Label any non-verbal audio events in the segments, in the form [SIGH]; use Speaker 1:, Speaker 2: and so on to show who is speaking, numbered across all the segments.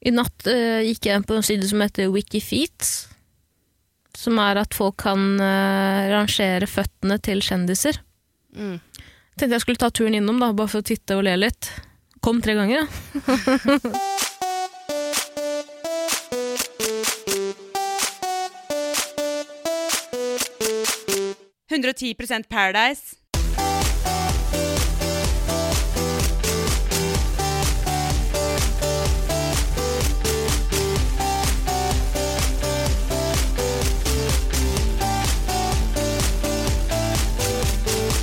Speaker 1: I natt eh, gikk jeg inn på en side som heter Wikifeet. Som er at folk kan eh, rangere føttene til kjendiser.
Speaker 2: Mm.
Speaker 1: Tenkte jeg skulle ta turen innom, da, bare for å titte og le litt. Kom tre ganger, da.
Speaker 2: Paradise.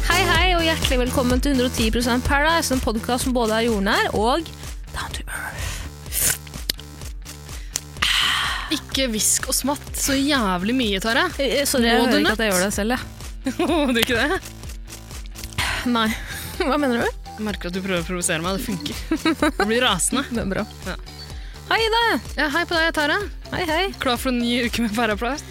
Speaker 1: Hei, hei, og hjertelig velkommen til 110 Paradise, en podkast som både er jordnær og down to earth.
Speaker 3: Ikke hvisk og smatt så jævlig mye, [LAUGHS] Tara.
Speaker 1: Eh, Sorry, jeg
Speaker 3: Må du
Speaker 1: hører ikke
Speaker 3: nett?
Speaker 1: at jeg gjør det selv, jeg.
Speaker 3: Må du ikke det?
Speaker 1: [LAUGHS] Nei. [LAUGHS] Hva mener du?
Speaker 3: Jeg merker at du prøver å provosere meg. Det funker. [LAUGHS] Jeg blir rasende.
Speaker 1: Det er bra.
Speaker 3: Ja.
Speaker 1: Hei, Ida.
Speaker 3: Ja, hei på deg, Tara.
Speaker 1: Hei, hei.
Speaker 3: Klar for en ny uke med Paraplast?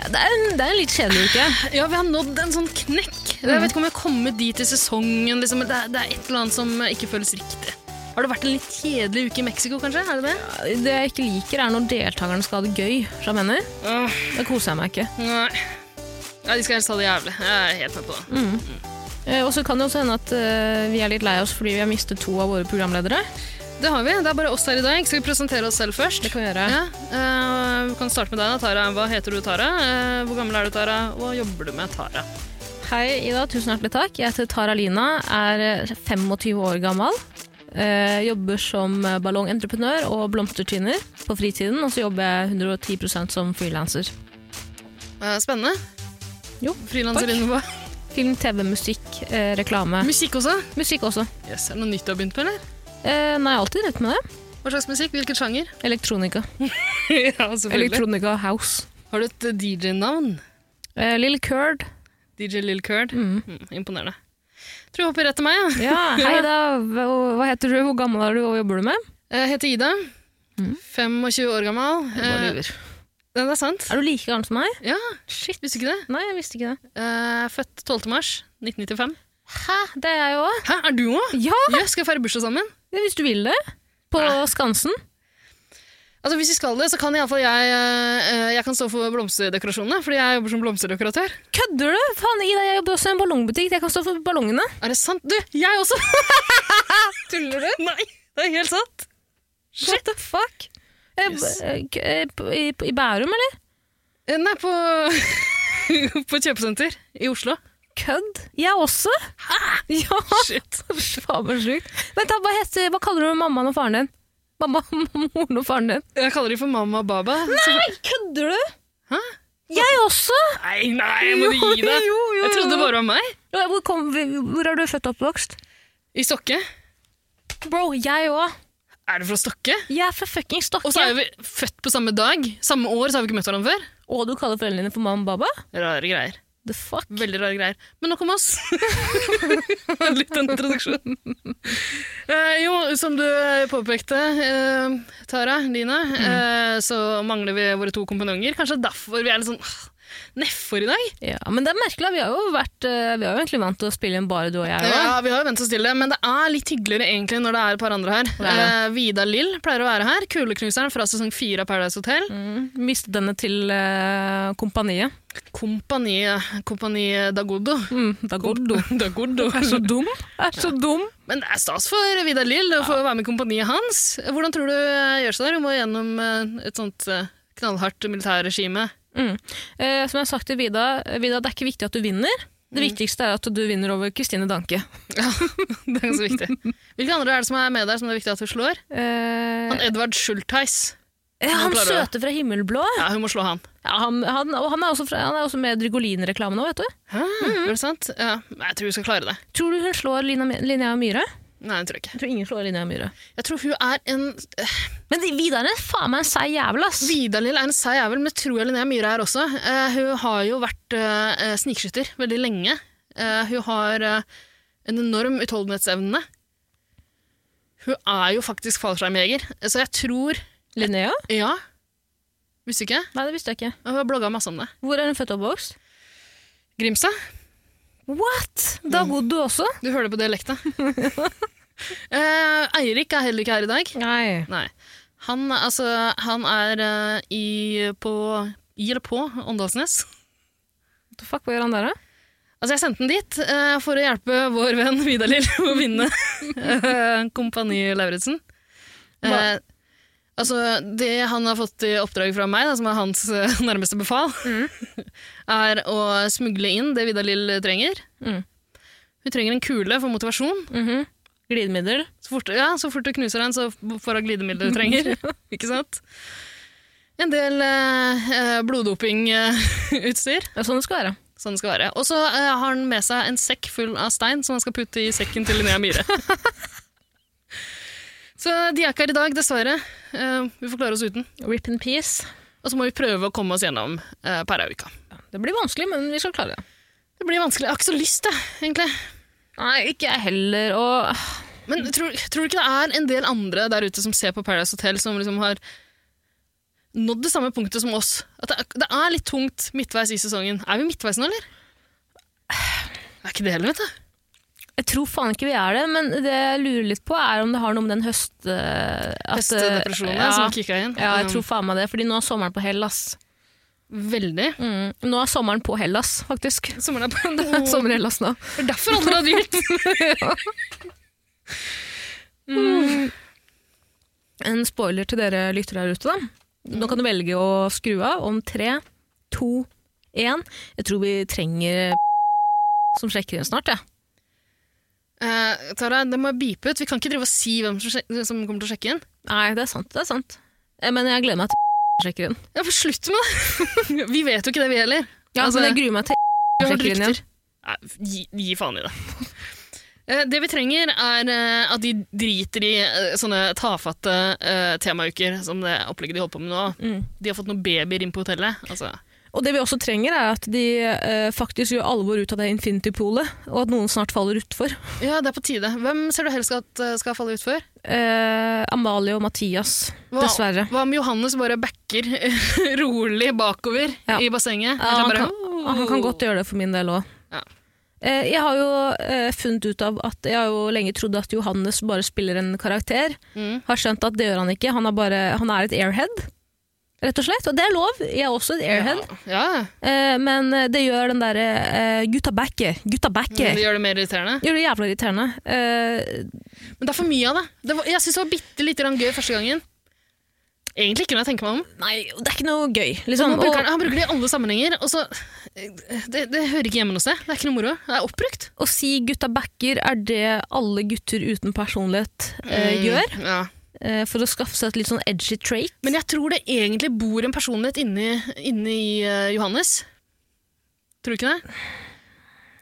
Speaker 1: Det er en, det er en litt kjedelig uke.
Speaker 3: Ja, vi har nådd en sånn knekk. Jeg vet ikke om jeg kommer dit i sesongen. Liksom. men Det, er, det er et eller annet som eh, ikke føles riktig. Har det vært en litt kjedelig uke i Mexico, kanskje? Er det det?
Speaker 1: Det jeg ikke liker, er når deltakerne skal ha det gøy. Så jeg mener,
Speaker 3: Åh,
Speaker 1: Da koser jeg meg ikke.
Speaker 3: nei. Ja, de skal helst ha det jævlig. Jeg er helt med på det.
Speaker 1: Eh, Og så kan det også hende at eh, vi er litt lei oss fordi vi har mistet to av våre programledere.
Speaker 3: Det har vi. Det er bare oss her i dag. Skal vi presentere oss selv først?
Speaker 1: Det kan vi gjøre.
Speaker 3: Ja, eh, vi kan starte med deg da, Tara. Hva heter du, Tara? Eh, hvor gammel er du, Tara? Hva jobber du med, Tara?
Speaker 1: Hei, Ida. Tusen hjertelig takk. Jeg heter Tara Lina, er 25 år gammel. Eh, jobber som ballongentreprenør og blomstertyner på fritiden. Og så jobber jeg 110 som frilanser.
Speaker 3: Eh, spennende.
Speaker 1: Jo,
Speaker 3: Frilanser
Speaker 1: takk.
Speaker 3: innenfor.
Speaker 1: Film, TV, musikk, eh, reklame.
Speaker 3: [LAUGHS] Musikk også?
Speaker 1: Musikk også.
Speaker 3: Yes, er det noe nytt du har begynt med, eller?
Speaker 1: Eh, nei, jeg har alltid rett med det.
Speaker 3: Hva slags musikk? Hvilken sjanger?
Speaker 1: Elektronika.
Speaker 3: [LAUGHS] ja, selvfølgelig.
Speaker 1: Elektronika House.
Speaker 3: Har du et eh, DJ-navn?
Speaker 1: Eh, Lill Curd.
Speaker 3: DJ Lil Curd? Mm, imponerende. Tror jeg hopper rett til meg. Ja.
Speaker 1: [LAUGHS] Ja, hei da. Hva hva heter du, hvor gammel er du, og hva jobber du med?
Speaker 3: Jeg heter Ida. Mm. 25 år gammel. Eh, det er sant.
Speaker 1: Er du like gammel som meg?
Speaker 3: Ja,
Speaker 1: Shit.
Speaker 3: visste ikke det.
Speaker 1: Nei, jeg visste ikke det.
Speaker 3: Eh, født 12. mars 1995.
Speaker 1: Hæ, det er jeg òg.
Speaker 3: Hæ, er du òg?
Speaker 1: Ja,
Speaker 3: Ja, skal vi feire bursdag sammen?
Speaker 1: hvis du vil det. På Skansen.
Speaker 3: Altså, hvis vi skal det, så kan i alle fall jeg, eh, jeg kan stå for blomsterdekorasjonene, fordi jeg jobber som blomsterdekoratør.
Speaker 1: Kødder du? Faen, Ida, jeg jobber også i en ballongbutikk. Jeg kan stå for ballongene.
Speaker 3: Er det sant? Du,
Speaker 1: [LAUGHS]
Speaker 3: jeg også! Tuller du? Nei, det er helt sant.
Speaker 1: What the fuck? Eh,
Speaker 3: Yes.
Speaker 1: eh, k- eh, p- I, I Bærum, eller?
Speaker 3: Eh, Nei, på, [LAUGHS] på kjøpesenter i Oslo.
Speaker 1: Kødd? Jeg også? Hæ? [LAUGHS] Ja.
Speaker 3: Shit.
Speaker 1: [LAUGHS] Faen, så sjukt. Vent, da, hva, heter, hva kaller du mammaen og faren din? Mamma, [LAUGHS] moren og faren din.
Speaker 3: Jeg kaller de for mamma og baba.
Speaker 1: Nei, kødder du?
Speaker 3: Hæ?
Speaker 1: Jeg også?
Speaker 3: Nei, nei, må du gi deg.
Speaker 1: Jo, jo,
Speaker 3: Jeg trodde det bare var meg.
Speaker 1: Ja, Hvor, kom, hvor er du født og oppvokst?
Speaker 3: I Stokke.
Speaker 1: Bro, jeg òg.
Speaker 3: Er du fra Stokke?
Speaker 1: Jeg er fra fucking Stokke.
Speaker 3: Og så er vi født på samme dag. Samme år, så har vi ikke møtt hverandre før.
Speaker 1: Og du kaller foreldrene dine for mamma og baba?
Speaker 3: Rare greier.
Speaker 1: The fuck?
Speaker 3: Veldig rare greier. Men nok om oss. [LAUGHS] En liten introduksjon. Eh, jo, som du påpekte, eh, Tara, Line,
Speaker 1: Mm.
Speaker 3: eh, så mangler vi våre to komponenter. Kanskje derfor vi er litt sånn ah, nedfor i dag?
Speaker 1: Ja, men det er merkelig. Vi har jo, vært, eh, vi har jo egentlig vant til å spille inn bare du og jeg. også.
Speaker 3: Ja, vi har jo vent oss til det, men det er litt hyggeligere egentlig når det er et par andre her.
Speaker 1: er det.
Speaker 3: Eh, Vida Lill pleier å være her. Kuleknuseren fra sesong fire av Paradise Hotel.
Speaker 1: Mm, mistet denne til eh, kompaniet.
Speaker 3: Kompani, kompani Dagodo.
Speaker 1: Mm, det er godt, du.
Speaker 3: [LAUGHS] Dagodo.
Speaker 1: Du er så dum. Du Er så dum.
Speaker 3: Men det er stas for Vidar Lill å få være med i kompaniet hans. Hvordan tror du eh, gjør seg der? Hun må gjennom eh, et sånt eh, knallhardt militærregime. [LAUGHS]
Speaker 1: Mm. Eh, som jeg har sagt til Vida, eh, Vida, det er ikke viktig at du vinner. Det viktigste er at du vinner over Kristine Danke.
Speaker 3: Det er ganske viktig. Hvilke andre er det som er med der som det er viktig at hun slår?
Speaker 1: Eh,
Speaker 3: Han Edvard Schultheis.
Speaker 1: ja, han
Speaker 3: klarer det.
Speaker 1: søte fra Himmelblå.
Speaker 3: Ja, hun må slå han.
Speaker 1: Ja, han, han, og han er også, fra, han er også med i Drygolin-reklame nå, vet du.
Speaker 3: Hæ? Mm, Er det sant? Ja, Nei, jeg tror hun skal klare det.
Speaker 1: Tror du hun slår Lina, Linnea Myhre?
Speaker 3: Nei, jeg tror ikke.
Speaker 1: Jeg tror ingen slår Linnea Myhre.
Speaker 3: Jeg tror hun er en eh,
Speaker 1: Men de- Vidar er faen meg en seig jævel, ass!
Speaker 3: Vidar Lill er en seig jævel, men det tror jeg Linnea Myhre er også. Eh, hun har jo vært eh, snikskytter veldig lenge. Eh, hun har eh, en enorm utholdenhetsevne. Hun er jo faktisk fallskjermjeger, så jeg tror
Speaker 1: Linnea?
Speaker 3: Ja. Visste ikke.
Speaker 1: Nei, det visste jeg ikke.
Speaker 3: Hun har blogga masse om det.
Speaker 1: Hvor er hun født og oppvokst?
Speaker 3: Grimstad?
Speaker 1: What?! Da bodde du også?
Speaker 3: Du hører det på dialekta. Eh, Eirik er heller ikke her i dag.
Speaker 1: Nei.
Speaker 3: Nei. Han, altså, han er eh, i, på, i eller på Åndalsnes.
Speaker 1: What the fuck, hva gjør han der, da?
Speaker 3: Altså, jeg sendte den dit eh, for å hjelpe vår venn Vidar-Lill [LAUGHS] å vinne eh, Kompani Lauritzen. Eh,
Speaker 1: Hva?
Speaker 3: altså, det han har fått i oppdrag fra meg, da, som er hans eh, [LAUGHS] nærmeste befal,
Speaker 1: Mm.
Speaker 3: [LAUGHS] er å smugle inn det Vidar-Lill trenger.
Speaker 1: Mm.
Speaker 3: Hun trenger en kule for motivasjon.
Speaker 1: Mhm. Glidemiddel.
Speaker 3: Så fort, ja, så fort du knuser den, så får hun glidemiddel du
Speaker 1: [LAUGHS]
Speaker 3: trenger. [LAUGHS] Ikke sant? En del eh, bloddopingutstyr.
Speaker 1: Det er sånn det skal være.
Speaker 3: Sånn det skal være. Og så eh, har han med seg en sekk full av stein som han skal putte i sekken til Linnea Myhre. [LAUGHS] så de er ikke her i dag, dessverre. Eh, vi får klare oss uten.
Speaker 1: Rip in peace.
Speaker 3: Og så må vi prøve å komme oss gjennom uh, Pærauka.
Speaker 1: Det blir vanskelig, men vi skal klare det.
Speaker 3: Det blir vanskelig. Jeg har ikke så lyst, jeg, egentlig.
Speaker 1: Nei, ikke jeg heller. Og
Speaker 3: Men tror, tror du ikke det er en del andre der ute som ser på Paradise Hotel, som liksom har nådd det samme punktet som oss? At det, er- det er litt tungt midtveis i sesongen. Er vi midtveis nå, eller? Er ikke det heller, vet du.
Speaker 1: jeg tror faen ikke vi er det, men det jeg lurer litt på, er om det har noe med den høst... eh, at, eh,
Speaker 3: Hestedepresjonen
Speaker 1: ja. Mm.
Speaker 3: som kicka inn. Um,
Speaker 1: Ja, jeg tror faen meg det, fordi nå er sommeren på hell, ass.
Speaker 3: Veldig.
Speaker 1: Mm. Nå er sommeren på Hellas, faktisk.
Speaker 3: Sommeren er på
Speaker 1: [LAUGHS] Det er sommer i Hellas nå.
Speaker 3: Det er derfor alle har dyrt. [LAUGHS]
Speaker 1: Mm. En spoiler til dere lyttere her ute, da. Nå kan du velge å skru av om tre, to, én. Jeg tror vi trenger eh, som sjekker inn snart, jeg.
Speaker 3: Eh, Tara, det må jeg bipe ut. Vi kan ikke drive og si hvem som, sjek- som kommer til å sjekke inn.
Speaker 1: Nei, det er sant, det er sant. Eh, Men jeg gleder meg til [LAUGHS] sjekker inn.
Speaker 3: Ja, for Slutt med det! [LAUGHS] vi vet jo ikke det, vi heller.
Speaker 1: Ja,
Speaker 3: Altså,
Speaker 1: men jeg gruer meg til
Speaker 3: Vi har hørt
Speaker 1: sjekker inn igjen.
Speaker 3: rykter. Nei, gi, gi faen i det. Eh, Det vi trenger, er eh, at de driter i eh, sånne tafatte eh, temauker som det opplegget de holder på med nå.
Speaker 1: Mm.
Speaker 3: De har fått noen babyer inn på hotellet. Altså.
Speaker 1: Og det vi også trenger, er at de eh, faktisk gjør alvor ut av det Infinity-polet, og at noen snart faller utfor.
Speaker 3: Ja, det er på tide. Hvem ser du helst at eh, skal falle utfor?
Speaker 1: Eh, Amalie og Mathias,
Speaker 3: Hva-
Speaker 1: dessverre.
Speaker 3: Hva om Johannes bare backer [LAUGHS] rolig bakover
Speaker 1: Ja.
Speaker 3: i bassenget?
Speaker 1: Ja,
Speaker 3: Kanskje
Speaker 1: han
Speaker 3: bare,
Speaker 1: Ja, Han kan godt gjøre det for min del òg.
Speaker 3: Ja.
Speaker 1: Eh, Jeg har jo eh, funnet ut av at jeg har jo lenge trodd at Johannes bare spiller en karakter.
Speaker 3: Mm.
Speaker 1: Har skjønt at det gjør han ikke. Han er, bare, han er et airhead, rett og slett. Og det er lov. Jeg er også et airhead.
Speaker 3: Ja,
Speaker 1: Eh, Men eh, det gjør den derre eh, gutta backer. Gutta
Speaker 3: det
Speaker 1: backer.
Speaker 3: gjør det mer irriterende.
Speaker 1: Gjør det jævla irriterende. Eh,
Speaker 3: Men det er for mye av det. det var, jeg syns det var bitte lite grann gøy første gangen. Egentlig ikke når jeg tenker meg om.
Speaker 1: Nei, det er ikke noe gøy,
Speaker 3: Han
Speaker 1: liksom.
Speaker 3: bruker,
Speaker 1: Og,
Speaker 3: den- han bruker det i alle sammenhenger, og så eh, det, det hører ikke hjemme noe sted. Det er ikke noe moro. Det er oppbrukt.
Speaker 1: å si gutta backer er det alle gutter uten personlighet eh,
Speaker 3: Mm.
Speaker 1: gjør.
Speaker 3: Ja.
Speaker 1: eh, For å skaffe seg et litt sånn edgy trait.
Speaker 3: Men jeg tror det egentlig bor en personlighet inni, inni eh, Johannes. Tror du ikke det?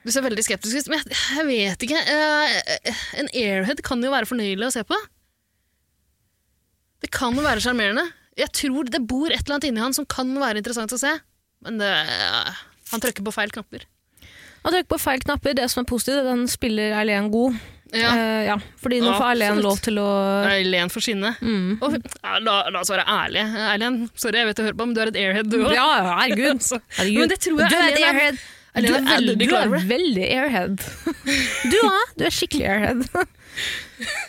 Speaker 3: Du ser veldig skeptisk ut, men jeg, jeg vet ikke. Eh, en airhead kan jo være fornøyelig å se på. Det kan jo være sjarmerende. Jeg tror det bor et eller annet inni han som kan være interessant å se, men det, eh, han trykker på feil knapper.
Speaker 1: Han trykker på feil knapper. Det som er positivt, er at han spiller Eileen god.
Speaker 3: Ja.
Speaker 1: Eh, ja. Fordi nå
Speaker 3: Ja,
Speaker 1: får Eileen
Speaker 3: absolutt.
Speaker 1: lov til å
Speaker 3: Eileen får skinne.
Speaker 1: mm.
Speaker 3: Og, ja, la, la oss være ærlige. Eileen, sorry, jeg vet du hører på, men du er et airhead, du
Speaker 1: Ja,
Speaker 3: òg.
Speaker 1: ja,
Speaker 3: [LAUGHS]
Speaker 1: herregud.
Speaker 3: Altså,
Speaker 1: herregud.
Speaker 3: men det tror jeg
Speaker 1: du er et
Speaker 3: Eileen er-
Speaker 1: airhead.
Speaker 3: Eileen er
Speaker 1: du,
Speaker 3: veldig
Speaker 1: du
Speaker 3: klar
Speaker 1: er
Speaker 3: over det.
Speaker 1: veldig
Speaker 3: [LAUGHS]
Speaker 1: airhead. Du òg. Du er skikkelig airhead. [LAUGHS]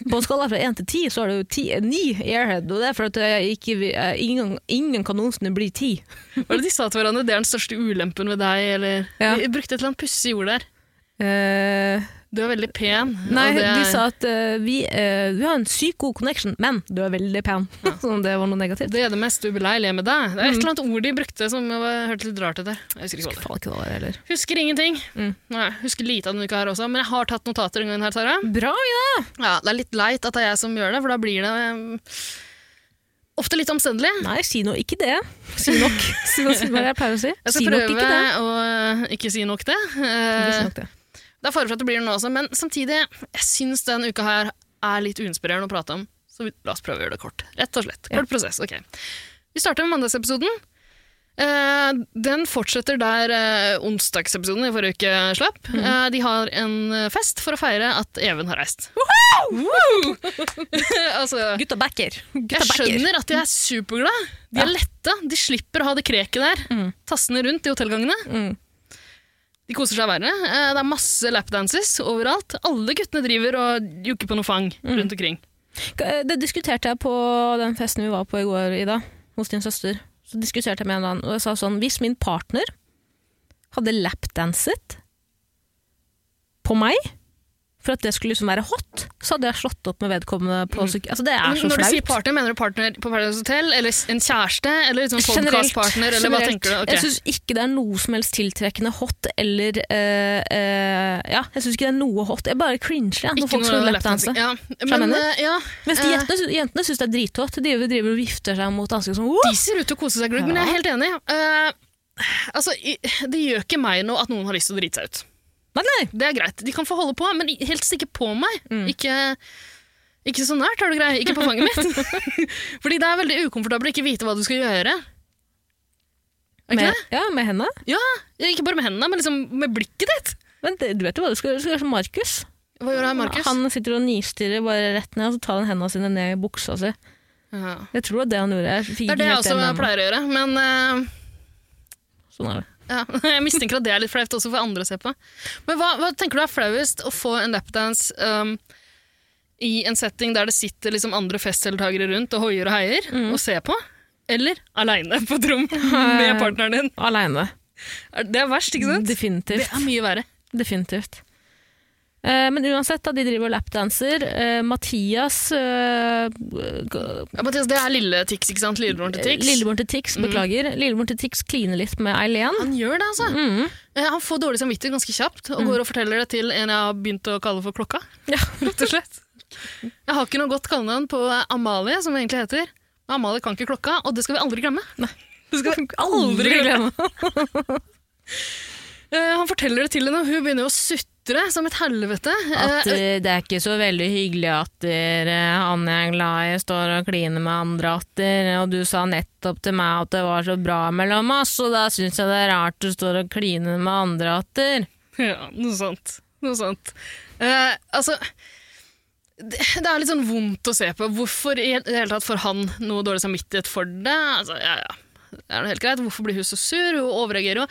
Speaker 1: På en skala fra én til ti, så er du ti, ni airhead. Og det er for at jeg ikke, vil- eh, ingen, ingen kan noensinne bli ti.
Speaker 3: Var det de sa til hverandre? Det er den største ulempen ved deg, eller
Speaker 1: Ja.
Speaker 3: De brukte et eller annet pussig ord der.
Speaker 1: Eh,
Speaker 3: Du er veldig pen.
Speaker 1: nei,
Speaker 3: og det er-
Speaker 1: de sa at eh, vi, eh, vi har en sykt god connection, men du er veldig pen. [LAUGHS] Som om det var noe negativt.
Speaker 3: Det er det mest ubeleilige med deg.
Speaker 1: Mm.
Speaker 3: Det er et eller annet ord de brukte som var- hørtes litt rart ut der. Jeg husker ikke hva det
Speaker 1: Faen ikke det var, heller.
Speaker 3: er. Husker ingenting.
Speaker 1: Mm.
Speaker 3: Nei, husker lite av denne uka her også, men jeg har tatt notater en gang her, Tara.
Speaker 1: Bra,
Speaker 3: Ja, Det er litt leit at det er jeg som gjør det, for da blir det um, ofte litt omstendelig.
Speaker 1: Nei, si noe ikke det. Si nok. Si noe, hva er det jeg pleier å si?
Speaker 3: Jeg skal
Speaker 1: Si nok
Speaker 3: prøve
Speaker 1: ikke det.
Speaker 3: å øh, ikke si nok det.
Speaker 1: Ikke si
Speaker 3: Eh,
Speaker 1: nok det.
Speaker 3: Det er fare for at det blir det nå også, men samtidig, jeg syns denne uka her er litt uinspirerende å prate om. Så vi, la oss prøve å gjøre det kort. Rett og slett. Kort prosess. ok. Vi starter med mandagsepisoden. Eh, den fortsetter der eh, onsdagsepisoden i forrige uke slapp.
Speaker 1: Mhm.
Speaker 3: Eh, de har en eh, fest for å feire at Even har reist. [LAUGHS] Woo! altså,
Speaker 1: Gutta backer. Gutta
Speaker 3: jeg skjønner at de er superglade. De er lette. De slipper å ha det kreket der,
Speaker 1: Mm.
Speaker 3: tassende rundt i hotellgangene.
Speaker 1: Mm.
Speaker 3: De koser seg verre. Eh, Det er masse lapdances overalt. Alle guttene driver og jukker på noe fang rundt omkring.
Speaker 1: Mm. eh, Det diskuterte jeg på den festen vi var på i går, Ida, hos din søster. Så diskuterte jeg med en eller annen, og jeg sa sånn, hvis min partner hadde lapdanset på meg, for at det skulle liksom være hot, så hadde jeg slått opp med vedkommende på psyk... Altså, det er så
Speaker 3: Mm. Når du sier
Speaker 1: flaut.
Speaker 3: partner, mener du partner på Paradise Hotel, eller s- en kjæreste, eller liksom
Speaker 1: Generelt.
Speaker 3: podcastpartner, eller hva
Speaker 1: generelt.
Speaker 3: tenker du? Ok.
Speaker 1: Jeg syns ikke det er noe som helst tiltrekkende hot eller eh, eh, Ja, jeg syns ikke det er noe hot. Jeg bare cringer jeg, når
Speaker 3: Ikke
Speaker 1: folk
Speaker 3: noe
Speaker 1: skal lapdanse.
Speaker 3: lapdance. Ja.
Speaker 1: jeg
Speaker 3: Men,
Speaker 1: mener?
Speaker 3: eh, ja.
Speaker 1: Mens de
Speaker 3: Eh,
Speaker 1: jentene, sy- jentene syns det er drithot. De driver og vifter seg mot dansken som
Speaker 3: De ser ut til å kose seg glugg, men jeg er helt enig. Eh, altså, i- det gjør ikke meg noe at noen har lyst til å drite seg ut.
Speaker 1: Nei, nei.
Speaker 3: Det er greit. De kan få holde på, men helst ikke på meg.
Speaker 1: Mm.
Speaker 3: Ikke, ikke så nært, er du grei. Ikke på fanget mitt. [LAUGHS] Fordi det er veldig ukomfortabelt å ikke vite hva du skal gjøre. Er ikke
Speaker 1: Med,
Speaker 3: det?
Speaker 1: ja, med henne.
Speaker 3: Ja, Ikke bare med hendene, men liksom med blikket ditt.
Speaker 1: Men det, du vet jo hva du skal gjøre. Du skal gjøre som Markus.
Speaker 3: Hva gjør jeg, Markus?
Speaker 1: Han sitter og nistirrer bare rett ned, og så tar han hendene sine ned i buksa si.
Speaker 3: Ja.
Speaker 1: Jeg tror det var det han gjorde. Jeg fikk
Speaker 3: Det er
Speaker 1: ikke
Speaker 3: det jeg
Speaker 1: helt
Speaker 3: også
Speaker 1: med meg.
Speaker 3: pleier å gjøre, men eh,
Speaker 1: Sånn er det.
Speaker 3: Ja, [LAUGHS] jeg mistenker at det er litt flaut også for andre å se på. Men hva, hva tenker du er flauest? Å få en lapdance um, i en setting der det sitter liksom andre festdeltakere rundt og hoier og heier
Speaker 1: Mm.
Speaker 3: og ser på? Eller aleine på et rom med partneren din?
Speaker 1: Aleine.
Speaker 3: Er- Det er verst, ikke sant? Det
Speaker 1: Definitivt.
Speaker 3: er mye verre.
Speaker 1: Definitivt. Eh, men uansett, da, de driver og lapdanser. Eh, Mathias eh, g-
Speaker 3: Ja, Mathias, det er lille Tix, ikke sant? Lillebroren til Tix.
Speaker 1: Eh, Lillebroren til Tix, Mm. beklager. Lillebroren til Tix kliner litt med [LAUGHS] Eileen.
Speaker 3: Han gjør det, altså.
Speaker 1: Mm.
Speaker 3: Eh, Han får dårlig samvittighet ganske kjapt og går og forteller det til en jeg har begynt å kalle for Klokka.
Speaker 1: [LAUGHS] Ja.
Speaker 3: Rett og slett. Jeg har ikke noe godt kallenavn på Amalie, som hun egentlig heter. Men Amalie kan ikke klokka, og det skal vi aldri glemme.
Speaker 1: Du skal
Speaker 3: aldri glemme. Eh, han forteller det til henne, og hun begynner å sutre som et helvete.
Speaker 1: At
Speaker 3: Eh,
Speaker 1: eh, det er ikke så veldig hyggelig at dere, han jeg er glad i står og kliner med andre atter, og du sa nettopp til meg at det var så bra mellom oss, og da syns jeg det er rart du står og kliner med andre atter.
Speaker 3: [LAUGHS] ja, noe sånt. Noe sånt. Eh, altså, det, det er litt sånn vondt å se på. Hvorfor i det hele tatt får han noe dårlig samvittighet for det? Altså, ja, ja. Det er noe helt greit. Hvorfor blir hun så sur? Hun overreagerer jo.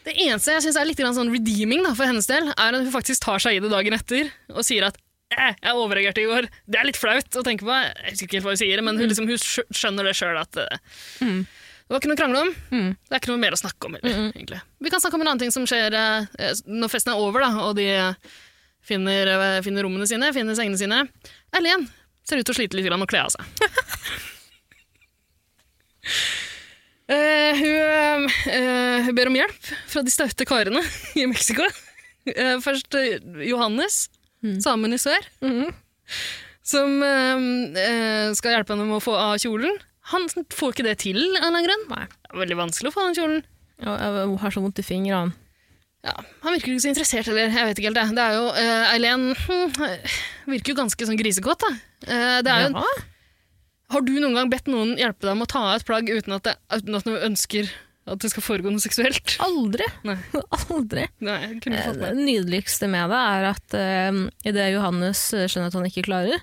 Speaker 3: Det eneste jeg synes er litt grann sånn redeeming da, for hennes del, er at hun faktisk tar seg i det dagen etter og sier at eh, jeg overreagerte i går. Det er litt flaut å tenke på. Jeg husker ikke helt hva hun sier, men hun, liksom, hun skjø- skjønner det sjøl at eh, det var ikke noe å krangle om.
Speaker 1: Mm.
Speaker 3: Det er ikke noe mer å snakke om heller, egentlig. Vi kan snakke om en annen ting som skjer eh, når festen er over, da, og de eh, finner, eh, finner rommene sine, finner sengene sine. Eileen ser ut til å slite litt grann med å kle av seg. Eh, hun, eh, hun ber om hjelp fra de staute karene [LAUGHS] i Mexico. Eh, først eh, Johannes, samen i sør, som eh, eh, skal hjelpe henne med å få av kjolen. Han får ikke det til av en eller annen grunn. Det er veldig vanskelig å få av den kjolen.
Speaker 1: Ja, Jeg har så vondt i fingrene.
Speaker 3: Ja, han virker ikke så interessert heller. Jeg vet ikke helt det. Det er jo, eh, Eileen hm, virker jo ganske sånn grisekåt, da. Eh, det er jo,
Speaker 1: Ja.
Speaker 3: har du noen gang bedt noen hjelpe deg med å ta av et plagg uten at, det, uten at du ønsker at det skal foregå noe seksuelt?
Speaker 1: [LAUGHS] Aldri.
Speaker 3: Nei.
Speaker 1: Aldri.
Speaker 3: Nei, jeg kunne
Speaker 1: Eh,
Speaker 3: fått
Speaker 1: Det
Speaker 3: meg.
Speaker 1: nydeligste med det er at uh, idet Johannes eh, skjønner at han ikke klarer,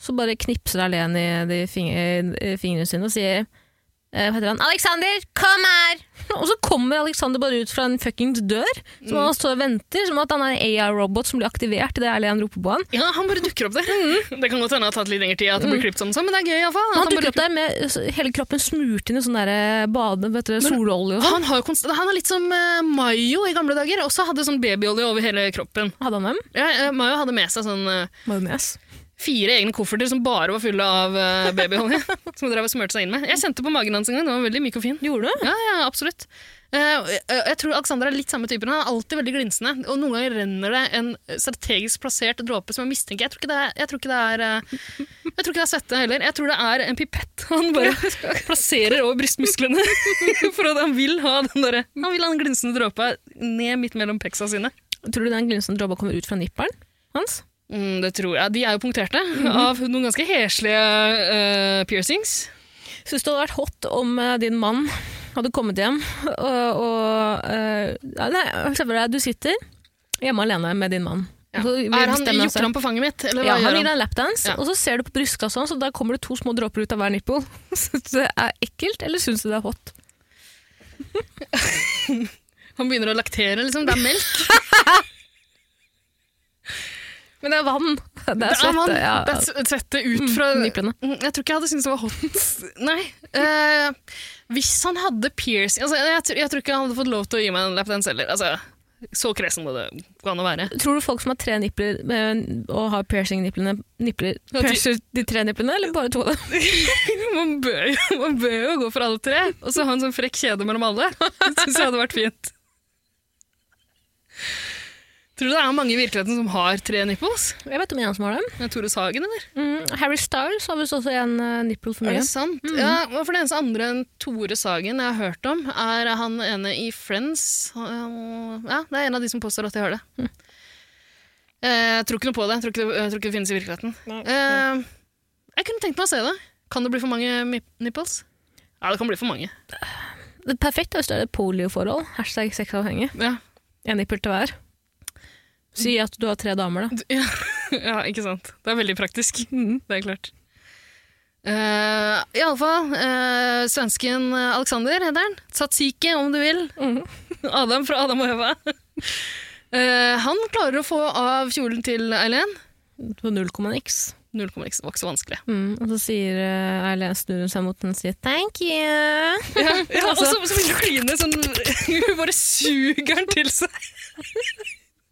Speaker 1: så bare knipser Alene i de fing i fingrene sine og sier eh, Hva heter han? 'Alexander, kom her!' [LAUGHS] Og så kommer Alexander bare ut fra en fuckings dør, som han står og venter, som at han er en AI-robot som blir aktivert idet Alene roper på han.
Speaker 3: Ja, han bare dukker opp der. [LAUGHS] Det kan godt hende det har tatt litt lengre tid, at det blir klippet sånn, og sånn, men det er gøy iallfall.
Speaker 1: Mm. Han dukker opp der med s- hele kroppen smurt inn i sånn der eh, bade, vet dere, sololje og sånn.
Speaker 3: Han, har jo konst- han er litt som eh, Mayo i gamle dager, også hadde sånn babyolje over hele kroppen.
Speaker 1: sånn. Hadde han dem?
Speaker 3: Ja, eh, Mayo hadde med seg sånn eh,
Speaker 1: Majones.
Speaker 3: fire egne kofferter som bare var fulle av eh, babyolje. som hun drev og smurte seg inn med. Jeg kjente på magen hans en gang, den var veldig myk og fin.
Speaker 1: Gjorde du?
Speaker 3: Ja, ja, absolutt. Eh, og jeg, jeg tror Alexander er litt samme typen. Han er alltid veldig glinsende. Og noen ganger renner det en strategisk plassert dråpe som jeg mistenker. Jeg tror ikke det er, jeg tror ikke det er, eh, jeg tror ikke det er svette heller. Jeg tror det er en pipett han bare plasserer over brystmusklene. [LAUGHS] For at han vil ha den, derre- han vil ha den glinsende dråpa ned midt mellom peksa sine.
Speaker 1: Tror du den glinsen dråpa kommer ut fra nipperen hans?
Speaker 3: Mm, det tror jeg. De er jo punkterte
Speaker 1: Mhm.
Speaker 3: av noen ganske heslige eh, piercings.
Speaker 1: Syns det hadde vært hot om eh, din mann hadde kommet hjem og, og eh, ja, Nei, se for deg du sitter hjemme alene med din mann.
Speaker 3: Ja.
Speaker 1: Og så vil
Speaker 3: Er han,
Speaker 1: bestemme seg-
Speaker 3: Jukker han på fanget mitt, eller hva
Speaker 1: Ja, han
Speaker 3: gjør
Speaker 1: gir
Speaker 3: han?
Speaker 1: deg en lapdance,
Speaker 3: Ja.
Speaker 1: og så ser du på brystkassa hans, og der kommer det to små dråper ut av hver nipple. [LAUGHS] Syns du det er ekkelt, eller syns du det er hot?
Speaker 3: Han begynner å laktere, liksom. Det er melk.
Speaker 1: Men det er vann. Det er
Speaker 3: vann.
Speaker 1: svette. Ja.
Speaker 3: Det er s- svette ut
Speaker 1: Mm,
Speaker 3: fra
Speaker 1: Niplene.
Speaker 3: Mm, Jeg tror ikke jeg hadde syntes det var hot. [LAUGHS] Nei. Eh, hvis han hadde piercing altså, jeg, tror- jeg tror ikke han hadde fått lov til å gi meg en lapdance heller. Altså, så kresen må det gå an å være.
Speaker 1: Tror du folk som har tre nipler eh, og har piercing-niplene, nipler,
Speaker 3: Ja, de-
Speaker 1: piercer de tre niplene, eller bare to av dem?
Speaker 3: Man bør, jo, [LAUGHS] man bør jo gå for alle tre, og så ha en sånn frekk kjede mellom alle. [LAUGHS] Det syns jeg hadde vært fint. Tror du det er mange i virkeligheten som har tre nipples?
Speaker 1: Jeg vet om en som har dem.
Speaker 3: Er det Tore Sagen, eller?
Speaker 1: Mm, Harry Styles har visst også en uh, nipple for
Speaker 3: Er
Speaker 1: mye.
Speaker 3: det sant? Ja, for det eneste andre enn Tore Sagen jeg har hørt om, er han ene i Friends. Han- Ja, det er en av de som påstår at de har det. Eh, Jeg tror ikke noe på det. Jeg tror ikke det, jeg tror ikke det finnes i virkeligheten. Eh, Jeg kunne tenkt meg å se det. Kan det bli for mange mi- nipples? Ja, det kan bli for mange.
Speaker 1: Det perfekte er hvis det er et polioforhold. Hashtag sexavhengig.
Speaker 3: Ja,
Speaker 1: En nippel til hver. Si at du har tre damer, da.
Speaker 3: D- ja. [LAUGHS] ja ikke sant. Det er veldig praktisk. Det er klart. Uh, Iallfall, uh, svensken Alexander heter han. Tsatsiki, om du vil. [LAUGHS] Adam fra Adam og Eva. [LAUGHS] Eh, han klarer å få av kjolen til Eileen.
Speaker 1: På null komma niks.
Speaker 3: 0,x var ikke så vanskelig.
Speaker 1: Mm, og så sier eh, Eileen snur hun seg mot den og sier 'thank you'.
Speaker 3: Ja, og så, så begynner hun å kline sånn [LAUGHS] Hun bare suger den til seg. [LAUGHS]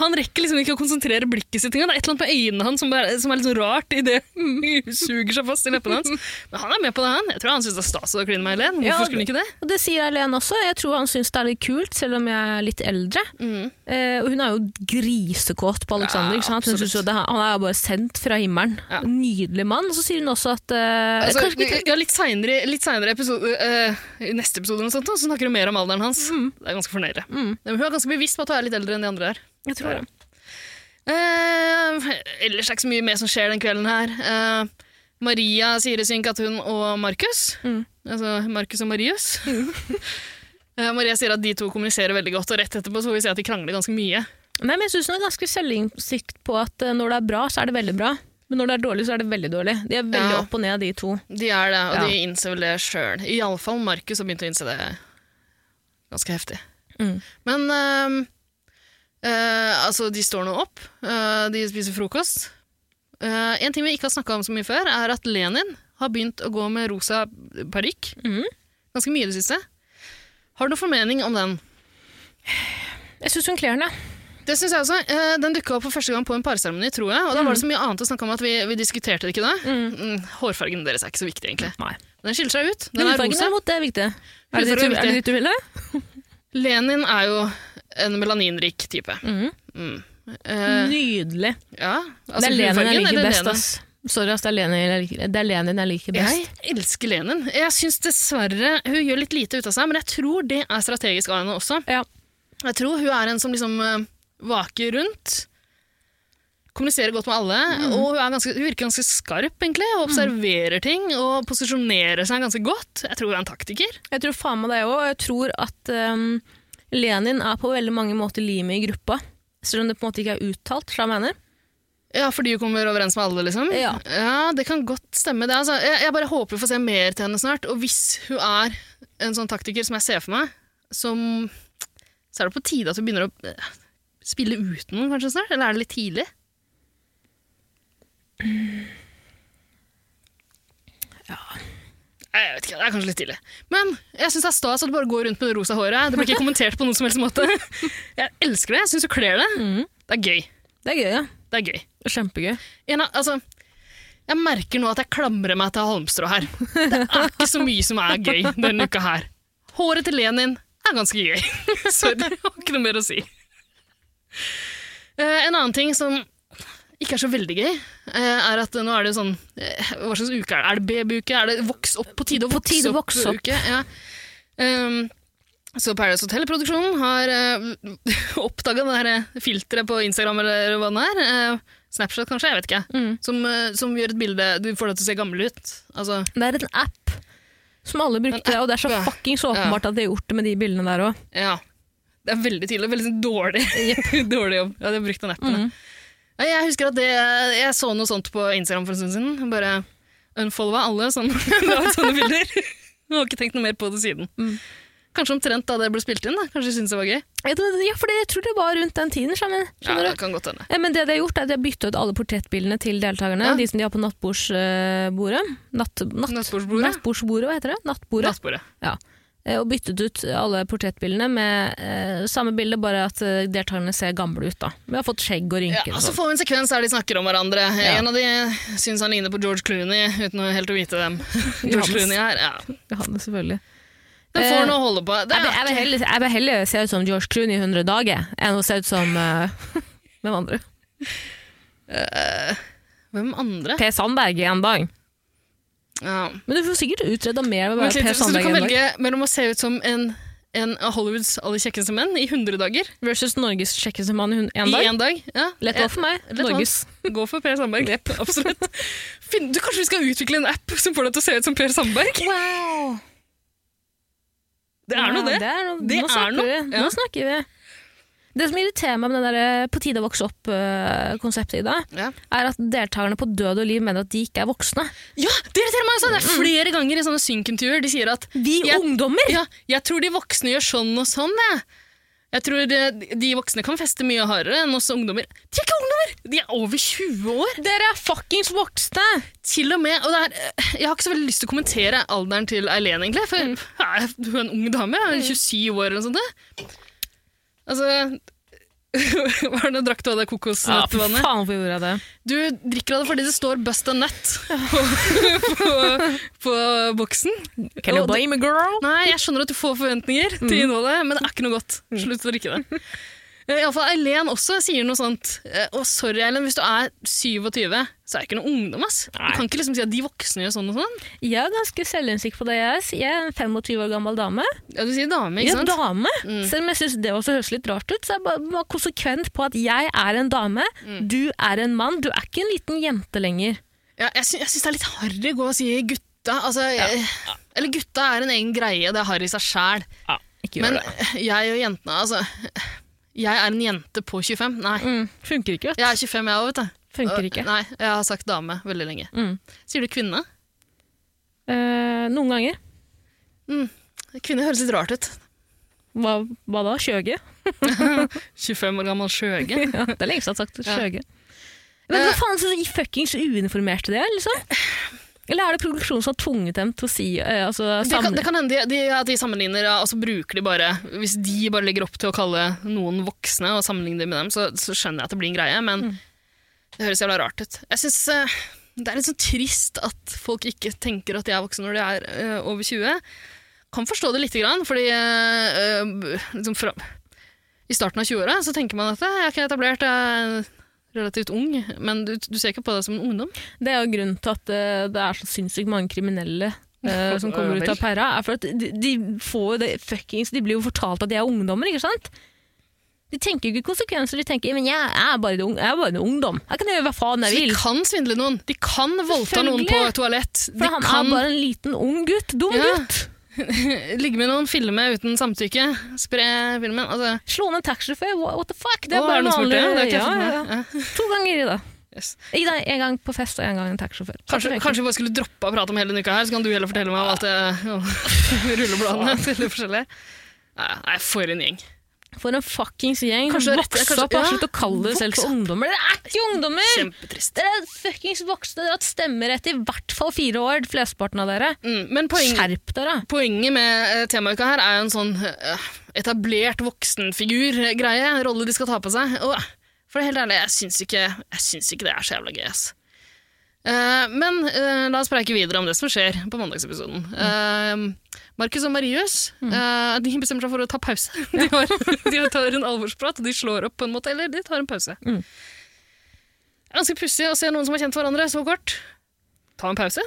Speaker 3: Han rekker liksom ikke å konsentrere blikket sitt. engang. Det er et eller annet med øynene hans som, bare, som er litt sånn rart i det hun suger seg fast i leppene hans. Men han er med på det, han. Jeg tror han syns det er stas å kline med Eileen. Hvorfor
Speaker 1: Ja,
Speaker 3: skulle han ikke det?
Speaker 1: Og det sier Eileen også. Jeg tror han syns det er litt kult, selv om jeg er litt eldre. Eh, og hun er jo grisekåt på Alexander.
Speaker 3: Ja,
Speaker 1: ikke sant? Hun synes jo
Speaker 3: absolutt.
Speaker 1: det, han er jo bare sendt fra himmelen.
Speaker 3: Ja.
Speaker 1: Nydelig mann. Og så sier hun også at eh,
Speaker 3: Altså,
Speaker 1: kanskje vi-
Speaker 3: ja, litt seinere litt senere episode, eh, i neste episode eller noe sånt, da, så snakker hun mer om alderen hans. Det er ganske fornøyelig.
Speaker 1: Mm.
Speaker 3: Men Hun er ganske bevisst på at hun er litt eldre enn de andre her.
Speaker 1: Jeg tror det.
Speaker 3: Eh, ellers er det ikke så mye mer som skjer den kvelden her. Eh, Maria sier i synk at hun og Markus
Speaker 1: Mm.
Speaker 3: Altså Markus og Marius. Eh, Maria sier at de to kommuniserer veldig godt, og rett etterpå så får vi se at de krangler ganske mye.
Speaker 1: Nei, men jeg syns hun har ganske selvinnsikt på at eh, når det er bra, så er det veldig bra. Men når det er dårlig, så er det veldig dårlig. De er veldig
Speaker 3: Ja.
Speaker 1: opp og ned, de to.
Speaker 3: De er det, og
Speaker 1: Ja.
Speaker 3: de innser vel det sjøl. Iallfall Markus har begynt å innse det ganske heftig.
Speaker 1: Mm.
Speaker 3: Men ehm, eh, altså, de står nå opp. eh, de spiser frokost. Eh, en ting vi ikke har snakka om så mye før, er at Lenin har begynt å gå med rosa parykk.
Speaker 1: Mhm.
Speaker 3: Ganske mye i det siste. Har du noen formening om den?
Speaker 1: Jeg syns hun kler den, jeg.
Speaker 3: Det synes jeg også. Eh, Den dukka opp for første gang på en parseremoni, tror jeg. Og da var
Speaker 1: Mm.
Speaker 3: det så mye annet å snakke om at vi, vi diskuterte det ikke da. Mm, Hårfargen deres er ikke så viktig, egentlig.
Speaker 1: Nei.
Speaker 3: Den skiller seg ut. Den er
Speaker 1: Hudfargen
Speaker 3: rosa.
Speaker 1: derimot, det er viktig. Er det
Speaker 3: Hudfargen er
Speaker 1: ditt, er det
Speaker 3: viktig.
Speaker 1: ditt du ville?
Speaker 3: Lenin er jo en melaninrik type. Mm. Eh,
Speaker 1: Nydelig.
Speaker 3: ja, altså,
Speaker 1: altså, det er Lenin jeg
Speaker 3: hudfargen
Speaker 1: liker
Speaker 3: eller
Speaker 1: best,
Speaker 3: Lenin?
Speaker 1: ass. Sorry, ass, det er Lenin jeg liker, det er Lenin jeg liker best.
Speaker 3: Jeg elsker Lenin. Jeg syns dessverre hun gjør litt lite ut av seg, men jeg tror det er strategisk av henne også.
Speaker 1: Ja.
Speaker 3: Jeg tror hun er en som liksom eh, vaker rundt. Kommuniserer godt med alle,
Speaker 1: Mm.
Speaker 3: og hun, er ganske, hun virker ganske skarp, egentlig. Og observerer ting og posisjonerer seg ganske godt. Jeg tror hun er en taktiker.
Speaker 1: Jeg tror faen meg det òg, og jeg tror at ehm, Lenin er på veldig mange måter limet i gruppa. Selv om det på en måte ikke er uttalt, så jeg mener.
Speaker 3: Ja, fordi hun kommer overens med alle, liksom?
Speaker 1: Ja.
Speaker 3: det kan godt stemme. Det, altså, jeg, jeg bare håper vi får se mer til henne snart. Og hvis hun er en sånn taktiker som jeg ser for meg, som, så er det på tide at hun begynner å eh, spille uten noen, kanskje snart? Eller er det litt tidlig? Nei, Jeg vet ikke, Det er kanskje litt tidlig. Men jeg syns det er stas at du bare går rundt med det rosa håret. Det blir ikke kommentert på noen som helst måte. [LAUGHS] Jeg elsker det. Jeg syns du kler det. Det er gøy.
Speaker 1: Det er gøy, ja.
Speaker 3: Det er gøy.
Speaker 1: Kjempegøy.
Speaker 3: En av, altså, jeg merker nå at jeg klamrer meg til halmstrå her. Det er [LAUGHS] ikke så mye som er gøy denne uka her. Håret til Lenin er ganske gøy. [LAUGHS] Sorry, jeg har ikke noe mer å si. Eh, en annen ting som ikke er så veldig gøy, eh, er at nå er det jo sånn eh, Hva slags uke er det? Er det babyuke? Er det voks opp? På tide å
Speaker 1: På
Speaker 3: vokse
Speaker 1: tide å
Speaker 3: opp?
Speaker 1: vokse opp.
Speaker 3: Uke? Ja. Ehm, så Paradise Hotel-produksjonen har [LAUGHS] uh, oppdaga det her eh, filteret på Instagram eller hva det er. eh, Snapchat, kanskje? Jeg vet ikke.
Speaker 1: Mm.
Speaker 3: Som, eh, som gjør et bilde Du får det til å se gammel ut. Altså,
Speaker 1: Det er en app som alle brukte, og det er så
Speaker 3: ja.
Speaker 1: fuckings åpenbart at de har gjort det med de bildene der òg.
Speaker 3: ja. Det er veldig tydelig. Veldig sånn dårlig, [LAUGHS] dårlig jobb. Ja, de har brukt den appen. da. Nei, Jeg husker at det, jeg så noe sånt på Instagram for en stund siden. Bare [LAUGHS] unfollowa alle sånn, la ut sånne bilder. Jeg har ikke tenkt noe mer på det siden. Kanskje omtrent da det ble spilt inn. da. Kanskje de syntes det var gøy.
Speaker 1: Jeg tror, ja, for jeg tror det var rundt den tiden. Skjønner,
Speaker 3: Ja,
Speaker 1: skjønner
Speaker 3: det
Speaker 1: du?
Speaker 3: kan godt hende.
Speaker 1: Eh, Men det de har gjort er at de har byttet ut alle portrettbildene til deltakerne.
Speaker 3: Ja.
Speaker 1: De som de har på nattbordsbordet. Natt, natt,
Speaker 3: Nattbordsbordet.
Speaker 1: nattbordsbordet, hva heter det? Nattbordet.
Speaker 3: Nattbordet.
Speaker 1: Eh, Og byttet ut alle portrettbildene med eh, samme bilde, bare at eh, deltakerne ser gamle ut. da. Vi har fått skjegg og
Speaker 3: Ja, altså,
Speaker 1: rynker. og
Speaker 3: og så
Speaker 1: sånn.
Speaker 3: får vi en sekvens der de snakker om hverandre.
Speaker 1: Ja.
Speaker 3: En av de syns han ligner på George Clooney, uten å helt å vite hvem [LAUGHS] George
Speaker 1: Johannes.
Speaker 3: Clooney er. Ja.
Speaker 1: Ja, det selvfølgelig.
Speaker 3: Den
Speaker 1: Eh,
Speaker 3: får noe å holde på. Det
Speaker 1: Jeg vil-
Speaker 3: er,
Speaker 1: jeg vil heller, jeg vil heller se ut som George Clooney i 100 dager enn å se ut som eh, [LAUGHS] hvem andre?
Speaker 3: Eh, hvem andre?
Speaker 1: Per Sandberg i en dag.
Speaker 3: Ja.
Speaker 1: Men du får sikkert utreda mer ved å
Speaker 3: Vent
Speaker 1: være
Speaker 3: litt,
Speaker 1: Per
Speaker 3: så du
Speaker 1: Sandberg i
Speaker 3: kan
Speaker 1: en dag.
Speaker 3: velge mellom å se ut som en, en av Hollywoods aller kjekkeste menn i 100 dager?
Speaker 1: Versus Norges kjekkeste mann i hun- en
Speaker 3: I
Speaker 1: dag.
Speaker 3: en dag. Ja.
Speaker 1: Lett valg for meg.
Speaker 3: lett valg.
Speaker 1: Norges.
Speaker 3: Gå for Per Sandberg. Absolutt. Finn, du, kanskje vi skal utvikle en app som får deg til å se ut som Per Sandberg?
Speaker 1: Wow!
Speaker 3: Det er nå det.
Speaker 1: det er noe.
Speaker 3: Det
Speaker 1: nå,
Speaker 3: er
Speaker 1: snakker
Speaker 3: noe,
Speaker 1: Vi.
Speaker 3: ja.
Speaker 1: nå snakker vi. Det som irriterer meg med det der eh, på tide å vokse opp-konseptet i dag,
Speaker 3: Ja.
Speaker 1: er at deltakerne på Død og liv mener at de ikke er voksne.
Speaker 3: Ja, det irriterer meg også! Det
Speaker 1: Mm.
Speaker 3: er flere ganger i sånne synkintervjuer de sier at
Speaker 1: Vi
Speaker 3: Jeg-
Speaker 1: ungdommer!
Speaker 3: ja, jeg tror de voksne gjør sånn og sånn, jeg. Jeg tror de, de voksne kan feste mye hardere enn oss ungdommer. De er ikke ungdommer! De er over 20 år!
Speaker 1: Dere er fuckings voksne!
Speaker 3: Til og med, og det er, Jeg har ikke så veldig lyst til å kommentere alderen til Eileen, egentlig. For
Speaker 1: Mm.
Speaker 3: ja, hun [LAUGHS] er en ung dame. ja, 27 år eller noe sånt. det. Altså [LAUGHS] Hva er det du drakk du av det
Speaker 1: Ja, for faen
Speaker 3: kokosnøttvannet?
Speaker 1: hvorfor gjorde jeg det?
Speaker 3: du drikker av det fordi det står 'bust a nut' på, [LAUGHS] på, på boksen.
Speaker 1: Can you
Speaker 3: Og det-
Speaker 1: blame a girl?
Speaker 3: Nei, jeg skjønner at du får forventninger til
Speaker 1: Mm.
Speaker 3: innholdet, men det er ikke noe godt. Slutt å drikke det. Eh, i alle fall Eileen også sier noe sånt. Eh, Å, sorry, Eileen, hvis du er 27, så er jeg ikke noen ungdom, ass. Du
Speaker 1: Nei.
Speaker 3: kan ikke liksom si at de voksne gjør sånn og sånn.
Speaker 1: Jeg er ganske selvinnsikt på det jeg er. Jeg er en 25 år gammel dame.
Speaker 3: Ja, du sier dame,
Speaker 1: Jeg
Speaker 3: ikke
Speaker 1: er en
Speaker 3: sant?
Speaker 1: dame.
Speaker 3: Mm.
Speaker 1: Selv om jeg syns det også høres litt rart ut, så er jeg bare, bare konsekvent på at jeg er en dame,
Speaker 3: Mm.
Speaker 1: du er en mann, du er ikke en liten jente lenger.
Speaker 3: Ja, jeg, sy jeg syns det er litt harry å gå og si gutta. Altså, jeg, Eller gutta er en egen greie, det er harry i seg sjæl.
Speaker 1: Ja, ikke
Speaker 3: Men [LAUGHS] jeg og jentene, altså Jeg er en jente på 25. Nei,
Speaker 1: Mm. Funker ikke,
Speaker 3: jeg er 25 jeg òg, vet du.
Speaker 1: Funker ikke.
Speaker 3: Nei, jeg har sagt dame veldig lenge.
Speaker 1: Mm.
Speaker 3: Sier du kvinne?
Speaker 1: Eh, noen ganger.
Speaker 3: Kvinne Mm. høres litt rart ut.
Speaker 1: Hva, hva da? Skjøge?
Speaker 3: 25 år gammel skjøge.
Speaker 1: [LAUGHS] Ja, det er lenge siden jeg har sagt
Speaker 3: Ja. Eh.
Speaker 1: skjøge. Men hva faen så fuckings uinformerte de er,
Speaker 3: [LAUGHS]
Speaker 1: liksom? Eller er det produksjonen som har tvunget dem til å si eh, altså,
Speaker 3: Det kan,
Speaker 1: samle-
Speaker 3: det kan hende de, de, at de sammenligner, ja, og så bruker de bare Hvis de bare legger opp til å kalle noen voksne og sammenligner det med dem, så, så skjønner jeg at det blir en greie, men det høres jævla rart ut. Jeg syns det er litt sånn trist at folk ikke tenker at de er voksne når de er eh, over 20. Kan forstå det lite grann, fordi eh, eh, liksom fra, I starten av 20-åra så tenker man at eh, jeg er ikke etablert, jeg er relativt ung, men du, du ser ikke på deg som en ungdom.
Speaker 1: Det er jo grunnen til at eh, det er så sinnssykt mange kriminelle
Speaker 3: [LAUGHS]
Speaker 1: eh, som kommer ut av pæra. er for at de, de, får jo det fuckings, de blir jo fortalt at de er ungdommer, ikke sant? De tenker jo ikke konsekvenser. De tenker men jeg er bare en ung- jeg er bare en ungdom. Jeg kan gjøre hva faen jeg
Speaker 3: Så
Speaker 1: vil.
Speaker 3: de kan svindle noen. De kan voldta noen på
Speaker 1: Selvfølgelig.
Speaker 3: et toalett. De
Speaker 1: For han er
Speaker 3: kan
Speaker 1: bare en liten ung gutt. Dum
Speaker 3: Ja.
Speaker 1: gutt.
Speaker 3: ligge med noen, filme uten samtykke, spre filmen. Altså,
Speaker 1: Slå ned taxisjåfør. What, what the fuck? Det er
Speaker 3: Å,
Speaker 1: bare
Speaker 3: noen som spurte?
Speaker 1: vanlig.
Speaker 3: Det har ikke jeg
Speaker 1: Ja,
Speaker 3: fått
Speaker 1: ja,
Speaker 3: med
Speaker 1: ja.
Speaker 3: meg. Ja.
Speaker 1: To ganger i dag.
Speaker 3: Yes.
Speaker 1: Ikke da, En gang på fest og en gang en taxisjåfør.
Speaker 3: Kanskje, kanskje vi bare skulle droppe å prate om hele denne uka her, så kan du heller fortelle meg om [LAUGHS] alt det rullebladene til det forskjellige. Nei, nei, for en gjeng.
Speaker 1: For en fuckings gjeng.
Speaker 3: Kanskje-
Speaker 1: Kanskje, Voks
Speaker 3: kanskje-
Speaker 1: opp og
Speaker 3: ja.
Speaker 1: slutt å kalle dere selv
Speaker 3: Voks
Speaker 1: for ungdommer. Dere er ikke ungdommer!
Speaker 3: Kjempetrist.
Speaker 1: Dere er fuckings voksne, dere har hatt stemmerett i hvert fall fire år, flesteparten av dere.
Speaker 3: Mm, men poeng,
Speaker 1: Skjerp dere!
Speaker 3: poenget med eh, temauka her er jo en sånn eh, etablert voksenfigur-greie, en rolle de skal ta på seg. Og, eh, for det er helt ærlig, jeg syns ikke, jeg syns ikke det er så jævla gøy, ass. Eh, men eh, la oss preike videre om det som skjer på mandagsepisoden. Eh, Markus og Marius eh, de bestemmer seg for å ta pause. [LAUGHS] De, har, de tar en alvorsprat, og de slår opp på en måte, eller de tar en pause.
Speaker 1: Mm.
Speaker 3: Ganske pussig å se noen som har kjent hverandre så kort. Ta en pause.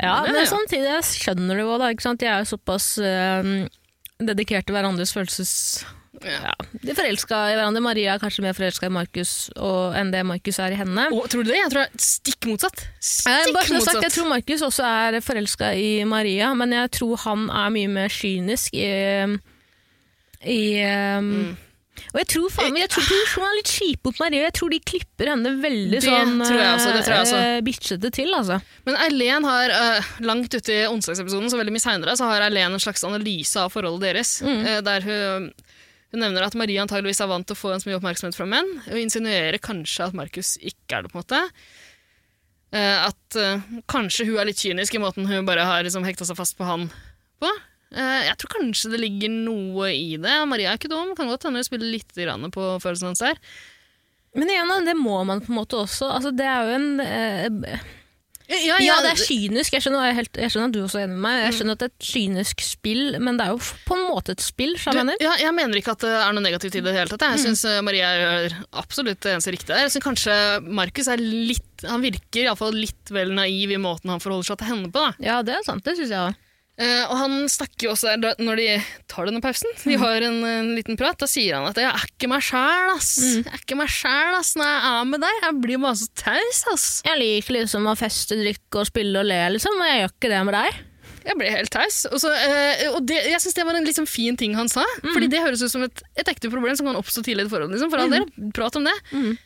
Speaker 1: Ja,
Speaker 3: Ja,
Speaker 1: men
Speaker 3: ja.
Speaker 1: samtidig jeg skjønner du jo da, ikke sant? De er jo såpass øhm, dedikert til hverandres følelses... Ja. De forelska i hverandre. Maria er kanskje mer forelska i Markus og- enn det Markus er i henne.
Speaker 3: Å, tror du det? Jeg tror det er stikk motsatt.
Speaker 1: Eh,
Speaker 3: Stikk
Speaker 1: bare som sagt,
Speaker 3: motsatt.
Speaker 1: jeg tror Markus også er forelska i Maria, men jeg
Speaker 3: Mm.
Speaker 1: tror han er mye mer kynisk i, i øhm, um, Og jeg tror faen meg, jeg tror produksjonen er litt kjipe mot Marie, og jeg tror de klipper henne veldig
Speaker 3: Det
Speaker 1: sånn
Speaker 3: tror jeg også, det tror jeg også.
Speaker 1: eh, bitchete til, altså.
Speaker 3: Men Eileen har, øh, langt ute i onsdagsepisoden, så veldig mye seinere, så har Eileen en slags analyse av forholdet deres.
Speaker 1: Mm.
Speaker 3: eh, der hun, hun nevner at Marie antageligvis er vant til å få så mye oppmerksomhet fra menn, og insinuerer kanskje at Markus ikke er det, på en måte. Eh, at eh, kanskje hun er litt kynisk i måten hun bare har liksom, hekta seg fast på han på. Eh, jeg tror kanskje det ligger noe i det. Maria er ikke dum, kan godt hende hun spiller litt grann på følelsene hans der.
Speaker 1: Men igjen, da, det må man på en måte også. Altså, det er jo en eh, Ja, det er kynisk. Jeg skjønner, jeg, er helt, jeg skjønner at du også er enig med meg.
Speaker 3: Mm.
Speaker 1: Jeg skjønner at det er et kynisk spill, men det er jo f- på en måte et spill, sa
Speaker 3: Du,
Speaker 1: jeg mener.
Speaker 3: ja, jeg mener ikke at det er noe negativt i det hele tatt. jeg. Jeg syns Maria gjør absolutt det eneste riktige der. Jeg synes kanskje Markus er litt Han virker iallfall litt vel naiv i måten han forholder seg til henne på. da.
Speaker 1: Ja, det er sant. Det syns jeg òg.
Speaker 3: Eh, og han snakker jo også der da- når de tar denne pausen. De har en, en liten prat. Da sier han at 'jeg er ikke meg sjæl, ass'. Jeg er ikke meg sjæl, ass, når jeg er med deg. Jeg blir bare så taus, ass.
Speaker 1: Jeg liker liksom å feste, drikke og spille og le, liksom, og jeg gjør ikke det med deg.
Speaker 3: Jeg ble helt taus. Og, så, eh, og det, jeg syns det var en liksom fin ting han sa.
Speaker 1: Mhm.
Speaker 3: Fordi det høres ut som et, et ekte problem som kan oppstå tidlig i et forhold. Liksom, for all del, prat om det.
Speaker 1: Mhm.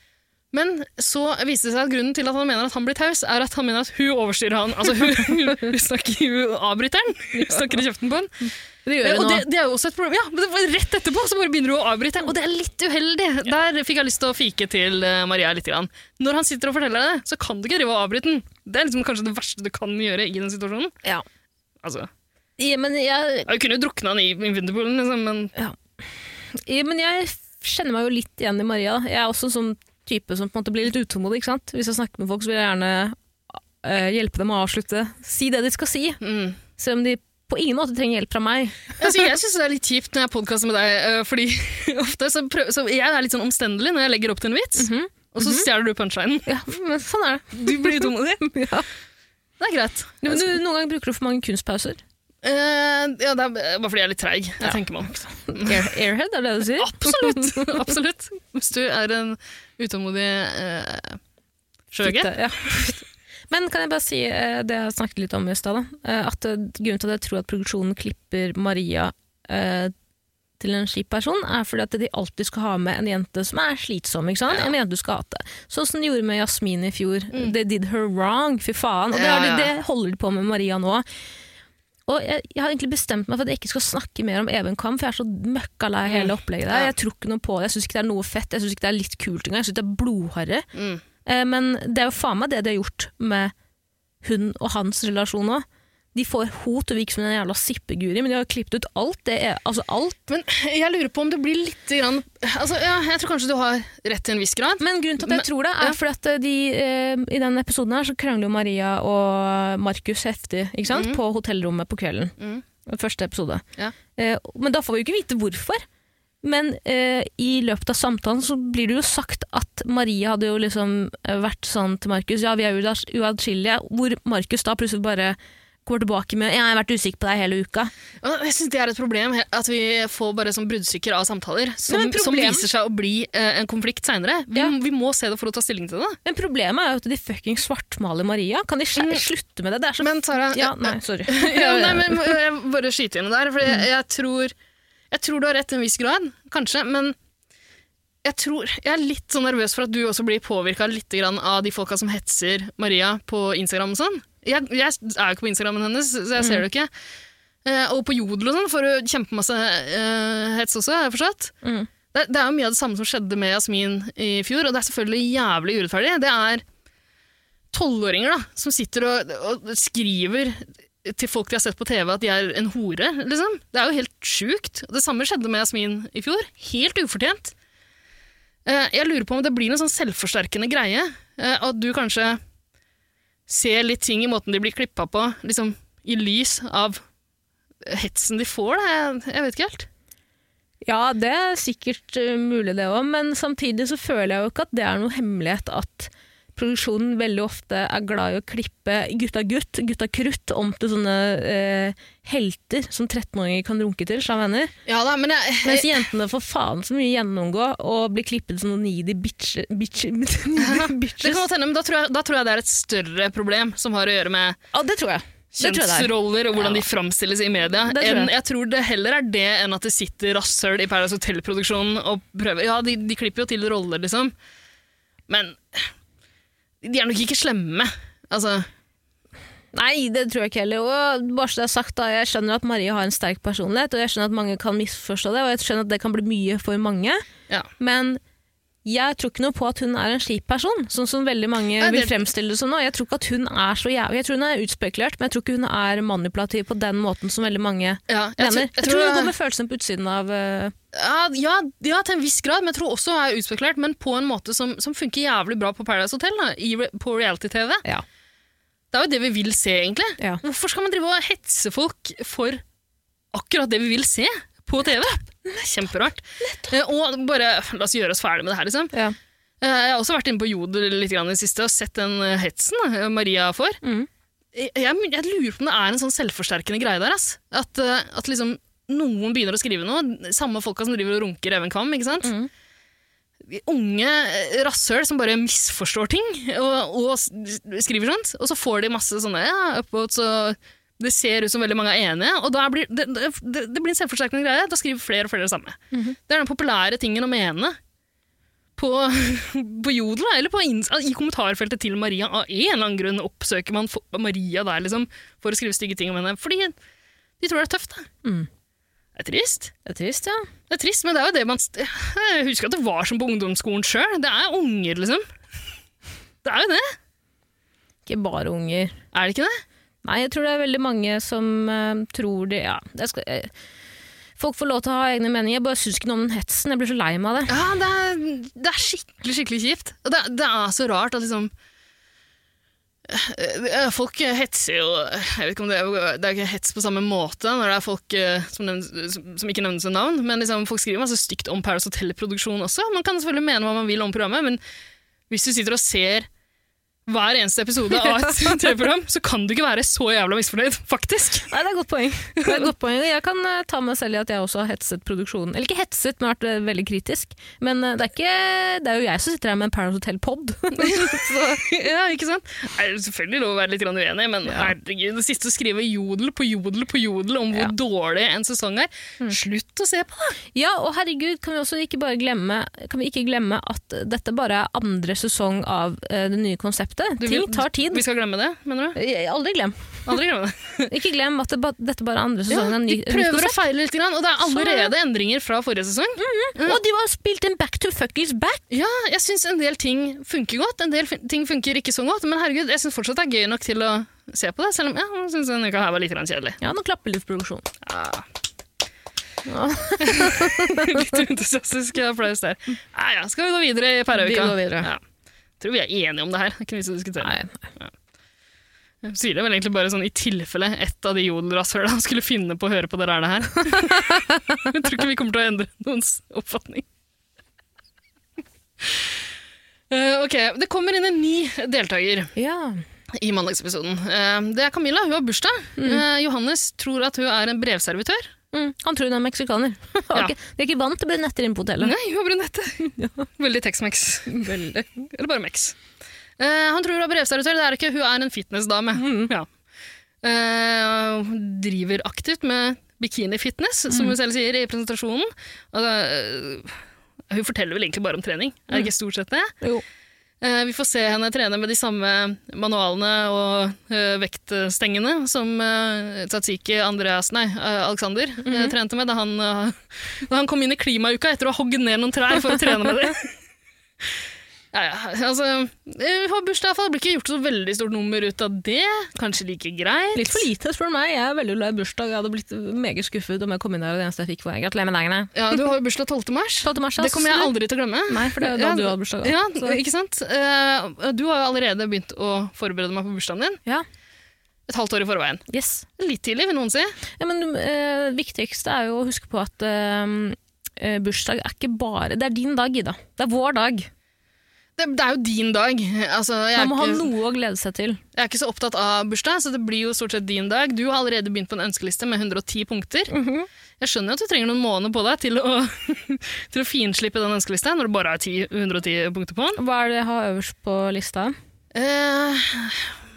Speaker 3: Men så viste det seg at grunnen til at han mener at han blir taus, er at han mener at hun overstyrer han. Altså, hun, hun, snakker, hun avbryter han. Hun snakker i kjeften på han.
Speaker 1: Det gjør
Speaker 3: Eh,
Speaker 1: jeg
Speaker 3: Og
Speaker 1: nå.
Speaker 3: det, det er jo også et problem. Ja, men det var rett etterpå så bare begynner hun å avbryte. Og det er litt uheldig. Der fikk jeg lyst til å fike til eh, Maria litt. Grann. Når han sitter og forteller deg det, så kan du ikke drive og avbryte den. Det er liksom kanskje det verste du kan gjøre i den situasjonen.
Speaker 1: Ja.
Speaker 3: Altså,
Speaker 1: Ja, men jeg
Speaker 3: jeg kunne jo drukna han i Vinterpoolen, liksom, men
Speaker 1: Ja, men jeg kjenner meg jo litt igjen i Maria. Jeg er også en sånn type som på en måte blir litt utålmodig. ikke sant? Hvis jeg snakker med folk, så vil jeg gjerne eh, hjelpe dem å avslutte. Si det de skal si,
Speaker 3: mm.
Speaker 1: selv om de på ingen måte trenger hjelp fra meg.
Speaker 3: altså, Jeg syns det er litt kjipt når jeg podkaster med deg, eh, fordi [LAUGHS] ofte så prøv, så jeg er litt sånn omstendelig når jeg legger opp til en vits,
Speaker 1: Mhm.
Speaker 3: og så stjeler du punchlinen.
Speaker 1: Ja, men Sånn er det.
Speaker 3: Du blir utålmodig.
Speaker 1: [LAUGHS] Ja.
Speaker 3: [LAUGHS] Det er greit.
Speaker 1: Du, men du, noen ganger bruker du for mange kunstpauser.
Speaker 3: Eh, ja, det er bare fordi jeg er litt treig. Jeg tenker meg om. ikke sant?
Speaker 1: Air, airhead, er det det du sier?
Speaker 3: [LAUGHS] Absolutt. [LAUGHS] Absolutt. Hvis du er en utålmodig eh, sjøge.
Speaker 1: Fitte, Ja.
Speaker 3: [LAUGHS]
Speaker 1: Men kan jeg bare si eh, det jeg snakket litt om i stad, da. Eh, At eh, grunnen til at jeg tror at produksjonen klipper Maria eh, til en kjip person, er fordi at de alltid skal ha med en jente som er slitsom. ikke sant? En jente du skal hate. Sånn som de gjorde med Jasmin i fjor. They did her wrong, fy faen. Og det,
Speaker 3: Mm. Ja,
Speaker 1: har de,
Speaker 3: ja.
Speaker 1: det holder de på med Maria nå. Og jeg, jeg har egentlig bestemt meg for at jeg ikke skal snakke mer om Even Kam, for jeg er så møkka lei av hele opplegget der.
Speaker 3: Mm. Ja.
Speaker 1: Jeg tror ikke noe på det. Jeg syns ikke det er noe fett. Jeg syns ikke det er litt kult engang. Jeg syns det er blodharry.
Speaker 3: Mm.
Speaker 1: Eh, Men det er jo faen meg det de har gjort med hun og hans relasjon òg. De får ho til å virke som en jævla sippeguri, men de har jo klippet ut alt. Det er, altså alt.
Speaker 3: Men jeg lurer på om det blir litt grann, altså, ja, Jeg tror kanskje du har rett til en viss grad.
Speaker 1: Men grunnen til at jeg
Speaker 3: Men-
Speaker 1: tror det,
Speaker 3: ja.
Speaker 1: er fordi at eh, de, eh, i den episoden her så krangler jo Maria og Markus heftig ikke sant? på hotellrommet på kvelden.
Speaker 3: Mm.
Speaker 1: Den Første episode.
Speaker 3: Ja.
Speaker 1: Eh, men da får vi jo ikke vite hvorfor. Men eh, i løpet av samtalen så blir det jo sagt at Maria hadde jo liksom eh, vært sånn til Markus Ja, vi er jo uats- uatskillelige. Hvor Markus da plutselig bare går tilbake med Ja, jeg har vært usikker på deg hele uka.
Speaker 3: Og Jeg synes Det er et problem he- at vi får bare sånn bruddstykker av samtaler som,
Speaker 1: Nei, men
Speaker 3: som
Speaker 1: problem-
Speaker 3: viser seg å bli eh, en konflikt seinere. Vi,
Speaker 1: Ja.
Speaker 3: vi må se det for å ta stilling til det.
Speaker 1: Men problemet er jo at de fucking svartmaler Maria. Kan de skje-
Speaker 3: Mm.
Speaker 1: slutte med det? Det er så
Speaker 3: Men Tara,
Speaker 1: Ja,
Speaker 3: [LAUGHS]
Speaker 1: nei, sorry.
Speaker 3: ja, nei, men må- jeg må bare skyte inn der, for jeg, jeg, tror, jeg tror du har rett til en viss grad, kanskje, men jeg, tror, jeg er litt sånn nervøs for at du også blir påvirka litt grann av de folka som hetser Maria på Instagram og sånn. Jeg, jeg er jo ikke på Instagrammen hennes, så jeg ser det jo ikke. Eh, og på Jodel og sånn får du kjempemasse eh, hets også, har jeg forstått.
Speaker 1: Mm.
Speaker 3: Det, det er jo mye av det samme som skjedde med Jasmin i fjor, og det er selvfølgelig jævlig urettferdig. Det er tolvåringer da, som sitter og, og skriver til folk de har sett på TV at de er en hore, liksom. Det er jo helt sjukt. Det samme skjedde med Jasmin i fjor. Helt ufortjent. Eh, Jeg lurer på om det blir en sånn selvforsterkende greie, eh, at du kanskje ser litt ting i måten de blir klippa på, liksom i lys av hetsen de får, da. Jeg, jeg vet ikke helt.
Speaker 1: Ja, det er sikkert eh, mulig det òg, men samtidig så føler jeg jo ikke at det er noe hemmelighet at produksjonen veldig ofte er glad i å klippe gutta gutt, gutta krutt, om til sånne eh, helter som 13-åringer kan runke til, sa venner.
Speaker 3: Ja da, men jeg,
Speaker 1: Mens jentene får faen så mye gjennomgå og blir klippet som noen needy bitch, bitch, [LAUGHS] needy
Speaker 3: Det kan
Speaker 1: bitches.
Speaker 3: godt hende, men da tror, jeg, da tror jeg det er et større problem som har å gjøre med
Speaker 1: Ja, det tror jeg. Det tror jeg det er.
Speaker 3: kjønnsroller og hvordan
Speaker 1: Ja.
Speaker 3: de framstilles i media.
Speaker 1: Det tror jeg.
Speaker 3: enn, jeg tror det heller er det enn at det sitter rasshøl i Paradise Hotel-produksjonen og prøver Ja, de, de klipper jo til roller, liksom, men de er nok ikke slemme. Altså,
Speaker 1: Nei, det tror jeg ikke heller. Og bare så det er sagt, da, jeg skjønner at Marie har en sterk personlighet, og jeg skjønner at mange kan misforstå det, og jeg skjønner at det kan bli mye for mange.
Speaker 3: ja.
Speaker 1: Men jeg tror ikke noe på at hun er en slip person, sånn som veldig mange
Speaker 3: Nei, det-
Speaker 1: vil fremstille det som nå. Jeg tror ikke at hun er så jævlig. Jeg tror hun er utspekulert, men jeg tror ikke hun er manipulativ på den måten som veldig mange
Speaker 3: Ja, jeg tror-
Speaker 1: mener.
Speaker 3: jeg
Speaker 1: Jeg
Speaker 3: tror
Speaker 1: tror hun
Speaker 3: det-
Speaker 1: går med følelsen på utsiden av eh,
Speaker 3: Ja, ja, ja, til en viss grad, men jeg tror også hun er utspekulert, men på en måte som, som funker jævlig bra på Paradise Hotel, da, i, re- på reality-TV.
Speaker 1: Ja.
Speaker 3: Det er jo det vi vil se, egentlig.
Speaker 1: Ja.
Speaker 3: Hvorfor skal man drive og hetse folk for akkurat det vi vil se på TV? Det er kjemperart. Eh, Og bare, la oss gjøre oss ferdig med det her, liksom.
Speaker 1: ja.
Speaker 3: Eh, Jeg har også vært inne på Jodel litt grann i det siste og sett den eh, hetsen da, Maria får.
Speaker 1: Mm.
Speaker 3: Jeg, jeg jeg lurer på om det er en sånn selvforsterkende greie der. Ass. At, eh, at liksom noen begynner å skrive noe, samme folka som driver og runker Even Kvam. ikke sant?
Speaker 1: Mm.
Speaker 3: De Unge eh, rasshøl som bare misforstår ting og, og s- skriver sånt. Og så får de masse sånne ja, upvotes og det ser ut som veldig mange er enige, og da blir, det, det, det det blir en selvforsterkende greie. Da skriver flere og flere det samme. Det er den populære tingen å mene på, på Jodel, da, eller på ins- i kommentarfeltet til Maria. Av en eller annen grunn oppsøker man fo- Maria der liksom, for å skrive stygge ting om henne. Fordi de tror det er tøft. Da.
Speaker 1: Mm.
Speaker 3: Det er trist.
Speaker 1: Det er trist, ja.
Speaker 3: Det er trist, men det er jo det man st- Jeg husker at det var som på ungdomsskolen sjøl. Det er unger, liksom. Det er jo det.
Speaker 1: Ikke bare unger.
Speaker 3: Er det ikke det?
Speaker 1: Nei, jeg tror det er veldig mange som eh, tror de Ja, jeg skal, eh, folk får lov til å ha egne meninger. Jeg bare syns ikke noe om den hetsen. Jeg blir så lei meg av det.
Speaker 3: Ja, det er, det er skikkelig, skikkelig kjipt. Og det, det er så rart at liksom eh, eh, Folk hetser jo jeg vet ikke om det, er- det er ikke hets på samme måte når det er folk eh, som, nevnes, som- som ikke nevnes ved navn. Men liksom, folk skriver masse stygt om Paris Hotel-produksjon også. Man kan selvfølgelig mene hva man vil om programmet, men hvis du sitter og ser hver eneste episode av et TV-program, så kan du ikke være så jævla misfornøyd, faktisk.
Speaker 1: Nei, det er et godt poeng. [LAUGHS] Det er et godt poeng. Jeg kan eh, ta meg selv i at jeg også har hetset produksjonen. Eller ikke hetset, men vært eh, veldig kritisk. Men eh, det er, ikke, det er jo jeg som sitter her med en Paradise Hotel-pod. [LAUGHS]
Speaker 3: [LAUGHS] ja, ikke sant? Er det selvfølgelig lov å være litt grann uenig, men herregud, det siste å skrive jodel på jodel på jodel om hvor
Speaker 1: Ja.
Speaker 3: dårlig en sesong er, slutt å se på det!
Speaker 1: ja, og herregud, kan vi også ikke bare glemme, kan vi ikke glemme at dette bare er andre sesong av eh, det nye konseptet?
Speaker 3: Du vil-
Speaker 1: Ting tar tid.
Speaker 3: Vi skal glemme det, mener du?
Speaker 1: Eh, Aldri glem.
Speaker 3: Aldri glemme det.
Speaker 1: Ikke glem at det ba, dette bare er andre sesong av
Speaker 3: de
Speaker 1: ny- nytt
Speaker 3: prøver å
Speaker 1: konsept.
Speaker 3: feile litt, grann, og det Mm. er
Speaker 1: Sånn er det.
Speaker 3: allerede endringer fra forrige sesong.
Speaker 1: Mm. Og de var spilt inn Back to Fuckings Back!
Speaker 3: Ja, jeg syns en del ting funker godt, en del fun- ting funker ikke så godt, men herregud, jeg syns fortsatt det er gøy nok til å se på det, selv om ja, jeg syns denne uka her var litt grann kjedelig.
Speaker 1: Ja, nå klapper litt produksjon.
Speaker 3: Ah. [LAUGHS] Litt entusiastisk applaus der. Ja, ja, skal vi gå videre i pærauka?
Speaker 1: Vi går videre.
Speaker 3: Ja. Tror vi er enige om det her. Det er Ikke vits å diskutere.
Speaker 1: Nei.
Speaker 3: Jeg Sier det vel egentlig bare sånn i tilfelle et av de jodelrasshøla skulle finne på å høre på det rælet
Speaker 1: [LAUGHS]
Speaker 3: her. Jeg tror ikke vi kommer til å endre noens oppfatning. Eh, ok, Det kommer inn en ny deltaker
Speaker 1: Ja.
Speaker 3: i mandagsepisoden. Eh, det er Camilla. Hun har bursdag. Eh, Johannes tror at hun er en brevservitør.
Speaker 1: Mm, han tror hun er meksikaner. [LAUGHS] ja.
Speaker 3: Ja.
Speaker 1: Vi er ikke vant til brunetter inne på hotellet.
Speaker 3: Nei, hun har brunette. Veldig Tex-Mex. Eller bare Mex. Eh, han tror hun er brevservitør. Det er hun ikke. Hun er en fitnessdame. Ja. Eh, hun driver aktivt med bikini-fitness, som hun selv sier i presentasjonen. Og, det- hun forteller vel egentlig bare om trening. Er det ikke stort sett det?
Speaker 1: Jo.
Speaker 3: Eh, vi får se henne trene med de samme manualene og eh, vektstengene som eh, Tsatsiki Andreas, nei, eh, Alexander
Speaker 1: Mhm.
Speaker 3: eh, trente med da han, eh, [LAUGHS] da han kom inn i klimauka etter å ha hogd ned noen trær for å trene med det. [LAUGHS] Ja, ja, altså, eh, vi har bursdag i hvert fall. Det blir ikke gjort så veldig stort nummer ut av det. Kanskje like greit.
Speaker 1: Litt for lite, spør du meg. Jeg er veldig glad i bursdag. Jeg hadde blitt meget skuffet om jeg kom inn her og det eneste jeg fikk var gratulerer med dagen. jeg».
Speaker 3: Ja, du har jo bursdag 12. mars.
Speaker 1: 12. mars,
Speaker 3: Det kommer jeg
Speaker 1: ass.
Speaker 3: aldri til å glemme.
Speaker 1: Nei, for det er jo da
Speaker 3: Ja,
Speaker 1: du hadde bursdag. da.
Speaker 3: Ja,
Speaker 1: Så-
Speaker 3: ikke sant? Eh, Du har jo allerede begynt å forberede meg på bursdagen din.
Speaker 1: ja.
Speaker 3: Et halvt år i forveien.
Speaker 1: Yes.
Speaker 3: Litt tidlig, vil noen si.
Speaker 1: Ja, men eh, Det viktigste er jo å huske på at eh, eh, bursdag er ikke bare Det er din dag, Ida. Det er vår dag.
Speaker 3: Det, det er jo din dag. Altså, jeg, er
Speaker 1: Man må ha
Speaker 3: ikke,
Speaker 1: noe å glede seg til.
Speaker 3: jeg er ikke så opptatt av bursdag, så det blir jo stort sett din dag. Du har allerede begynt på en ønskeliste med 110 punkter.
Speaker 1: Mhm.
Speaker 3: Jeg skjønner at du trenger noen måneder på deg til å, [LAUGHS] til å finslippe den ønskelista, når du bare har 10, 110 punkter på den.
Speaker 1: Hva er det jeg har øverst på lista?
Speaker 3: Eh,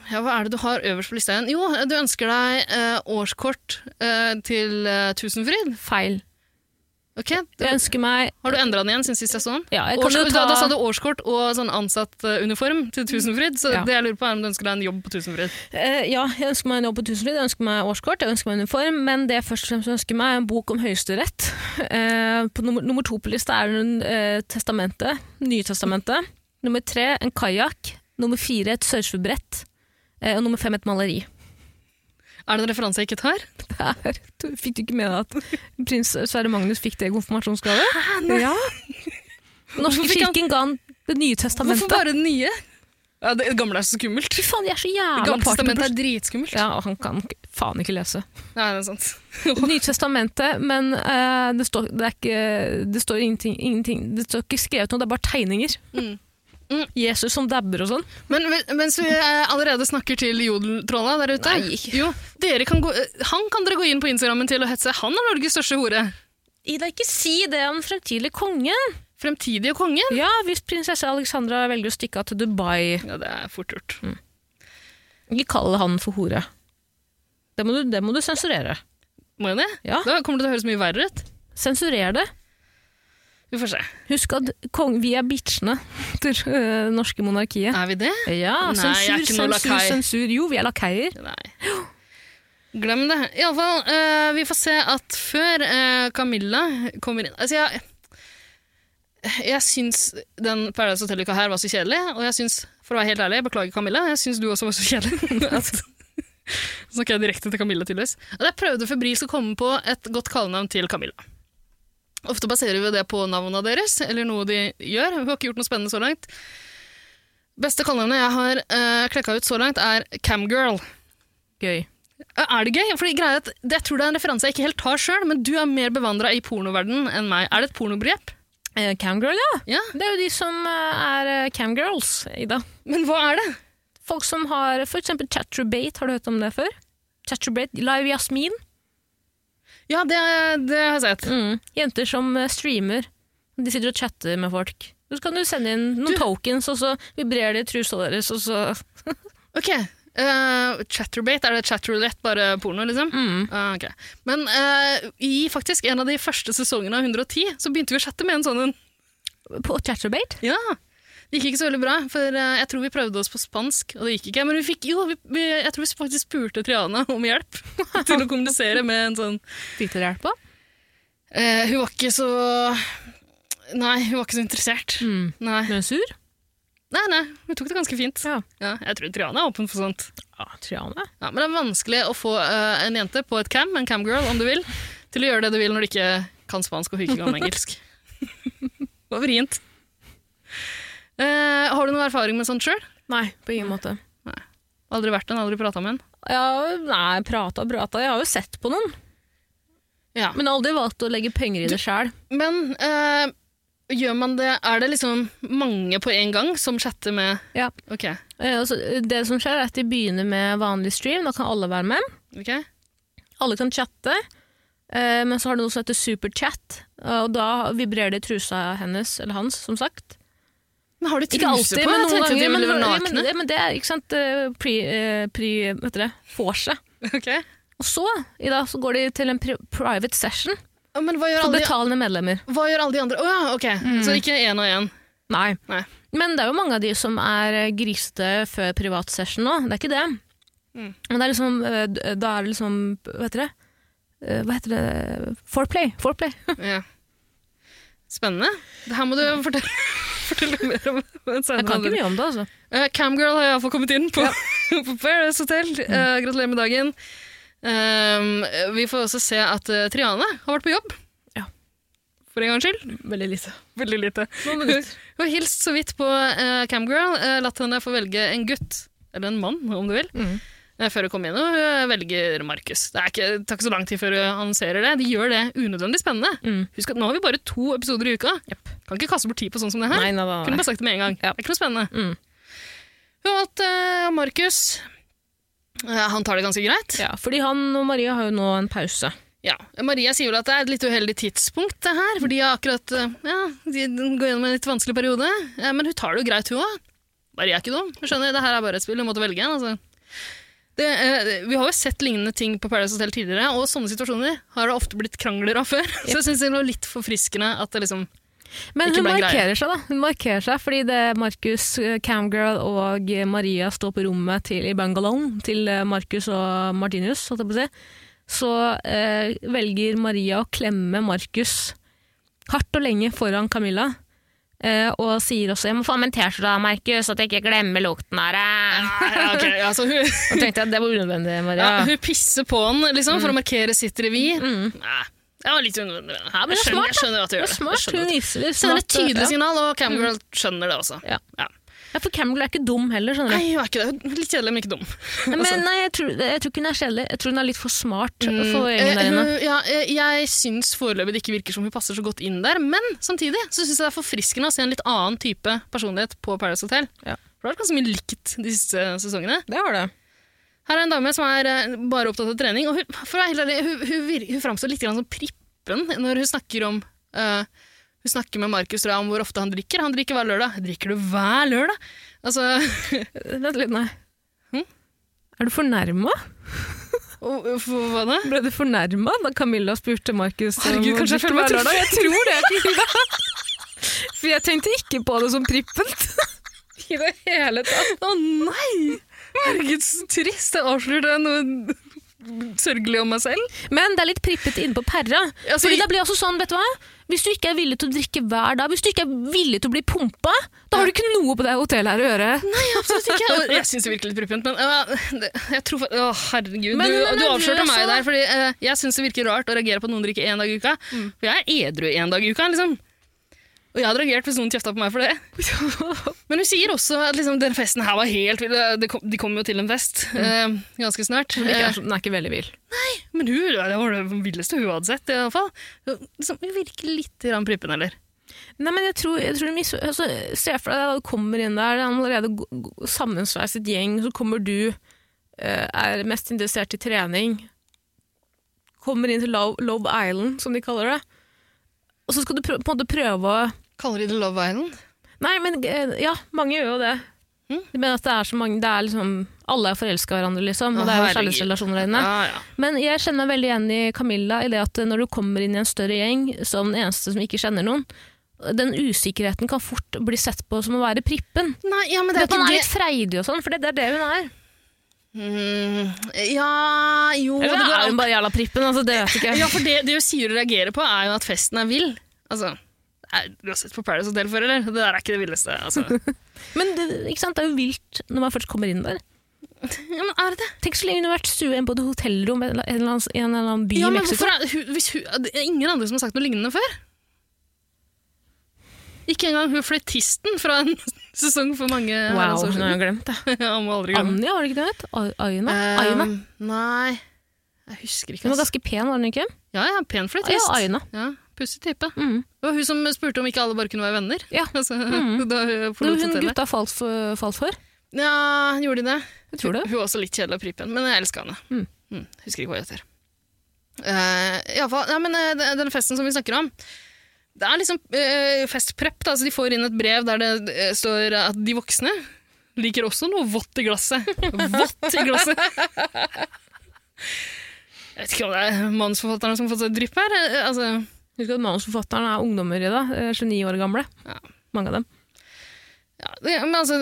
Speaker 3: Ja, Hva er det du har øverst på lista igjen? Jo, du ønsker deg eh, årskort eh, til eh, Tusenfryd.
Speaker 1: Feil.
Speaker 3: Ok, du,
Speaker 1: Jeg ønsker meg
Speaker 3: Har du endra den igjen siden sist jeg så den?
Speaker 1: ja, jeg kan jo
Speaker 3: Årskort,
Speaker 1: ta,
Speaker 3: da, da sa Eh, du årskort og sånn ansattuniform til Tusenfryd, så
Speaker 1: Ja.
Speaker 3: det jeg lurer på er om du ønsker deg en jobb på Tusenfryd.
Speaker 1: Eh, Ja, jeg ønsker meg en jobb på Tusenfryd, jeg ønsker meg årskort, jeg ønsker meg uniform, men det jeg først og fremst ønsker meg, er en bok om Høyesterett. [LAUGHS] Eh, På nummer, nummer to på lista er en eh, testamentet, Nytestamentet. Nummer tre en kajakk. Nummer fire et surfebrett. Eh, Og nummer fem et maleri. [LAUGHS]
Speaker 3: Er det en referanse jeg ikke tar?
Speaker 1: Der du- fikk du ikke med deg at prins Sverre Magnus fikk det i konfirmasjonsgave? Ja. Den norske
Speaker 3: Hvorfor fikk han-
Speaker 1: kirken ga han Det nye
Speaker 3: Hvorfor
Speaker 1: testamentet.
Speaker 3: bare det nye? Ja, det gamle er så skummelt.
Speaker 1: Fy
Speaker 3: Det
Speaker 1: faen, de er så jævla
Speaker 3: [LAUGHS] gamle testamentet
Speaker 1: partypushers.
Speaker 3: er dritskummelt.
Speaker 1: Ja, og han kan ikke- faen ikke lese.
Speaker 3: Nei, det er sant.
Speaker 1: Det nye testamentet, men eh, det, står, det, er ikke, det står ingenting, ingenting. Det står ikke skrevet noe, det er bare tegninger.
Speaker 3: Mm. Mm.
Speaker 1: Jesus som dabber og sånn.
Speaker 3: Men men- mens vi eh, allerede snakker til jodeltrolla der ute
Speaker 1: Nei.
Speaker 3: Jo, dere kan gå, eh, Han kan dere gå inn på Instagrammen til og hetse. Han er Norges største hore.
Speaker 1: Ida, ikke si det om fremtidig konge.
Speaker 3: Fremtidige konge.
Speaker 1: Ja, hvis prinsesse Alexandra velger å stikke av til Dubai,
Speaker 3: Ja, det er fort gjort.
Speaker 1: ikke kall han for hore. Det må du, det må du sensurere.
Speaker 3: Må jeg det?
Speaker 1: Ja.
Speaker 3: Da kommer det til å høres mye verre ut.
Speaker 1: Sensurer det.
Speaker 3: Vi får se.
Speaker 1: Husk at kong, vi er bitchene til det norske monarkiet.
Speaker 3: Er vi det?
Speaker 1: Ja,
Speaker 3: Ah. Nei, jeg
Speaker 1: sensur,
Speaker 3: er ikke noe
Speaker 1: sensur,
Speaker 3: lakai.
Speaker 1: sensur. Jo, vi er lakeier.
Speaker 3: Nei. Glem det. Iallfall, uh, vi får se at før eh, Camilla kommer inn Altså, jeg jeg syns den Paradise Hotel-uka her var så kjedelig, og jeg syns, for å være helt ærlig, beklager Camilla, jeg syns du også var så kjedelig. [LAUGHS] At- Nå snakker jeg direkte til Camilla, tydeligvis. At jeg prøvde febrilsk å komme på et godt kallenavn til Camilla. Ofte baserer vi det på navnene deres, eller noe de gjør. Vi har ikke gjort noe spennende så langt. Beste kallenavnet jeg har uh, klekka ut så langt, er Camgirl.
Speaker 1: Gøy.
Speaker 3: Er det gøy? Fordi greia er at det- Jeg tror det er en referanse jeg ikke helt tar sjøl, men du er mer bevandra i pornoverdenen enn meg. Er det et pornobegrep?
Speaker 1: Eh, Camgirl, ja.
Speaker 3: Ja.
Speaker 1: Det er jo de som eh, er eh, camgirls, Ida.
Speaker 3: Men hva er det?
Speaker 1: Folk som har for eksempel Chatterbate, har du hørt om det før? Chatterbate, Live Jasmin.
Speaker 3: Ja, det, det har jeg sett.
Speaker 1: Mm. Jenter som eh, streamer. De sitter og chatter med folk. Så kan du sende inn noen tokens, og så vibrerer det i trusa deres, og så
Speaker 3: Ok. eh, chatterbate, er det chatterulett, bare porno, liksom?
Speaker 1: mm.
Speaker 3: Ah, ok. Men eh, i faktisk en av de første sesongene av 110 så begynte vi å chatte med en sånn en.
Speaker 1: På Chatterbate?
Speaker 3: Ja. Det gikk ikke så veldig bra, for eh, jeg tror vi prøvde oss på spansk, og det gikk ikke. Men vi fikk, jo, vi, vi, jeg tror vi faktisk spurte Triana om hjelp [LAUGHS] til å kommunisere med en sånn
Speaker 1: Fikk dere hjelp av?
Speaker 3: Eh, hun var ikke så Nei, hun var ikke så interessert.
Speaker 1: Mm.
Speaker 3: Nei.
Speaker 1: Ble hun sur?
Speaker 3: nei, nei, hun tok det ganske fint.
Speaker 1: Ja.
Speaker 3: Ja, jeg tror Triana er åpen for sånt.
Speaker 1: Ja, Triana.
Speaker 3: Ja, men det er vanskelig å få eh, en jente på et cam, en camgirl om du vil, til å gjøre det du vil når du ikke kan spansk og hun ikke kan engelsk. det var vrient. Eh, har du noen erfaring med sånt sjøl?
Speaker 1: Nei, på ingen måte.
Speaker 3: Aldri vært en, aldri prata med en?
Speaker 1: Ja, nei, prata og prata. Jeg har jo sett på noen,
Speaker 3: Ja.
Speaker 1: men aldri valgt å legge penger i det sjæl.
Speaker 3: Men eh, gjør man det Er det liksom mange på en gang som chatter med
Speaker 1: Ja.
Speaker 3: Ok.
Speaker 1: Eh, altså, Det som skjer, er at de begynner med vanlig stream. Da kan alle være med.
Speaker 3: ok?
Speaker 1: Alle kan chatte, eh, men så har du noe som heter superchat, eh, og da vibrerer det i trusa hennes, eller hans, som sagt.
Speaker 3: Men har de
Speaker 1: Ikke alltid,
Speaker 3: truse på?
Speaker 1: men
Speaker 3: Jeg
Speaker 1: noen
Speaker 3: tenkte
Speaker 1: ganger.
Speaker 3: de
Speaker 1: Men,
Speaker 3: ville være
Speaker 1: ja, men,
Speaker 3: nakne.
Speaker 1: ja, men det er ikke sant, eh, pre, eh, pre, vet dere, vorse. [LAUGHS]
Speaker 3: Ok.
Speaker 1: Og så, i dag, så går de til en pri private session
Speaker 3: Ja, men hva gjør,
Speaker 1: for
Speaker 3: alle de,
Speaker 1: betalende medlemmer.
Speaker 3: hva gjør alle de andre? Å ja, ok.
Speaker 1: Mm.
Speaker 3: Så ikke én og én.
Speaker 1: Nei.
Speaker 3: Nei.
Speaker 1: Men det er jo mange av de som er eh, grisete før privatsession nå, det er ikke det.
Speaker 3: Mm.
Speaker 1: Men det er liksom, eh, d- da er det liksom, hva heter det? Eh, Hva heter det? Foreplay. Foreplay.
Speaker 3: Ja. Spennende. Det her må du fortelle, [LAUGHS] fortelle mer om. en senere
Speaker 1: Jeg kan ikke
Speaker 3: anledning.
Speaker 1: mye om det, altså.
Speaker 3: Eh, Camgirl har iallfall kommet inn på, [LAUGHS] på Paradise Hotel. Eh, gratulerer med dagen. Um, vi får også se at eh, Triane har vært på jobb.
Speaker 1: Ja.
Speaker 3: For en gangs skyld.
Speaker 1: Veldig lite.
Speaker 3: Veldig lite. Hun har hilst så vidt på eh, Camgirl. eh, latt henne få velge en gutt, eller en mann om du vil,
Speaker 1: [LAUGHS] Mm.
Speaker 3: eh, før hun kommer inn. Og hun velger Markus. Det er ikke, det tar ikke så lang tid før hun annonserer det. De gjør det unødvendig spennende.
Speaker 1: Mm.
Speaker 3: Husk at nå har vi bare to episoder i uka. Kan ikke kaste bort tid på sånn som det her.
Speaker 1: Nei, nei, nei,
Speaker 3: Kunne
Speaker 1: nei.
Speaker 3: bare sagt det med en gang.
Speaker 1: Ja.
Speaker 3: Det er ikke noe spennende.
Speaker 1: Mm.
Speaker 3: Hun har valgt eh, Markus. Eh, han tar det ganske greit.
Speaker 1: Ja, fordi han og Maria har jo nå en pause.
Speaker 3: Ja. Maria sier vel at det er et litt uheldig tidspunkt, det her, for de har akkurat eh, ja, de går gjennom en litt vanskelig periode. Eh, Men hun tar det jo greit, hun òg. Maria er ikke dum. Hun skjønner, det her er bare et spill, hun måtte velge en. Altså. Det, eh, vi har jo sett lignende ting på Paradise Hotel tidligere, og sånne situasjoner har det ofte blitt krangler av før. [LAUGHS] Så jeg syns det var litt forfriskende at det liksom
Speaker 1: Men
Speaker 3: Ikke
Speaker 1: hun
Speaker 3: bare en
Speaker 1: markerer seg, da. Hun markerer seg Fordi det er Markus, eh, Camgirl og eh, Maria står på rommet til, i bungalowen til eh, Markus og Martinius, holdt jeg på å si. Så eh, velger Maria å klemme Markus hardt og lenge foran Camilla. eh, og sier også 'jeg må få meg en T-skjorte av Markus, så at jeg ikke glemmer lukten av det'.
Speaker 3: [LAUGHS] ja, ok, altså, hun,
Speaker 1: Og tenkte jeg, det var unødvendig,
Speaker 3: ja,
Speaker 1: Maria.
Speaker 3: hun pisser på han liksom, for å markere sitt revir. Nei, det var litt unødvendig.
Speaker 1: Ja, men det
Speaker 3: Jeg
Speaker 1: er
Speaker 3: skjønner,
Speaker 1: smart,
Speaker 3: jeg skjønner at Mm.
Speaker 1: Det
Speaker 3: du gjør
Speaker 1: var
Speaker 3: det. Jeg
Speaker 1: smart.
Speaker 3: skjønner
Speaker 1: Hun
Speaker 3: det.
Speaker 1: viser
Speaker 3: Sender et
Speaker 1: smart,
Speaker 3: tydelig
Speaker 1: ja.
Speaker 3: signal, og Camgirl skjønner det også.
Speaker 1: Ja.
Speaker 3: Ja.
Speaker 1: Ja, for Camgirl er ikke dum heller, skjønner du.
Speaker 3: Nei, hun er ikke det. Hun er Litt kjedelig, men ikke dum.
Speaker 1: Nei,
Speaker 3: Altså-
Speaker 1: Men nei, jeg tror, jeg tror ikke hun er kjedelig. Jeg tror hun er litt for smart for
Speaker 3: Eh,
Speaker 1: gjengen der inne.
Speaker 3: hun- ja, eh, jeg syns foreløpig det ikke virker som hun passer så godt inn der, men samtidig så syns jeg det er forfriskende å se en litt annen type personlighet på Paradise Hotel.
Speaker 1: Ja.
Speaker 3: For det har vært ganske mye likt de siste eh, sesongene.
Speaker 1: Det var det.
Speaker 3: Her er en dame som er eh, bare opptatt av trening, og hun, for å være helt ærlig, hun, hun, vir- hun framstår litt grann som prippen når hun snakker om eh, hun snakker med Markus tror jeg, om hvor ofte han drikker. Han drikker hver lørdag. Drikker du hver lørdag? Altså, [LAUGHS]
Speaker 1: Vent litt, nei.
Speaker 3: Hm?
Speaker 1: Er du fornærma?
Speaker 3: og- og for hva da?
Speaker 1: Ble du fornærma da Camilla spurte Markus om
Speaker 3: Herregud, kanskje jeg
Speaker 1: drikker
Speaker 3: føler meg
Speaker 1: hver lørdag? Jeg tror det. Frida. [LAUGHS] For jeg tenkte ikke på det som prippent. I det hele tatt.
Speaker 3: Å nei! Herregud, så trist. Jeg avslører noe sørgelig om meg selv.
Speaker 1: Men det er litt prippete inne på perra.
Speaker 3: Altså,
Speaker 1: Fordi
Speaker 3: i-
Speaker 1: det blir også sånn, vet du hva? Hvis du ikke er villig til å drikke hver dag, hvis du ikke er villig til å bli pumpa, da har du ikke noe på det hotellet her å gjøre.
Speaker 3: Absolutt ikke. Og [LAUGHS] jeg syns det virker litt prippent, men øh, det- jeg tror fa- Å, herregud.
Speaker 1: Men hun
Speaker 3: du,
Speaker 1: er
Speaker 3: du avslørte
Speaker 1: nervøs,
Speaker 3: meg
Speaker 1: og-
Speaker 3: der, fordi øh, jeg syns det virker rart å reagere på at noen drikker én dag i uka. For jeg er edru én dag i uka, liksom. Og jeg hadde reagert hvis noen kjefta på meg for [LAUGHS] det. Men hun sier også at liksom, den festen her var helt vill. Det kom- De kommer jo til en fest eh, ganske snart.
Speaker 1: Den
Speaker 3: Eh,
Speaker 1: er så- den er ikke veldig vill.
Speaker 3: Men hun, det var det villeste hun hadde sett, i alle fall. Liksom, hun virker litt grann prippen, eller?
Speaker 1: Nei, men jeg tror, jeg tror du mis... Altså, se for deg at du kommer inn der, det er allerede go- go- sammensveiset gjeng, så kommer du, eh, er mest interessert i trening, kommer inn til Lo- Love Island, som de kaller det, og så skal du prø- på en måte prøve å...
Speaker 3: Kaller de det Love Island?
Speaker 1: Nei, men eh, ja, mange gjør jo det.
Speaker 3: Mm.
Speaker 1: De mener at det er så mange, det er liksom, alle er forelsket i hverandre, liksom,
Speaker 3: Å,
Speaker 1: og det er jo
Speaker 3: herregud.
Speaker 1: kjærlighetsrelasjoner der inne.
Speaker 3: Ja, ja.
Speaker 1: Men jeg kjenner meg veldig igjen i Camilla i det at når du kommer inn i en større gjeng som den eneste som ikke kjenner noen, den usikkerheten kan fort bli sett på som å være prippen.
Speaker 3: Nei, ja, men
Speaker 1: Det
Speaker 3: det er
Speaker 1: at man er
Speaker 3: ikke det.
Speaker 1: litt freidig og sånn, for det, det er det hun er.
Speaker 3: Mm, ja, jo det
Speaker 1: Eller
Speaker 3: går
Speaker 1: er
Speaker 3: an.
Speaker 1: hun bare jævla prippen? Altså, det vet jeg
Speaker 3: Ja,
Speaker 1: ikke.
Speaker 3: for det, det hun sier og reagerer på, er jo at festen er vill. Altså, nei, du har sett på Paradise Hotel før, eller? Det der er ikke det villeste. Altså.
Speaker 1: Men det, ikke sant? det er jo vilt når man først kommer inn der.
Speaker 3: ja, men er det det?
Speaker 1: Tenk så lenge hun har vært stua på et hotellrom i en eller annen, i en eller annen by
Speaker 3: Ja,
Speaker 1: i
Speaker 3: men
Speaker 1: Mexico.
Speaker 3: hvorfor er, hun, hvis hun, det er ingen andre som har sagt noe lignende før? Ikke engang hun fløytisten fra en [LAUGHS] sesong for mange herrens
Speaker 1: Wow,
Speaker 3: år
Speaker 1: hun har
Speaker 3: siden.
Speaker 1: jeg glemt det.
Speaker 3: [LAUGHS] Ja, må aldri glemme.
Speaker 1: Anja, var det ikke det hun het? Ai- Aina? Aina.
Speaker 3: Um, nei, jeg husker ikke.
Speaker 1: Hun var
Speaker 3: Altså.
Speaker 1: ganske pen, var hun ikke?
Speaker 3: Ja, ja, pen
Speaker 1: Ja,
Speaker 3: fløytist.
Speaker 1: Aina.
Speaker 3: Ja, pussig type.
Speaker 1: Mm.
Speaker 3: Det var hun som spurte om ikke alle bare kunne være venner. [LAUGHS]
Speaker 1: Ja.
Speaker 3: Altså,
Speaker 1: Mhm.
Speaker 3: da hun
Speaker 1: Det var
Speaker 3: forlot
Speaker 1: hun
Speaker 3: hotellet.
Speaker 1: gutta falt for, falt for.
Speaker 3: Ja, gjorde de det?
Speaker 1: Jeg tror det.
Speaker 3: Hun var også litt kjedelig og prippen, men jeg elsker henne.
Speaker 1: Mhm.
Speaker 3: Mm, husker ikke hva hun heter. Eh, i alle fall, ja, men eh, den- den festen som vi snakker om, det er liksom eh, festprepp. Da. Altså, de får inn et brev der det eh, står at de voksne liker også noe vått i glasset. Vått i glasset! Jeg vet ikke om det er manusforfatterne som har fått seg drypp her. eh, Altså,
Speaker 1: Husk at manusforfatteren er ungdommer i dag, eh, 29 år gamle.
Speaker 3: Ja.
Speaker 1: Mange av dem.
Speaker 3: Ja, det, men altså,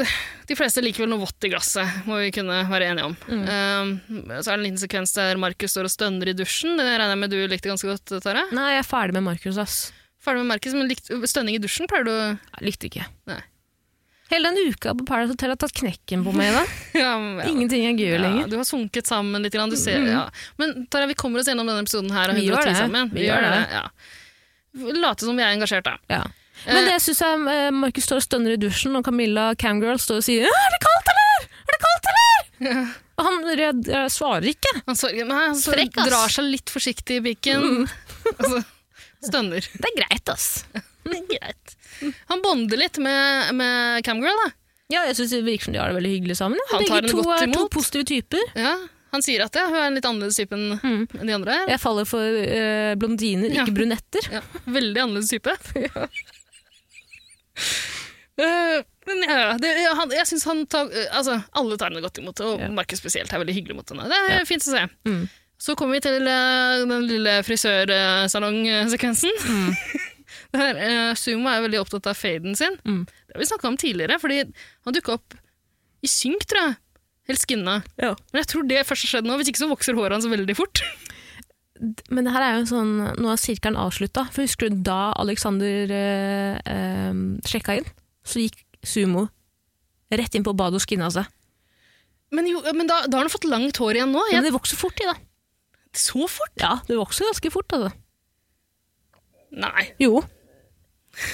Speaker 3: de fleste liker vel noe vått i glasset, må vi kunne være enige om.
Speaker 1: Mm.
Speaker 3: Eh, så er det en liten sekvens der Markus står og stønner i dusjen. Det regner jeg med du likte ganske godt, Tara.
Speaker 1: Nei, jeg er ferdig med Markus, ass.
Speaker 3: Ferdig med Markus, men likt, stønning i dusjen pleier du
Speaker 1: Jeg likte ikke.
Speaker 3: Nei.
Speaker 1: Hele den uka på Paradise Hotel har tatt knekken på meg i dag.
Speaker 3: ja, men- [LAUGHS] ja.
Speaker 1: Ingenting er gøy
Speaker 3: Ja,
Speaker 1: lenger.
Speaker 3: du har sunket sammen litt. grann, Du ser,
Speaker 1: Mhm.
Speaker 3: ja. Men Tara, vi kommer oss gjennom denne episoden her. og
Speaker 1: Vi gjør
Speaker 3: 110
Speaker 1: det.
Speaker 3: Sammen.
Speaker 1: Vi gjør det.
Speaker 3: Ja. Vi Late som vi er engasjert, da.
Speaker 1: Ja. Men det syns jeg eh, Markus står og stønner i dusjen, og Camilla Camgirl står og sier «Ja, 'Er det kaldt, eller?!' Er det kaldt, eller? Og han redd, eh, svarer ikke.
Speaker 3: Han, sorger, nei, han så,
Speaker 1: Frekk, ass. Mm.
Speaker 3: drar seg litt forsiktig i pikken. [LAUGHS] Altså, stønner.
Speaker 1: Det er greit, ass.
Speaker 3: [LAUGHS] Greit. Han bonder litt med, med Camgirl, da.
Speaker 1: Ja, jeg syns det virker som de har det veldig hyggelig sammen. ja.
Speaker 3: Han tar
Speaker 1: Begge
Speaker 3: henne
Speaker 1: to
Speaker 3: godt
Speaker 1: er to
Speaker 3: imot.
Speaker 1: positive typer.
Speaker 3: Ja, han sier at ja, hun er en litt annerledes type enn
Speaker 1: Mm.
Speaker 3: enn de andre. er.
Speaker 1: Jeg faller for eh, blondiner,
Speaker 3: Ja.
Speaker 1: ikke brunetter.
Speaker 3: Ja, veldig annerledes type. Eh, Men ja, ja, det, ja, han, jeg syns han tar Altså, alle tar henne godt imot, og
Speaker 1: Ja.
Speaker 3: Markus spesielt er veldig hyggelig mot henne. Det er
Speaker 1: Ja.
Speaker 3: fint å se.
Speaker 1: Mm.
Speaker 3: Så kommer vi til eh, den lille frisørsalongsekvensen.
Speaker 1: Mm.
Speaker 3: [LAUGHS] Det her, eh, Sumo er veldig opptatt av faden sin.
Speaker 1: Mm.
Speaker 3: Det har vi snakka om tidligere, fordi han dukka opp i synk, tror jeg. Helskinna.
Speaker 1: Ja.
Speaker 3: Men jeg tror det først har skjedd nå, hvis ikke så vokser håret hans veldig fort.
Speaker 1: Men det her er jo en sånn Nå er sirkelen avslutta. For husker du da Alexander eh, eh, sjekka inn? Så gikk Sumo rett inn på altså. badet og skinna seg.
Speaker 3: Men, jo, men da, da har han fått langt hår igjen nå.
Speaker 1: Men
Speaker 3: Jeg,
Speaker 1: det vokser fort i, da.
Speaker 3: så fort?
Speaker 1: Ja, det vokser ganske fort. Altså.
Speaker 3: Nei.
Speaker 1: Jo.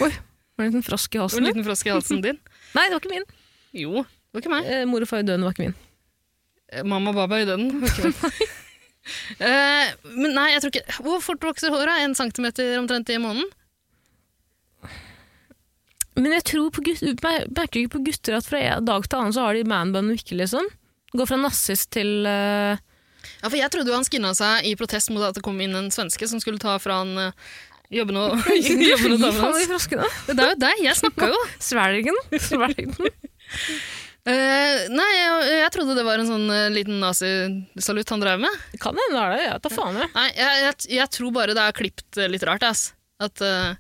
Speaker 1: Oi, var det en liten frosk i
Speaker 3: Det var en
Speaker 1: halsen?
Speaker 3: liten frosk i halsen din.
Speaker 1: Nei, det var ikke min.
Speaker 3: Sånn, [LAUGHS] Jo, det var ikke meg.
Speaker 1: Eh, mor og far i døden var ikke min.
Speaker 3: Eh, Mamma baba i den. [LAUGHS] Eh, men nei, jeg tror ikke Hvor fort vokser håret? En centimeter omtrent i måneden?
Speaker 1: Men jeg tror på gutter, mer- merker ikke på gutter at fra en dag til annen så har de manbun og ikke, liksom. Går fra nassist til [LAUGHS] eh,
Speaker 3: Ja, for jeg trodde jo han skinna seg i protest mot at det kom inn en svenske som skulle ta fra han eh, jobbene [LAUGHS] og jobbene
Speaker 1: Fy
Speaker 3: damene [LAUGHS]
Speaker 1: faen, de
Speaker 3: hans.
Speaker 1: froskene.
Speaker 3: Det er jo deg, jeg snakka [LAUGHS] jo.
Speaker 1: Svelgen. [LAUGHS] Svelgen.
Speaker 3: Eh, nei, jeg, jeg trodde det var en sånn eh, liten nazisalutt han drev med.
Speaker 1: Det Kan hende det er det. Jeg tar faen, jeg.
Speaker 3: Nei, jeg, jeg, jeg tror bare det er klippet eh, litt rart, ass. At, eh,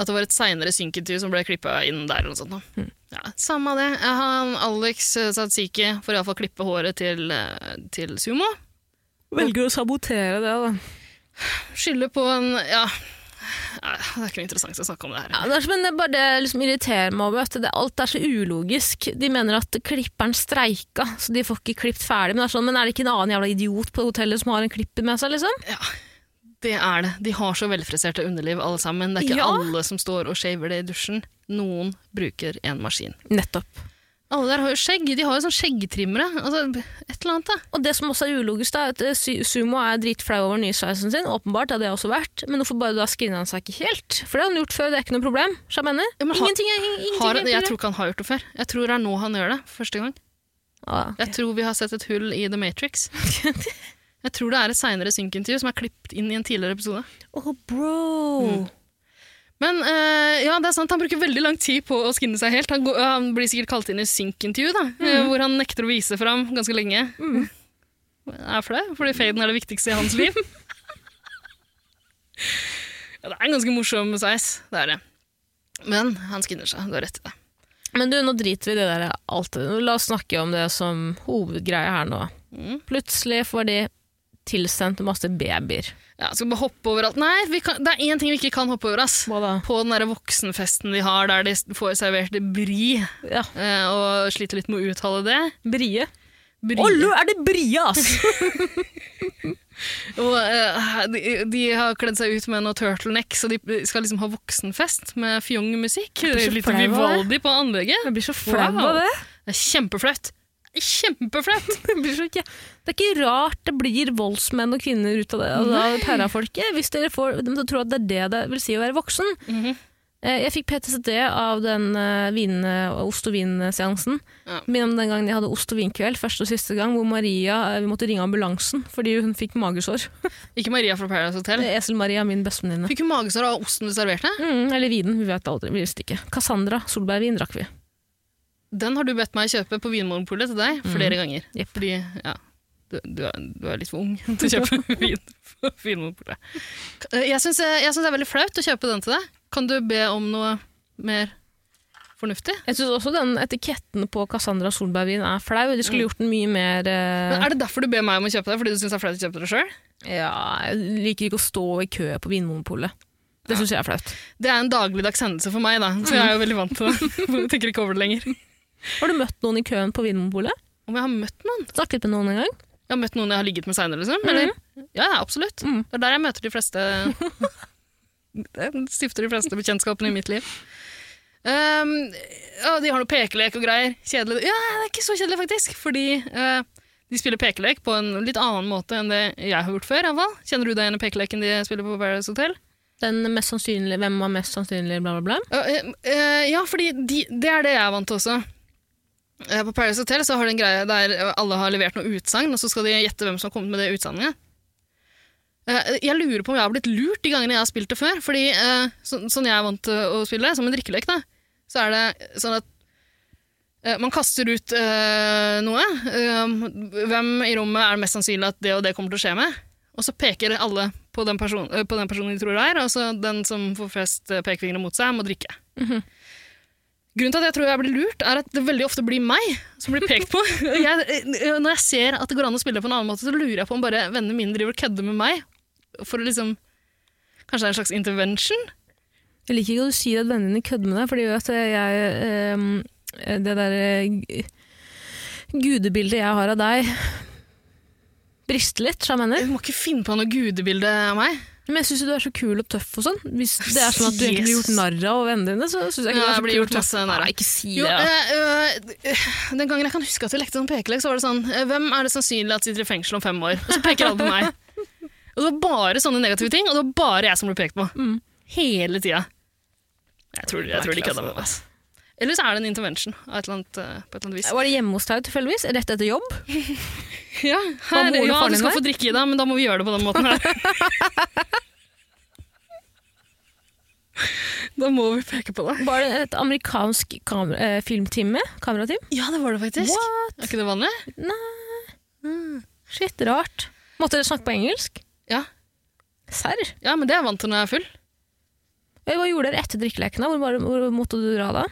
Speaker 3: at det var et seinere synkintervju som ble klippa inn der eller noe sånt. da. Ja, samme det. Jeg har han Alex eh, Tsatsiki får iallfall klippe håret til, eh, til sumo.
Speaker 1: Velger å sabotere det, da.
Speaker 3: Skylder på en Ja, Nei, det er ikke noe interessant å snakke om det her.
Speaker 1: Ja, det er, som- men det er bare det liksom irriterer meg over. at Det, alt er så ulogisk. De mener at klipperen streika, så de får ikke klippet ferdig. Men det er, sånn, men er det ikke en annen jævla idiot på hotellet som har en klipper med seg, liksom?
Speaker 3: Det er det. De har så velfriserte underliv, alle sammen. Det er ikke
Speaker 1: Ja.
Speaker 3: alle som står og shaver det i dusjen. Noen bruker en maskin.
Speaker 1: Nettopp.
Speaker 3: Alle der har jo skjegg. De har jo sånn skjeggtrimmere. Altså, et eller annet, da.
Speaker 1: Og det som også er ulogisk, da, er at eh, Su- Sumo er dritflau over den nye sveisen sin. Åpenbart, det hadde jeg også vært. Men hvorfor bare da screener han seg ikke helt? For det har han gjort før, det er ikke noe problem. Så jeg mener,
Speaker 3: Ja, men har-
Speaker 1: ingenting er ing- ingenting.
Speaker 3: Har,
Speaker 1: er
Speaker 3: jeg
Speaker 1: problem.
Speaker 3: tror ikke han har gjort det før. Jeg tror det er nå han gjør det. for første gang.
Speaker 1: Ah, ok.
Speaker 3: Jeg tror vi har sett et hull i The
Speaker 1: [LAUGHS]
Speaker 3: Matrix. Jeg tror det er et seinere synkintervju som er klippet inn i en tidligere episode.
Speaker 1: Åh, bro!
Speaker 3: Mm. Men eh, ja, det er sant, han bruker veldig lang tid på å skinne seg helt. Han, går, han blir sikkert kalt inn i synkintervju, da, eh, hvor han nekter å vise fram ganske lenge.
Speaker 1: Mm.
Speaker 3: Er flau, fordi faden er det viktigste i hans
Speaker 1: [LAUGHS]
Speaker 3: liv. ja, det er en ganske morsom sveis, det er det. Men han skinner seg, du har rett i det.
Speaker 1: Men du, nå driter vi i det der alltid. La oss snakke om det som hovedgreie her nå.
Speaker 3: Mm.
Speaker 1: Plutselig får de tilsendt masse babyer.
Speaker 3: Ja, skal vi bare hoppe over alt? Nei, vi kan, det er én ting vi ikke kan hoppe over. ass.
Speaker 1: Hva da?
Speaker 3: På den der voksenfesten de har, der de får servert bri
Speaker 1: Ja,
Speaker 3: eh, og sliter litt med å uttale det.
Speaker 1: Brie.
Speaker 3: Bri.
Speaker 1: Ollo, er det Brie, [LAUGHS] ass?
Speaker 3: Og, eh, de, de har kledd seg ut med noe turtleneck, så de skal liksom ha voksenfest med fjong-musikk.
Speaker 1: blir så
Speaker 3: Litt
Speaker 1: flau av det.
Speaker 3: Vivaldi på anlegget.
Speaker 1: Jeg blir så
Speaker 3: flau av
Speaker 1: det.
Speaker 3: Det er kjempeflaut. Kjempeflaut!
Speaker 1: [LAUGHS] ikke, det er ikke rart det blir voldsmenn og kvinner ut av det. Altså, av Pærafolket. Hvis dere får dem til å tro at det er det det vil si å være voksen.
Speaker 3: Mhm.
Speaker 1: Eh, Jeg fikk PTSD av den eh, vin, eh, ost- og vinseansen.
Speaker 3: Ja.
Speaker 1: Minn om den gangen jeg hadde ost- og vinkveld, første og siste gang, hvor Maria eh, vi måtte ringe ambulansen fordi hun fikk magesår.
Speaker 3: Ikke Maria fra Paradise Hotel.
Speaker 1: Esel-Maria, Eh, min bestevenninne.
Speaker 3: Fikk hun magesår av osten du serverte?
Speaker 1: Mm, eller vinen, vi vet aldri. Vi visste ikke. Cassandra, solbærvin drakk vi.
Speaker 3: Den har du bedt meg kjøpe på Vinmonopolet til deg flere ganger.
Speaker 1: Jepp.
Speaker 3: Fordi, ja, du, du, er, du er litt for ung til å kjøpe vin på Vinmonopolet. K- eh, Jeg syns jeg syns det er veldig flaut å kjøpe den til deg. Kan du be om noe mer fornuftig?
Speaker 1: Jeg syns også den etiketten på Cassandra solbærvin er flau. De skulle gjort den mye mer eh,
Speaker 3: Mm. Men er det derfor du ber meg om å kjøpe det? Fordi du syns det er flaut å kjøpe det sjøl?
Speaker 1: Ja, jeg liker ikke å stå i kø på Vinmonopolet. Det syns jeg er flaut.
Speaker 3: Det er en dagligdags hendelse for meg, da, så jeg er jo veldig vant til det. Jeg tenker ikke over det lenger.
Speaker 1: Har du møtt noen i køen på Vinmonopolet?
Speaker 3: Om jeg har møtt noen?
Speaker 1: Snakket med noen en gang?
Speaker 3: Jeg har møtt noen jeg har ligget med seinere, liksom? Eller? Ja, ja, absolutt.
Speaker 1: Mhm.
Speaker 3: Det er der jeg møter de fleste Jeg stifter de fleste bekjentskapene i mitt liv. Ehm, ja, de har noe pekelek og greier. Kjedelig. Ja, det er ikke så kjedelig, faktisk. Fordi eh, de spiller pekelek på en litt annen måte enn det jeg har gjort før. i hvert fall. Kjenner du deg igjen i pekeleken de spiller på Paradise Hotel?
Speaker 1: Den mest sannsynlige, hvem var mest sannsynlig, bla, bla, bla.
Speaker 3: Ja, eh, eh, ja, fordi de, det er det jeg er vant til også. Eh, På Paradise Hotel så har de en greie der eh, alle har levert noe utsagn, og så skal de gjette hvem som har kommet med det utsagnet. Eh, Jeg lurer på om jeg har blitt lurt de gangene jeg har spilt det før. fordi eh, så, Sånn jeg er vant til å spille, som en drikkelek, da, så er det sånn at Eh, Man kaster ut eh, noe. Eh, hvem i rommet er det mest sannsynlig at det og det kommer til å skje med? Og så peker alle på den, person, eh, på den personen de tror det er, og så den som får flest eh, pekefingre mot seg, må drikke. Grunnen til at jeg tror jeg blir lurt, er at det veldig ofte blir meg som blir pekt på. Jeg, eh, når jeg ser at det går an å spille på en annen måte, så lurer jeg på om bare vennene mine driver og kødder med meg. For å liksom Kanskje det er en slags intervention?
Speaker 1: Jeg liker ikke at du sier at vennene dine kødder med deg, fordi vet du, jeg, ehm, det der eh, g- gudebildet jeg har av deg, brister litt, så jeg mener.
Speaker 3: Du må ikke finne på noe gudebilde av meg.
Speaker 1: Men jeg synes jo du er så kul og tøff og sånn. Hvis det er sånn at du egentlig blir gjort
Speaker 3: Jesus.
Speaker 1: narr av vennene dine, så synes jeg ikke
Speaker 3: Ja,
Speaker 1: du er
Speaker 3: jeg
Speaker 1: så
Speaker 3: blir
Speaker 1: kul
Speaker 3: gjort masse narr av.
Speaker 1: Nei, ikke si
Speaker 3: Jo,
Speaker 1: det. da.
Speaker 3: eh, eh, den gangen jeg kan huske at vi lekte sånn pekelek, så var det sånn eh, Hvem er det sannsynlig at sitter i fengsel om fem år? Og så peker alle på [LAUGHS] meg. Og det var bare sånne negative ting, og det var bare jeg som ble pekt på.
Speaker 1: Mm.
Speaker 3: Hele tida. Jeg tror, jeg tror de kødda med meg. ass. Eller så er det en intervention av et eller annet, eh, på et eller annet vis.
Speaker 1: Var det hjemme hos deg tilfeldigvis? Rett etter jobb?
Speaker 3: Ja,
Speaker 1: moren og
Speaker 3: her, ja,
Speaker 1: faren
Speaker 3: du
Speaker 1: din
Speaker 3: skal
Speaker 1: der?
Speaker 3: få drikke i deg, men da må vi gjøre det på den [LAUGHS] måten her. da må vi peke på deg.
Speaker 1: Var det et amerikansk kamer eh, filmteam med? Kamerateam?
Speaker 3: Ja, det var det faktisk.
Speaker 1: What?
Speaker 3: Er ikke det vanlig?
Speaker 1: Shit, rart. Måtte dere snakke på engelsk?
Speaker 3: Ja.
Speaker 1: Serr?
Speaker 3: ja, men det er jeg vant til når jeg er full.
Speaker 1: Eh, Hva gjorde dere etter drikkeleken? da? Hvor, var- hvor måtte du dra da?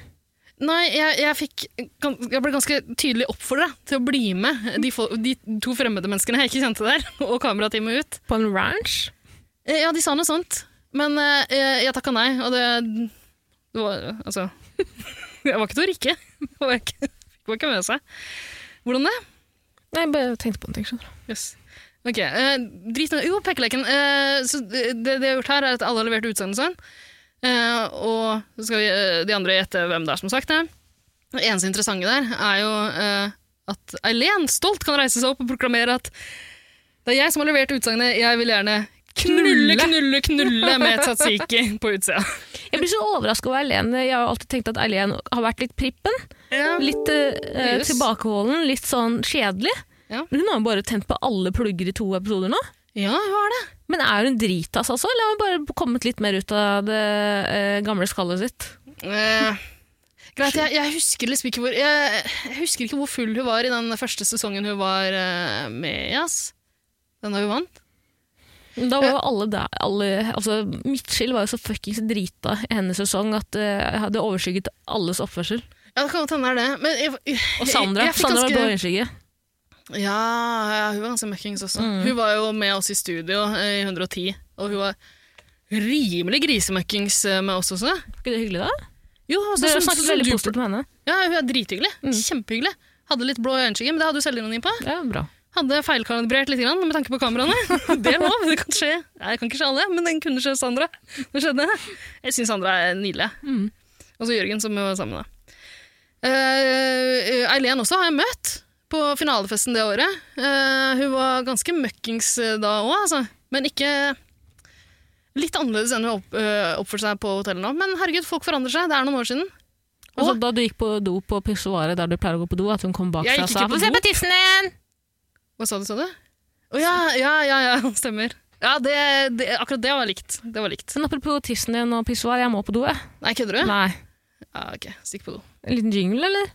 Speaker 3: Nei, jeg, jeg, fikk, gan- jeg ble ganske tydelig oppfordra til å bli med de, fol- de to fremmede menneskene jeg ikke kjente der, [LAUGHS] og kamerateamet ut.
Speaker 1: På en ranch?
Speaker 3: Eh, Ja, de sa noe sånt, men eh, jeg, jeg takka nei, og det, det var Altså [LAUGHS] Jeg var ikke til å rikke. [LAUGHS] Det var ikke, det var ikke med seg. Hvordan det?
Speaker 1: Nei, jeg bare tenkte på en ting. skjønner
Speaker 3: Yes. Ok, eh, drit nå. Jo, pekeleken. Eh, så det, det jeg har gjort her, er at alle har levert utsagnet sånn. Eh, og så skal vi, eh, de andre gjette hvem det er som har sagt det. Det eneste interessante der er jo eh, at Eileen stolt kan reise seg opp og proklamere at det er jeg som har levert utsagnet 'jeg vil gjerne knulle, knulle, knulle [LAUGHS] med tzatziki på utsida'.
Speaker 1: du. Jeg blir så overraska over Eileen. Jeg har jo alltid tenkt at Eileen har vært litt prippen. Litt eh,
Speaker 3: Yes.
Speaker 1: tilbakeholden, litt sånn kjedelig.
Speaker 3: Ja.
Speaker 1: Men Hun har jo bare tent på alle plugger i to episoder nå.
Speaker 3: Ja, hva er det?
Speaker 1: Men er hun dritass, altså? Eller har hun bare kommet litt mer ut av det eh, gamle skallet sitt?
Speaker 3: Eh, greit, jeg, jeg, husker liksom ikke hvor, jeg, jeg husker ikke hvor full hun var i den første sesongen hun var eh, med i. ass. Den da hun vant.
Speaker 1: Da var jo alle der alle, altså, Midtskill var jo så fuckings drita i hennes sesong at eh, jeg hadde overskygget alles oppførsel.
Speaker 3: Ja, det kan godt hende det er det. Men jeg, jeg,
Speaker 1: Og Sandra.
Speaker 3: jeg fikk
Speaker 1: Sandra var
Speaker 3: ganske-
Speaker 1: blå øyenskygge.
Speaker 3: ja, ja, hun var ganske møkkings også.
Speaker 1: Mm.
Speaker 3: Hun var jo med oss i studio eh, i 110, og hun var rimelig grisemøkkings eh, med oss også.
Speaker 1: Var ikke det hyggelig, da?
Speaker 3: Jo, altså,
Speaker 1: Dere
Speaker 3: som-
Speaker 1: snakket
Speaker 3: som
Speaker 1: veldig
Speaker 3: du-
Speaker 1: positivt Mm. med henne.
Speaker 3: Ja, hun er drithyggelig. Kjempehyggelig. Hadde litt blå øyenskygge, men det hadde hun selvironi på.
Speaker 1: Ja, bra.
Speaker 3: Hadde feilkalibrert litt grann, med tanke på kameraene. [LAUGHS] Det er lov, det kan skje. Nei, det kan ikke skje alle, men den kunne skje Sandra. Det skjedde. Jeg syns Sandra er nydelig.
Speaker 1: Mm.
Speaker 3: Og så Jørgen, som vi var sammen med. Eh, Eileen også har jeg møtt på finalefesten det året. Eh, hun var ganske møkkings eh, da òg, altså. Men ikke Litt annerledes enn hun opp, eh, oppførte seg på hotellet nå. Men herregud, folk forandrer seg. Det er noen år siden.
Speaker 1: Altså, da du gikk på do på pissoaret der du pleier å gå på do, at hun kom bak
Speaker 3: Jeg
Speaker 1: seg
Speaker 3: gikk
Speaker 1: og
Speaker 3: ikke
Speaker 1: sa
Speaker 3: på
Speaker 1: «Få se
Speaker 3: do».
Speaker 1: på tissen din!
Speaker 3: Hva sa du, sa du? Å ja, ja, ja, ja, [LAUGHS] stemmer. Ja, det, det, akkurat det var likt. Det var likt.
Speaker 1: Men apropos tissen din og pissoar, jeg må på do, jeg.
Speaker 3: Nei, kødder du?
Speaker 1: Nei.
Speaker 3: Ja, ok, stikk på do.
Speaker 1: En liten jingle, eller?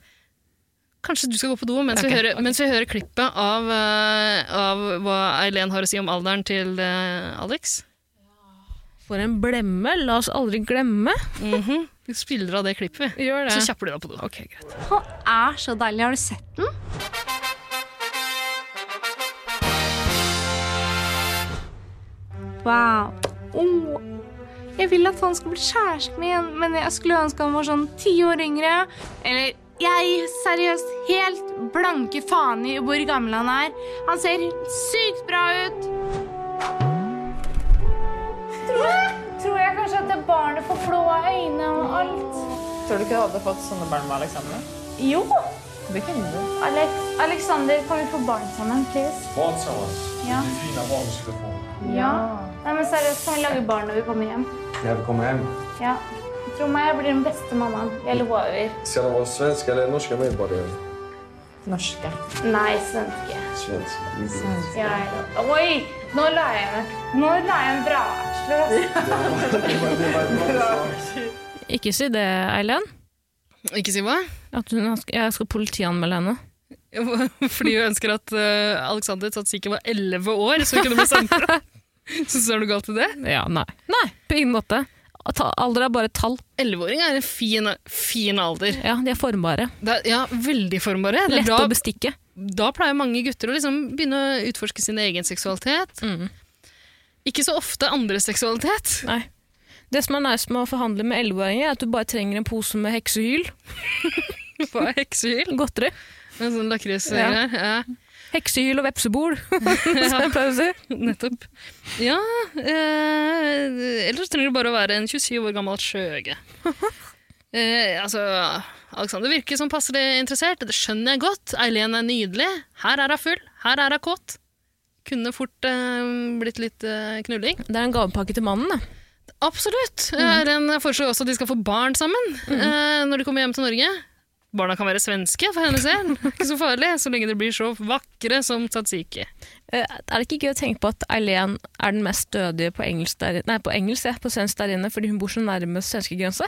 Speaker 3: Kanskje du skal gå på do mens,
Speaker 1: Ok,
Speaker 3: vi, hører,
Speaker 1: ok.
Speaker 3: mens vi hører klippet av, eh, av hva Eileen har å si om alderen til eh, Alex.
Speaker 1: For en blemme, la oss aldri glemme.
Speaker 3: Mhm. Vi spiller av det klippet, vi.
Speaker 1: Gjør
Speaker 3: Så kjapper du deg på do.
Speaker 1: Ok, greit.
Speaker 2: Han er så deilig. Har du sett den? Wow. Åh. Jeg vil at han skal bli kjæresten min, men jeg skulle ønske han var sånn ti år yngre. Eller jeg gir seriøst helt blanke faen i hvor gammel han er. Han ser sykt bra ut. Tror jeg, tror jeg kanskje at det barnet får blå øyne og alt.
Speaker 4: Tror du ikke du hadde fått sånne barn med Alexander?
Speaker 2: Jo.
Speaker 4: Det kunne du.
Speaker 2: Alex, Alexander, kan vi få barn sammen, please?
Speaker 5: Barn sammen.
Speaker 2: Ja.
Speaker 5: Det blir fina barn som skal få.
Speaker 2: Ja. Nei, men seriøst, kan vi lage barn når vi kommer hjem?
Speaker 5: När vi kommer hem,
Speaker 2: Ja. Tro meg, jeg blir den beste mammaen. Jeg lover.
Speaker 5: ska de vara svenska eller norska medborgare?
Speaker 4: Norske.
Speaker 2: Nei, svenske.
Speaker 5: Svenska.
Speaker 2: Ja, jeg- Oi, nå la jeg meg. Nå la jeg en braksler, altså.
Speaker 5: Det var- det var ett bra svar.
Speaker 1: Ikke si det, Eileen.
Speaker 3: Ikke si hva?
Speaker 1: At hun, jeg skal politianmelde henne.
Speaker 3: [LAUGHS] Fordi hun ønsker at eh, Alexander Tatsiki var 11 år, så hun kunne bli [LAUGHS] samboer. Syns du det er noe galt i det?
Speaker 1: Ja, nei. Nei, på ingen måte. Ta- Alder er bare et tall.
Speaker 3: 11-åring er en fin, fin alder.
Speaker 1: Ja, De er formbare.
Speaker 3: Det er, ja, veldig formbare. Det er
Speaker 1: Lette
Speaker 3: da,
Speaker 1: å bestikke.
Speaker 3: da pleier mange gutter å liksom begynne å utforske sin egen seksualitet.
Speaker 1: Mm.
Speaker 3: Ikke så ofte andres seksualitet. [LAUGHS]
Speaker 1: Nei. Det som er nice med å forhandle med 11-åringer, er at du bare trenger en pose med heksehyl.
Speaker 3: Hva er heksehyl?
Speaker 1: Godteri.
Speaker 3: En sånn lakrisgreier. Ja.
Speaker 1: Heksehyl og vepsebol, [LAUGHS] som jeg pleier å si.
Speaker 3: nettopp. Ja, eh, ellers trenger du bare å være en 27 år gammel
Speaker 1: [LAUGHS]
Speaker 3: skjøge. Eh, altså, Alexander virker som passelig interessert, det skjønner jeg godt. Eileen er nydelig. Her er hun full, her er hun kåt. Kunne fort eh, blitt litt eh, knulling.
Speaker 1: Det er en gavepakke til mannen, da.
Speaker 3: Absolutt. Eileen foreslår også at de skal få barn sammen eh, når de kommer hjem til Norge. Barna kan være svenske, for hennes [LAUGHS] del. Ikke så farlig, så lenge de blir så vakre som Tatsiki.
Speaker 1: Eh, Er det ikke gøy å tenke på at Eileen er den mest stødige på engelsk, der, nei, på, engelsk ja, på svensk der inne, fordi hun bor så nærme svenskegrensa?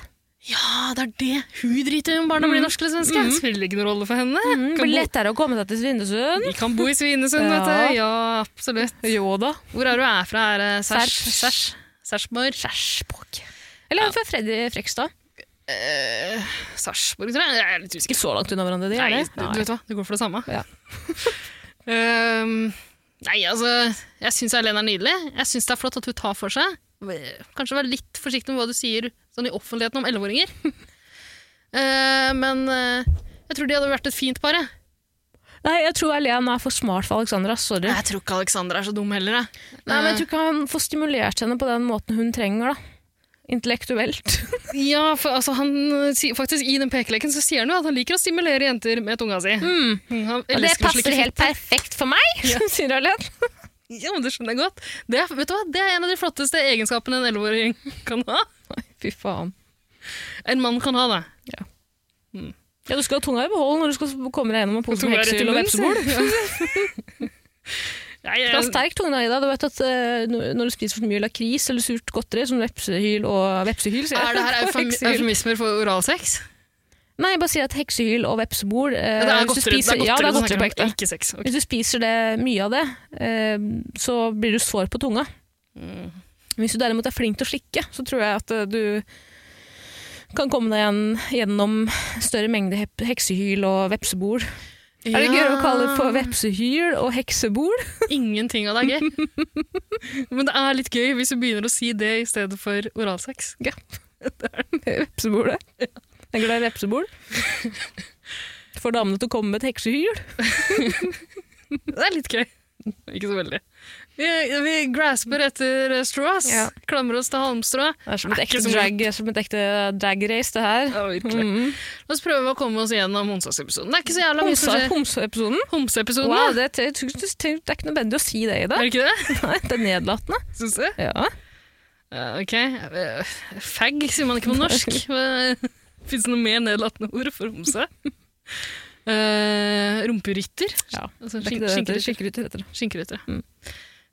Speaker 3: Ja, det er det. Hun driter i om barna blir norske eller svenske. Mm, Det spiller Mm. ikke noen rolle for henne.
Speaker 1: Det
Speaker 3: Kan
Speaker 1: blir
Speaker 3: bo-
Speaker 1: lettere å komme seg til Svinesund.
Speaker 3: Vi kan bo i Svinesund,
Speaker 1: Ja.
Speaker 3: vet du. Ja, absolutt.
Speaker 1: Jo da.
Speaker 3: Hvor er du er fra? Er det Sæsj?
Speaker 1: Sæsj.
Speaker 3: Sæsj? Sæsjborg?
Speaker 1: Skjærsbukk. Eller fra Freddy Frekstad.
Speaker 3: Eh, Sarpsborg, tror jeg. Jeg er litt
Speaker 1: Ikke
Speaker 3: usikker.
Speaker 1: så langt unna hverandre, de
Speaker 3: Nei,
Speaker 1: er
Speaker 3: du, du
Speaker 1: det?
Speaker 3: vet hva, det går for det samme.
Speaker 1: Ja.
Speaker 3: [LAUGHS] Ehm, nei, altså, jeg syns Eileen er nydelig. Jeg syns det er flott at hun tar for seg. Kanskje være litt forsiktig med hva du sier sånn i offentligheten om [LAUGHS] 11-åringer. Eh, men eh, jeg tror de hadde vært et fint par, jeg.
Speaker 1: Nei, jeg tror Eileen er for smart for Alexandra. Sorry.
Speaker 3: Jeg tror ikke Alexander er så dum heller. Jeg.
Speaker 1: Nei, men jeg tror ikke han får stimulert henne på den måten hun trenger, da. Intellektuelt. [LAUGHS]
Speaker 3: Ja, for altså, han, eh, sier- faktisk I den pekeleken så sier han jo at han liker å stimulere jenter med tunga si. Mm, Han elsker å slikke fitte.
Speaker 1: perfekt for meg, [LAUGHS] sier Eileen.
Speaker 3: [LAUGHS] Ja, men Det skjønner jeg godt. Det er, vet du hva? Det er en av de flotteste egenskapene en 11-åring kan ha.
Speaker 1: Fy faen.
Speaker 3: En mann kan ha det.
Speaker 1: Ja, du skal ha tunga i behold når du skal komme deg gjennom en pose med
Speaker 3: Tunga rett i
Speaker 1: heksehyl og
Speaker 3: munnen, sier
Speaker 1: vepsebol.
Speaker 3: Nei,
Speaker 1: Du skal ha [LAUGHS]
Speaker 3: jeg,
Speaker 1: sterk tunge, Ida. Du vet at eh, når du spiser for mye lakris eller surt godteri, som vepsehyl og vepsehyl, sier jeg.
Speaker 3: er det
Speaker 1: [LAUGHS]
Speaker 3: her eufem,
Speaker 1: Heksehyl.
Speaker 3: eufemismer for oralsex?
Speaker 1: Nei, jeg bare sier at heksehyl og vepsebol eh,
Speaker 3: Det er
Speaker 1: hvis du
Speaker 3: godteri.
Speaker 1: spiser- Ja, det er godteri
Speaker 3: du
Speaker 1: på
Speaker 3: snakker om,
Speaker 1: ekte.
Speaker 3: Ikke sex. ok.
Speaker 1: Hvis du spiser det, mye av det, eh, så blir du sår på tunga.
Speaker 3: Mm.
Speaker 1: Hvis du derimot er flink til å slikke, så tror jeg at eh, du kan komme deg igjen gjennom større mengde hep- heksehyl og vepsebol. Er det gøy å kalle det for vepsehyl og heksebol?
Speaker 3: Ingenting
Speaker 1: [LAUGHS]
Speaker 3: av det er gøy. Men det er litt gøy hvis du begynner å si det i stedet for oralsex.
Speaker 1: Vepsebol, det. Jeg er glad i vepsebol. Får damene til å komme med et heksehyl.
Speaker 3: Det er litt gøy. Ikke så veldig. Vi, vi grasper etter straws.
Speaker 1: Ja.
Speaker 3: Klamrer oss til halmstrå.
Speaker 1: Det er som et
Speaker 3: Er ikke
Speaker 1: ekte
Speaker 3: så
Speaker 1: drag, som et ekte drag race, det her.
Speaker 3: Ja, virkelig.
Speaker 1: Mm.
Speaker 3: La oss prøve å komme oss gjennom onsdagsepisoden. Det er ikke så jævla mye som
Speaker 1: Homse-
Speaker 3: skjer.
Speaker 1: Homseepisoden.
Speaker 3: Homseepisoden,
Speaker 1: Wow,
Speaker 3: da.
Speaker 1: det, det, det, det er ikke nødvendig å si det i dag.
Speaker 3: Er det ikke det?
Speaker 1: Nei, det er nedlatende.
Speaker 3: Syns du?
Speaker 1: Ja.
Speaker 3: Ja, ok. Eh, Fag sier man ikke på norsk.
Speaker 1: [LAUGHS]
Speaker 3: Fins det noe mer nedlatende ord for homse? Uh, rumperytter?
Speaker 1: Ja,
Speaker 3: Altså,
Speaker 1: Det er
Speaker 3: skink-
Speaker 1: ikke det det heter. Skikkerytter [LAUGHS]
Speaker 3: skinkerytter.
Speaker 1: heter det.
Speaker 3: Skinkerytter.
Speaker 1: Mm.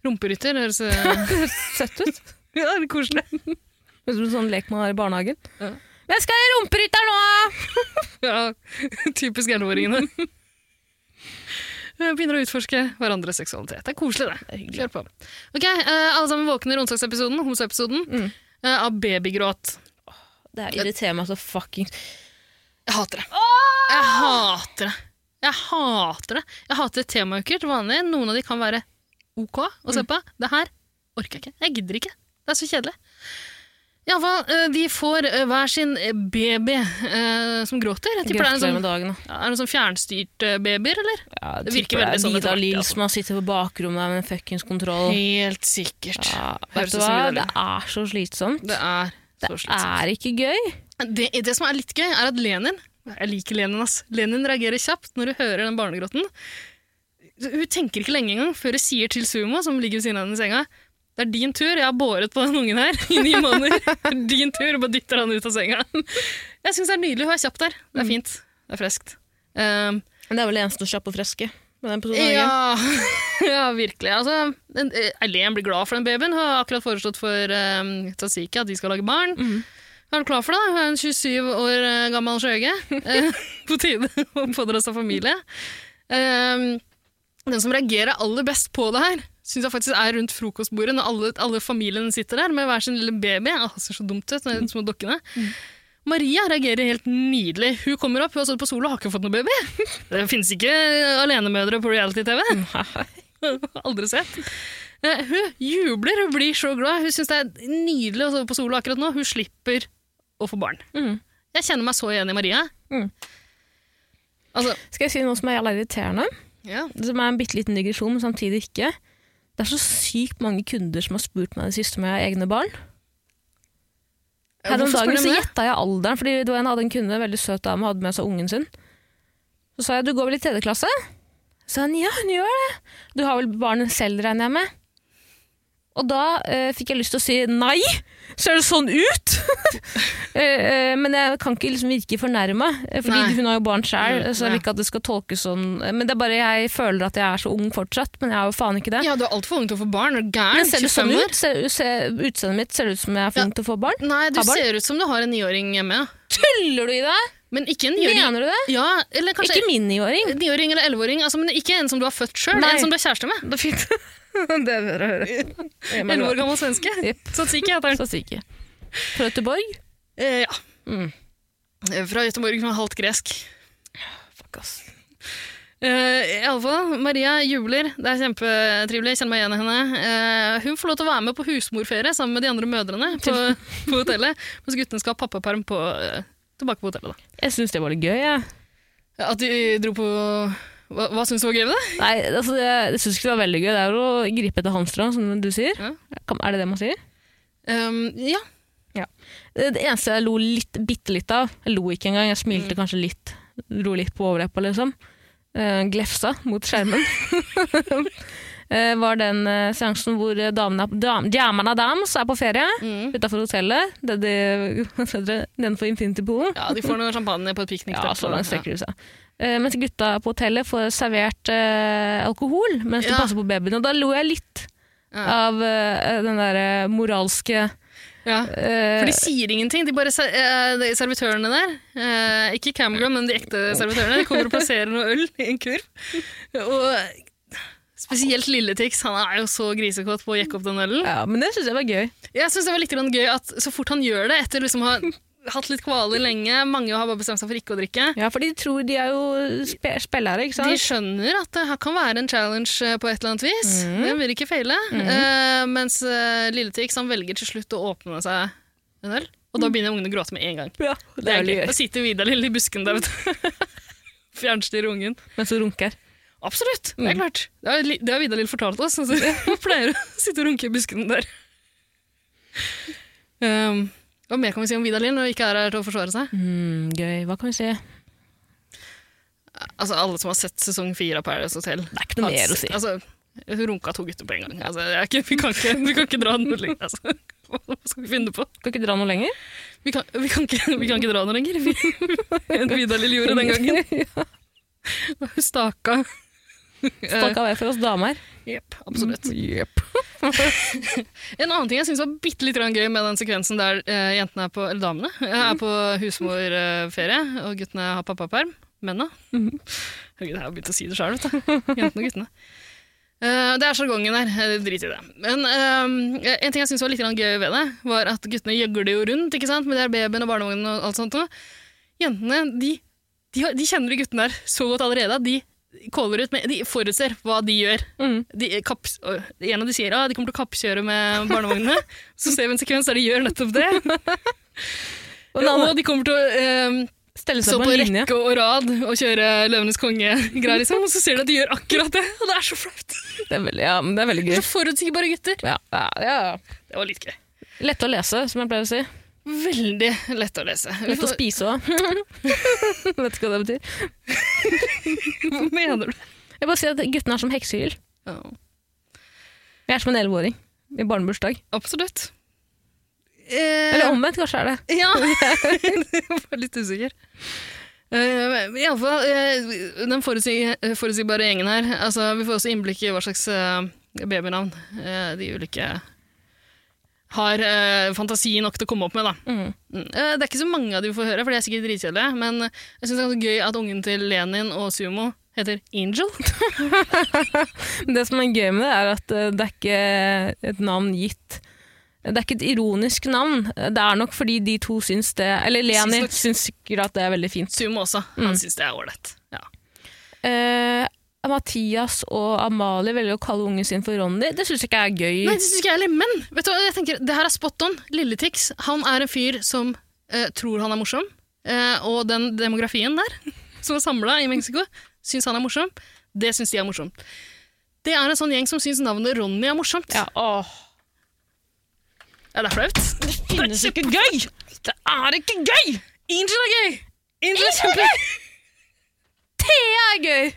Speaker 3: Rumperytter høres
Speaker 1: [LAUGHS]
Speaker 3: eh,
Speaker 1: Søtt ut.
Speaker 3: ja, det er koselig
Speaker 1: Høres ut som en sånn lek man har i barnehagen.
Speaker 3: Ja.
Speaker 1: Jeg skal i rumperytter nå!
Speaker 3: Ja, Typisk 11-åringene. Eh, Begynner å utforske hverandres seksualitet. Det er koselig, det. Kjør på. Ok, eh, Alle sammen våkner i onsdagsepisoden, homseepisoden,
Speaker 1: Mm.
Speaker 3: eh, av babygråt.
Speaker 1: Det her irriterer meg så fuckings
Speaker 3: Jeg hater det.
Speaker 1: Ah!
Speaker 3: Jeg hater det. Jeg hater det. Jeg hater temauker til vanlig. Noen av de kan være ok å
Speaker 1: Mm.
Speaker 3: se på. Det her orker jeg ikke. Jeg gidder ikke. Det er så kjedelig. Iallfall, de får eh, hver sin eh, baby eh, som gråter. Jeg tipper det er
Speaker 1: Gratulerer
Speaker 3: en sånn,
Speaker 1: med dagen. da.
Speaker 3: ja, er det en sånn fjernstyrt eh, babyer, eller?
Speaker 1: Ja,
Speaker 3: Det
Speaker 1: tipper
Speaker 3: virker veldig sånn etter
Speaker 1: Vidar
Speaker 3: hvert,
Speaker 1: Lill
Speaker 3: altså.
Speaker 1: som har sittet på bakrommet der med en fuckings kontroll.
Speaker 3: Helt sikkert.
Speaker 1: Ja, vet
Speaker 3: Høres
Speaker 1: du
Speaker 3: ut som
Speaker 1: hva?
Speaker 3: Vidar
Speaker 1: Det
Speaker 3: Lill.
Speaker 1: er så slitsomt.
Speaker 3: Det er så slitsomt.
Speaker 1: Er ikke gøy.
Speaker 3: Det, det som er litt gøy, er at Lenin Jeg liker Lenin, ass. Lenin reagerer kjapt når hun hører den barnegråten. Hun tenker ikke lenge engang før hun sier til Sumo, som ligger ved siden av henne i senga det er din tur, jeg har båret på den ungen her i ni måneder. [LAUGHS] Det er Din tur, og bare dytter han ut av senga. Jeg syns det er nydelig, hun er kjapp der. Det er fint. Det er freskt. Um,
Speaker 1: Men det er vel det eneste kjappe og freske med den personen. Ja.
Speaker 3: ja, [LAUGHS] ja, virkelig. Altså, den- eh, Eileen blir glad for den babyen. Hun har akkurat foreslått for um, Tatsiki at de skal lage barn. Er du klar for det? Hun er en 27 år eh, gammel skjøge. Eh, [LAUGHS] På tide å pådra seg familie. Ehm, Den som reagerer aller best på det her, syns jeg faktisk er rundt frokostbordet, når alle, alle familiene sitter der med hver sin lille baby. Ah, det ser så dumt ut, de små dokkene. Maria reagerer helt nydelig. Hun kommer opp, hun har stått på solo og har ikke fått noe baby. Det finnes ikke alenemødre på reality-TV. [LAUGHS] Aldri sett. Eh, Hun jubler, hun blir så glad. Hun syns det er nydelig å sove på solo akkurat nå. Hun slipper å få barn.
Speaker 1: Mm.
Speaker 3: Jeg kjenner meg så igjen i Maria.
Speaker 1: Mm.
Speaker 3: Altså,
Speaker 1: Skal jeg si noe som er jævla irriterende?
Speaker 3: ja.
Speaker 1: Som er en bitte liten digresjon, men samtidig ikke. Det er så sykt mange kunder som har spurt meg det siste om jeg har egne barn. Her om
Speaker 3: Hvorfor spør
Speaker 1: dagen
Speaker 3: de
Speaker 1: så
Speaker 3: om det?
Speaker 1: gjetta jeg alderen, fordi det var en hadde en kunde, en veldig søt dame, hadde med seg ungen sin. Så sa jeg du går vel i tredje klasse? Så han ja, hun gjør det. Du har vel barn selv, regner jeg med. Og da eh, fikk jeg lyst til å si nei, ser det sånn ut? [LAUGHS] Eh, eh, men jeg kan ikke liksom virke fornærma, eh, fordi
Speaker 3: Nei.
Speaker 1: hun har jo barn sjøl.
Speaker 3: Mm,
Speaker 1: Så jeg
Speaker 3: ja.
Speaker 1: vil ikke at det skal tolkes sånn. Eh, Men det er bare jeg føler at jeg er så ung fortsatt, men jeg er jo faen ikke det.
Speaker 3: Ja, du er altfor ung til å få barn. Er du
Speaker 1: men
Speaker 3: gæren?
Speaker 1: ser det sånn
Speaker 3: 25 år?
Speaker 1: ut? Ser, ser, utseendet mitt ser det ut som jeg er for
Speaker 3: Ja.
Speaker 1: ung til å få barn?
Speaker 3: Nei, du
Speaker 1: Har barn?
Speaker 3: ser ut som du har en niåring hjemme. ja.
Speaker 1: Tuller du i det?
Speaker 3: Men ikke en niåring.
Speaker 1: Mener du det?
Speaker 3: Ja, eller kanskje
Speaker 1: Ikke min niåring.
Speaker 3: niåring eller elleveåring. Altså, men ikke en som du har født sjøl,
Speaker 1: Nei.
Speaker 3: en som du er kjæreste med.
Speaker 1: Det er fint. [LAUGHS] det er bedre å høre.
Speaker 3: [LAUGHS] Elleve år gammel svenske.
Speaker 1: Jepp.
Speaker 3: Satsiki heter han.
Speaker 1: Så syk jeg. Fra Göteborg?
Speaker 3: Eh, ja.
Speaker 1: Mm.
Speaker 3: Eh, Fra Göteborg, hun er halvt gresk.
Speaker 1: Fuck, ass.
Speaker 3: Eh, i alle fall, Maria jubler. Det er kjempetrivelig. Jeg kjenner meg igjen i henne. Eh, hun får lov til å være med på husmorferie sammen med de andre mødrene
Speaker 1: [LAUGHS]
Speaker 3: på, på hotellet, mens guttene skal ha pappaperm på, eh, tilbake på hotellet. Da.
Speaker 1: Jeg syns det var litt gøy, jeg.
Speaker 3: At de dro på Hva, hva syns du var gøy med det?
Speaker 1: Nei, altså, jeg, jeg syns ikke det var veldig gøy. Det er jo å gripe etter hamstra, som du sier.
Speaker 3: Ja.
Speaker 1: Kan- Er det det man sier?
Speaker 3: Um, ja.
Speaker 1: Det det eneste jeg lo litt, bitte litt av Jeg lo ikke engang, jeg
Speaker 3: Mm.
Speaker 1: smilte kanskje litt. Dro litt på overleppa, liksom. Eh, glefsa mot skjermen. [LAUGHS] Eh, var den eh, seansen hvor eh, damene, dam, damene dams er på ferie
Speaker 3: Mm.
Speaker 1: utafor hotellet. Det de, nedenfor Infinity-poolen.
Speaker 3: ja. De får noe champagne på et piknik.
Speaker 1: Ja,
Speaker 3: der.
Speaker 1: så langt strekker de seg. Eh, mens gutta på hotellet får servert eh, alkohol mens de
Speaker 3: Ja.
Speaker 1: passer på babyen. Og da lo jeg litt
Speaker 3: Ja.
Speaker 1: av eh, den derre moralske
Speaker 3: Ja.
Speaker 1: eh,
Speaker 3: For de sier ingenting. De bare ser- eh, de servitørene der, eh, ikke Camgrom, men de ekte servitørene, de kommer og plasserer noe øl i en kurv. Og spesielt Lilletix, han er jo så grisekåt på å jekke opp den ølen.
Speaker 1: Ja, men det syns jeg var gøy.
Speaker 3: Jeg syns det var litt grann gøy at så fort han gjør det, etter liksom å ha hatt litt kvaler lenge, mange har bare bestemt seg for ikke å drikke
Speaker 1: Ja, for de tror de er jo spe spillere, ikke
Speaker 3: de
Speaker 1: sant?
Speaker 3: skjønner at det her kan være en challenge eh, på et eller annet vis.
Speaker 1: Mhm.
Speaker 3: Den vil ikke feile. Eh, mens eh, Lilletix han velger til slutt å åpne seg en øl, og
Speaker 1: Mm.
Speaker 3: da begynner ungene å gråte med en gang.
Speaker 1: ja,
Speaker 3: Det er gøy. Da sitter Vidar lille i busken der, vet du. [LAUGHS] Fjernstyrer ungen.
Speaker 1: Mens hun runker.
Speaker 3: Absolutt, det er klart. Det har, li- det har Vidar lille fortalt oss. Altså, han [LAUGHS] pleier å sitte og runke i busken der. [LAUGHS] Um, hva mer kan vi si om Vidar Lill når hun ikke er her til å forsvare seg?
Speaker 1: Mm, gøy. Hva kan vi si? Det
Speaker 3: Altså, alle som har sett sesong fire av Paradise Hotel
Speaker 1: er ikke noe
Speaker 3: har-
Speaker 1: mer å si.
Speaker 3: Altså, hun runka to gutter på en gang. Altså, jeg er ikke, vi, kan ikke, vi kan ikke dra noe lenger. Altså. [LAUGHS] Hva skal vi finne på?
Speaker 1: Skal ikke dra noe lenger?
Speaker 3: Vi kan, vi kan, ikke, vi kan ikke dra noe lenger. [LAUGHS] Vi, Vidar Lill gjorde den gangen. [LAUGHS]
Speaker 1: [LAUGHS]
Speaker 3: Hun staka.
Speaker 1: Stakk av vei for oss damer.
Speaker 3: Jepp, absolutt.
Speaker 1: Mhm. Yep.
Speaker 3: En annen ting jeg syns var bitte litt grann gøy med den sekvensen der eh, jentene er på, eller damene eh, er på husmorferie, og guttene har pappaperm. Mennene. [LAUGHS] Herregud, jeg har begynt å si det sjøl, vet du. Jentene og guttene. Eh, det er sjargongen der. eh, Drit i det. Men eh, en ting jeg syns var litt grann gøy ved det, var at guttene gjøgler jo rundt ikke sant? med de her babyen og barnevognen og alt sånt. noe. Jentene de, de, har- de kjenner de guttene der så godt allerede at de caller ut med, De forutser hva de gjør.
Speaker 1: Mm.
Speaker 3: De, kapps, å, en av de sier at de kommer til å kappkjøre med barnevognene. så ser vi en sekvens der de gjør
Speaker 1: [LAUGHS]
Speaker 3: nettopp det.
Speaker 1: Og den
Speaker 3: Og
Speaker 1: andre
Speaker 3: de kommer til å eh,
Speaker 1: stiller
Speaker 3: stå
Speaker 1: seg på
Speaker 3: på
Speaker 1: en linje.
Speaker 3: rekke og rad og kjøre Løvenes konge-greier, liksom. Og så ser du at de gjør akkurat det. Og det er så flaut.
Speaker 1: Det er veldig, ja, men det er veldig gøy.
Speaker 3: Så forutsigbare gutter.
Speaker 1: Ja, ja, ja.
Speaker 3: Det var litt gøy.
Speaker 1: Lett å lese, som jeg pleier å si.
Speaker 3: Veldig lett å lese. Vi
Speaker 1: Lett å
Speaker 3: får-
Speaker 1: spise [LAUGHS] òg. Vet ikke hva det betyr.
Speaker 3: Hva mener du?
Speaker 1: Jeg bare sier at guttene er som heksehyl.
Speaker 3: Ja,
Speaker 1: Jeg er som en elleveåring i barnebursdag.
Speaker 3: absolutt.
Speaker 1: Eller
Speaker 3: Eller
Speaker 1: omvendt, kanskje er det.
Speaker 3: Ja, [LAUGHS] jeg var litt usikker. Uh, Iallfall uh, den forutsig, forutsigbare gjengen her. Altså, vi får også innblikk i hva slags eh, babynavn eh, de ulike har eh, fantasi nok til å komme opp med. Da.
Speaker 1: Mhm.
Speaker 3: Mm. Eh, det er ikke så mange av de vi får høre, for de er sikkert dritkjedelige, men jeg synes det er ganske gøy at ungen til Lenin og Sumo heter [LAUGHS] Angel.
Speaker 1: Det som er gøy med det, er at eh, det er ikke et navn gitt. Det er ikke et ironisk navn. Det er nok fordi de to syns det Eller Leni
Speaker 3: nok-
Speaker 1: syns sikkert at det er veldig fint.
Speaker 3: Sumo også. Han synes det er ålreit. Mm. Ja.
Speaker 1: Eh, Mathias og Amalie velger å kalle ungen sin for Ronny. Det syns jeg ikke er gøy.
Speaker 3: Nei, det synes ikke jeg heller, men vet du hva, jeg tenker, det her er spot on. Lille Tix, han er en fyr som eh, tror han er morsom, eh, og den demografien der, [LAUGHS] som er samlet i Mexico, synes han er morsom. Det synes de er morsomt. Det er en sånn gjeng som synes navnet Ronny er morsomt.
Speaker 1: Ja, åh.
Speaker 3: Er det flaut? [LAUGHS] Det finnes ikke gøy! Det er ikke gøy! Angel er gøy! Angel er kjempegøy!
Speaker 1: Det er gøy!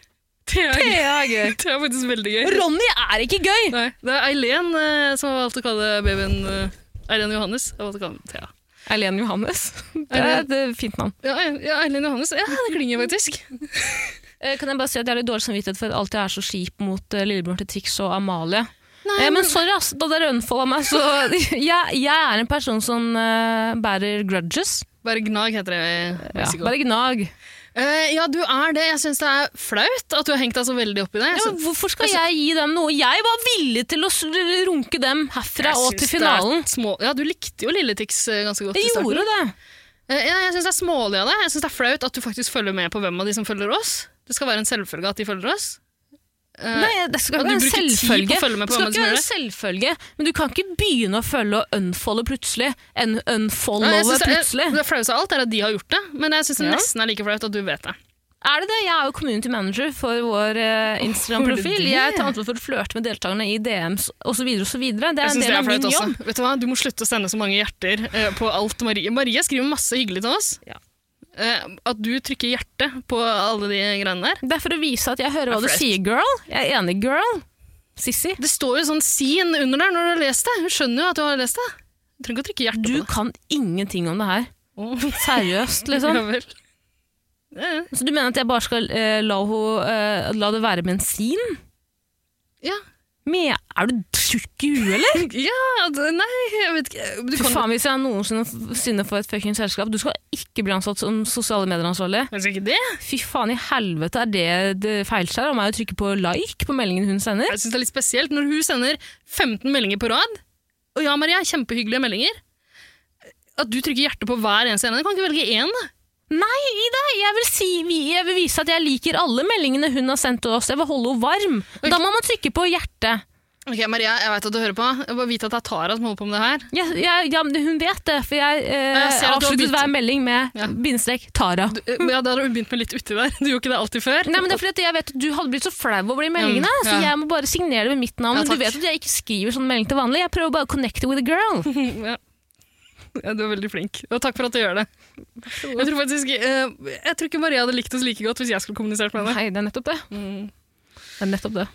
Speaker 3: Det er
Speaker 1: Det
Speaker 3: gøy.
Speaker 1: er gøy.
Speaker 3: Det er faktisk veldig gøy.
Speaker 1: Ronny er ikke gøy!
Speaker 3: Nei, det er Eileen eh, som har valgt å kalle babyen eh, Eileen Johannes. Jeg har valgt å kalle den Thea.
Speaker 1: Eileen Johannes. Det er et eh, fint navn.
Speaker 3: Ja, ja, Eileen Johannes. Ja, det klinger faktisk.
Speaker 1: Eh, Kan jeg bare si at Jeg har litt dårlig samvittighet for at alltid er så skip mot eh, lillebror til Trix og Amalie.
Speaker 3: Nei,
Speaker 1: eh, men sorry, ass, da dere unfolda meg, så [LAUGHS] jeg, jeg er en person som eh, bærer grudges.
Speaker 3: Bare gnag heter det i
Speaker 1: Ja,
Speaker 3: Mexico.
Speaker 1: bare gnag.
Speaker 3: Eh, ja, du er det. Jeg syns det er flaut at du har hengt deg så veldig opp i det. Jeg
Speaker 1: Ja, men
Speaker 3: synes-
Speaker 1: hvorfor skal
Speaker 3: altså-
Speaker 1: jeg gi dem noe? Jeg var villig til å s- runke dem herfra
Speaker 3: Jeg
Speaker 1: og
Speaker 3: synes
Speaker 1: til
Speaker 3: det er
Speaker 1: finalen.
Speaker 3: Små, ja, du likte jo Lille Tix eh, ganske godt.
Speaker 1: Jeg
Speaker 3: i starten.
Speaker 1: gjorde det.
Speaker 3: Eh, ja, jeg syns det er smålig av deg. Jeg synes det er flaut at du faktisk følger med på hvem av de som følger oss. Det skal være en selvfølge at de følger oss. Eh,
Speaker 1: Nei, det skal
Speaker 3: og
Speaker 1: ikke være en
Speaker 3: du bruker tid på å
Speaker 1: selvfølge.
Speaker 3: følge med på
Speaker 1: Det skal ikke
Speaker 3: hvem som
Speaker 1: være
Speaker 3: gjør
Speaker 1: en selvfølge, men du kan ikke begynne å følge og unfolde plutselig. En
Speaker 3: ja, jeg
Speaker 1: unfollowe
Speaker 3: synes
Speaker 1: plutselig.
Speaker 3: Det, er- det flaueste av alt er at de har gjort det, men jeg syns det
Speaker 1: Ja.
Speaker 3: nesten er like flaut at du vet det.
Speaker 1: Er det det? Jeg er jo community manager for vår eh,
Speaker 3: Åh, er
Speaker 1: Instagram-profil.
Speaker 3: det det?
Speaker 1: Jeg tar ansvar for å flørte med deltakerne i DMs osv. osv. Det er
Speaker 3: Jeg
Speaker 1: en
Speaker 3: synes det
Speaker 1: del
Speaker 3: er
Speaker 1: av
Speaker 3: flaut
Speaker 1: min
Speaker 3: også.
Speaker 1: jobb.
Speaker 3: Vet Du hva? Du må slutte å sende så mange hjerter eh, på alt Marie Marie skriver masse hyggelig til oss.
Speaker 1: Ja.
Speaker 3: Eh, at du trykker hjerte på alle de greiene der.
Speaker 1: Det er for å vise at jeg hører hva
Speaker 3: Det
Speaker 1: du
Speaker 3: er
Speaker 1: sier, girl. Jeg er enig, girl. Sissy,
Speaker 3: Det står jo sånn sin under der når du har lest det. Hun skjønner jo at du har lest det. Du trenger ikke å trykke hjerte
Speaker 1: du
Speaker 3: på det.
Speaker 1: kan ingenting om det her.
Speaker 3: Åh,
Speaker 1: Seriøst, liksom.
Speaker 3: [LAUGHS] ja vel. Ja, ja.
Speaker 1: Så du mener at jeg bare skal eh, la, ho, eh, la det være bensin?
Speaker 3: Ja.
Speaker 1: Men, er du tjukk i huet, eller?
Speaker 3: Ja, det- nei, jeg vet ikke. Du
Speaker 1: Fy
Speaker 3: kan
Speaker 1: faen, hvis jeg noensinne sinne får et fucking selskap Du skal ikke bli ansatt som sosiale medieransvarlig.
Speaker 3: Kanskje ikke det?
Speaker 1: Fy faen i helvete, er det det feilskjær om meg å trykke på like på meldingen hun sender?
Speaker 3: Jeg synes det er litt spesielt når hun sender 15 meldinger på rad. Og ja, Maria, kjempehyggelige meldinger. At du trykker hjerte på hver eneste ene. Du kan ikke velge én, da.
Speaker 1: Nei, Ida, jeg vil, si, vi- jeg vil vise at jeg liker alle meldingene hun har sendt til oss. Jeg vil holde henne varm. Da må man trykke på hjertet.
Speaker 3: Ok, Maria, jeg vet at du hører på. Jeg bare vite at det er Tara som holder på med det her.
Speaker 1: Jeg, jeg, ja, men hun vet det, for jeg, eh,
Speaker 3: Jeg ser at du har
Speaker 1: avsluttet
Speaker 3: begynt-
Speaker 1: hver melding med
Speaker 3: Ja.
Speaker 1: bindestrek Tara.
Speaker 3: Du, eh, ja, Da har du begynt med litt uti der. Du gjorde ikke det alltid før.
Speaker 1: Nei, men det er fordi at Jeg vet at du hadde blitt så flau over de meldingene,
Speaker 3: Mm,
Speaker 1: så
Speaker 3: ja.
Speaker 1: jeg må bare signere det med mitt navn.
Speaker 3: Ja,
Speaker 1: Men du
Speaker 3: takk.
Speaker 1: vet at jeg ikke skriver sånn melding til vanlig. Jeg prøver bare å connect with a
Speaker 3: [LAUGHS]
Speaker 1: girl.
Speaker 3: ja. Ja, du er veldig flink. Og takk for at du gjør det. Jeg tror faktisk eh, Jeg tror ikke Maria hadde likt oss like godt hvis jeg skulle kommunisert med henne.
Speaker 1: Nei, det er nettopp det.
Speaker 3: Mm.
Speaker 1: Det er nettopp det.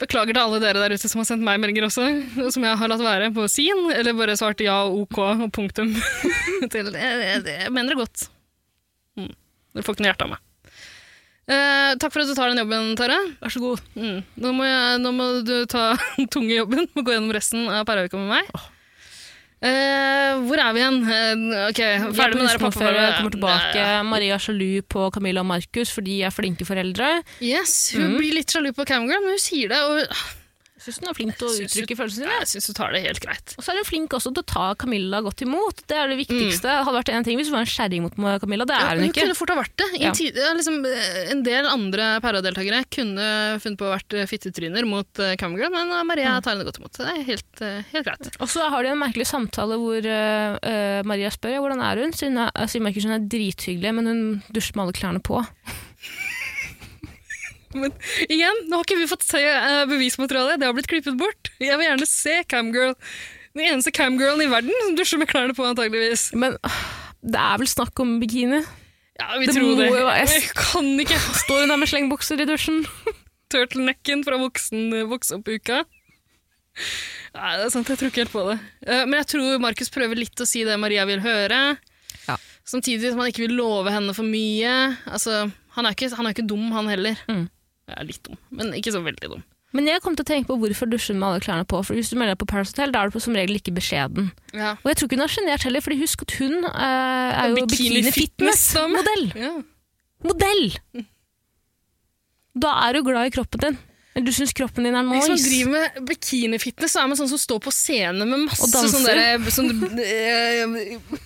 Speaker 3: Beklager til alle dere der ute som har sendt meg meldinger også, og som jeg har latt være på sin, eller bare svart ja, ok og punktum. [LAUGHS] til, jeg, jeg, jeg mener det godt. Mm. Dere får ikke noe hjerte av meg. Eh, takk for at du tar den jobben, Tara.
Speaker 1: Vær så god.
Speaker 3: Mm. Nå, må jeg, nå må du ta [LAUGHS] den tunge jobben og gå gjennom resten av Perauka med meg. Eh, hvor er vi igjen? Eh, ok, Ferdig med den der
Speaker 1: Før jeg kommer
Speaker 3: pappapermen.
Speaker 1: tilbake. Maria er sjalu på Camilla og Markus, for de er flinke foreldre.
Speaker 3: Yes, Hun
Speaker 1: Mm.
Speaker 3: blir litt sjalu på Camgirl, men hun sier det. Og
Speaker 1: Jeg syns hun er flink til å
Speaker 3: Synes hun-
Speaker 1: uttrykke følelsene sine.
Speaker 3: jeg syns hun tar det helt greit.
Speaker 1: Og så er hun flink også til å ta Camilla godt imot. Det
Speaker 3: Mm.
Speaker 1: er det viktigste. Det hadde vært en ting hvis hun var en skjæring mot Camilla. Det er hun ikke.
Speaker 3: kunne fort ha vært det. I
Speaker 1: Ja.
Speaker 3: tid, ja, liksom, eh, en del andre Perra-deltakere kunne funnet på å ha vært eh, fittetryner mot eh, Camgirl, men eh, Maria tar henne godt imot. Det er helt, eh, helt greit.
Speaker 1: Og så har de en merkelig samtale hvor eh, eh, Maria spør ja, hvordan er hun Sier hun er- eh, sier Markus hun er drithyggelig, men hun dusjer med alle klærne på.
Speaker 3: Men igjen, nå har ikke vi fått se eh, bevismaterialet. Det har blitt klippet bort. Jeg vil gjerne se Camgirl. Den eneste camgirlen i verden som dusjer med klærne på, antageligvis.
Speaker 1: Men øh, det er vel snakk om bikini?
Speaker 3: Ja, vi
Speaker 1: Det
Speaker 3: tror
Speaker 1: må
Speaker 3: det.
Speaker 1: jo
Speaker 3: [LAUGHS]
Speaker 1: være-
Speaker 3: Jeg kan ikke ha
Speaker 1: Står hun der med slengbukser i dusjen?
Speaker 3: turtlenecken fra voksen, voksopp-uka. Nei, det er sant, jeg tror ikke helt på det. Eh, Men jeg tror Markus prøver litt å si det Maria vil høre.
Speaker 1: Ja.
Speaker 3: Samtidig som han ikke vil love henne for mye. Altså, han er ikke, han er ikke dum, han heller.
Speaker 1: Mm.
Speaker 3: Jeg er litt dum, men ikke så veldig dum.
Speaker 1: Men jeg kom til å tenke på hvorfor dusjer med alle klærne på. For hvis du melder deg på Paris Hotel, da er du på som regel ikke beskjeden.
Speaker 3: Ja.
Speaker 1: Og jeg tror ikke hun har sjenert heller, fordi husk at hun eh, er jo
Speaker 3: Bikini fitness, da, men-
Speaker 1: bikini-fitness-modell.
Speaker 3: ja.
Speaker 1: Modell! Da er du glad i kroppen din. Eller du syns kroppen din er
Speaker 3: Hvis man
Speaker 1: nice.
Speaker 3: driver med bikinifitness, så er man sånn som står på scene med masse
Speaker 1: Og danser.
Speaker 3: sånn derre- sånn,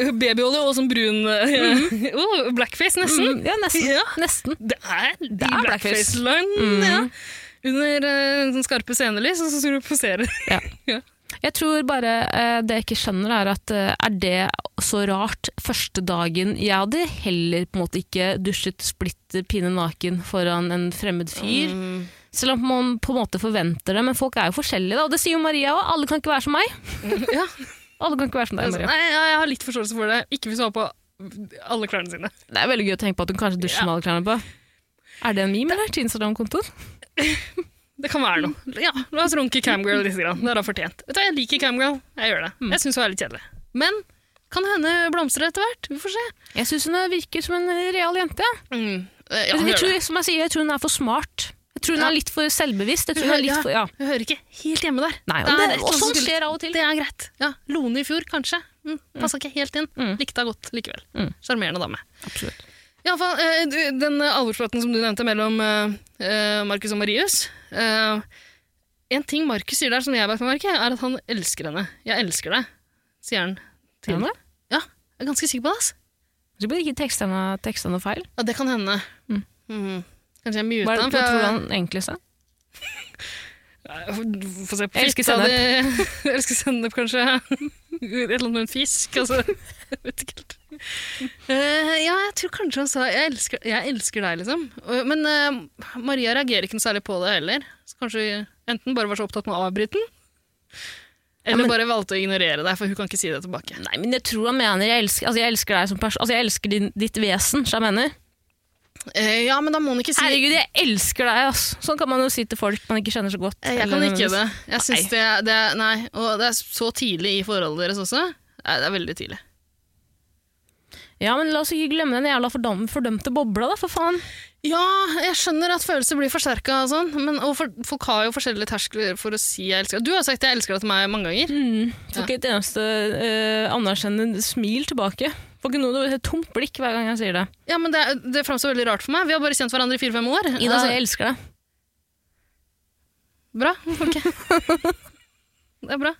Speaker 3: eh, babyolje og sånn brun eh, [LAUGHS] oh, blackface, nesten.
Speaker 1: Mm, ja, nesten.
Speaker 3: Ja.
Speaker 1: nesten.
Speaker 3: Det er, de
Speaker 1: er blackface.
Speaker 3: blackface-løgn. Ja. Under eh, sånn skarpe scenelys, og så skal du posere.
Speaker 1: Jeg tror bare eh, det jeg ikke skjønner, er at eh, er det så rart første dagen Jeg hadde heller på en måte ikke dusjet splitter pine naken foran en fremmed fyr.
Speaker 3: Mm.
Speaker 1: Selv om man på en måte forventer det, men folk er jo forskjellige. Da. Og det sier jo Maria òg. Alle kan ikke være som meg.
Speaker 3: Ja.
Speaker 1: Alle kan ikke være som deg,
Speaker 3: Altså,
Speaker 1: Maria.
Speaker 3: nei, ja, jeg har litt forståelse for det. Ikke hvis du har på alle klærne sine.
Speaker 1: Det er veldig gøy å tenke på at hun kanskje dusjer med alle klærne på. Er det en meme, eller? Til Instagram-kontoen?
Speaker 3: Det kan være noe. Ja, La oss runke Camgirl litt. Grann. Det er da fortjent. Vet du, hva, Jeg liker Camgirl. Jeg gjør det. Jeg syns hun er litt kjedelig. Men kan hende blomstre etter hvert. Vi får se.
Speaker 1: Jeg syns hun virker som en real jente.
Speaker 3: Mm. Eh, Ja,
Speaker 1: Jeg,
Speaker 3: hun
Speaker 1: jeg,
Speaker 3: gjør det.
Speaker 1: tror, som jeg, sier, jeg tror hun er for smart. Jeg tror hun
Speaker 3: Ja.
Speaker 1: er litt for selvbevisst. Jeg tror hun er litt for, ja.
Speaker 3: Hun hører ikke helt hjemme der.
Speaker 1: Nei,
Speaker 3: Det
Speaker 1: og,
Speaker 3: er
Speaker 1: det, sånn
Speaker 3: et eller
Speaker 1: og
Speaker 3: annet som
Speaker 1: sånt
Speaker 3: skulle-
Speaker 1: skjer av og til.
Speaker 3: Det er greit. Ja, Lone i fjor, kanskje. Mm, Passa ikke helt inn.
Speaker 1: Mm.
Speaker 3: Likte henne godt likevel.
Speaker 1: Mm.
Speaker 3: Sjarmerende dame.
Speaker 1: Absolutt.
Speaker 3: I alle fall, eh, du- den eh, alvorspraten som du nevnte mellom eh, eh, Markus og Marius eh, En ting Markus sier der som jeg beit meg merke, i, er at han elsker henne. 'Jeg elsker deg', sier han til
Speaker 1: Gjør han det?
Speaker 3: Ja, jeg er ganske sikker på det. ass.
Speaker 1: Så blir ikke tekstene, tekstene feil.
Speaker 3: Ja, det kan hende.
Speaker 1: Mm.
Speaker 3: Mm. Kanskje jeg muta
Speaker 1: Hva, hva
Speaker 3: han. for jeg-
Speaker 1: tror du han egentlig sa?
Speaker 3: Få se på
Speaker 1: Jeg elsker
Speaker 3: fitta di. [LAUGHS] Jeg elsker sennep, kanskje. Et eller annet med en fisk, altså. [LAUGHS] Jeg vet ikke helt. Eh, ja, jeg tror kanskje han sa 'jeg elsker, jeg elsker deg', liksom. Eh, Men eh, Maria reagerer ikke noe særlig på det heller. Så kanskje enten bare var så opptatt med å avbryte den, eller
Speaker 1: Ja, men-
Speaker 3: bare valgte å ignorere deg, for hun kan ikke si det tilbake.
Speaker 1: Nei, men jeg tror han mener jeg elsker, altså jeg elsker deg som person. Altså jeg elsker din, ditt vesen, så jeg mener.
Speaker 3: Eh, ja, men da må hun ikke si
Speaker 1: Herregud, jeg elsker deg, ass. Sånn kan man jo si til folk man ikke kjenner så godt.
Speaker 3: Eh, Jeg
Speaker 1: Eller
Speaker 3: kan ikke det.
Speaker 1: nødvendigvis.
Speaker 3: Jeg synes det, er- det er- Nei, og det er så tidlig i forholdet deres også. Nei, det er veldig tidlig.
Speaker 1: Ja, men la oss ikke glemme den jævla fordam- fordømte bobla, da, for faen.
Speaker 3: Ja, jeg skjønner at følelser blir forsterka og sånn, men og for, folk har jo forskjellige terskler for å si 'jeg elsker deg'. Du har sagt 'jeg elsker deg' til meg mange ganger.
Speaker 1: Mm. Får ikke et eneste eh, anerkjennende smil tilbake. Får ikke noe et tomt blikk hver gang jeg sier det.
Speaker 3: Ja, men Det, det framstår veldig rart for meg. Vi har bare kjent hverandre i fire-fem år.
Speaker 1: Ida, så
Speaker 3: Eh,
Speaker 1: jeg elsker deg.
Speaker 3: Bra. Ok. [LAUGHS] det er bra.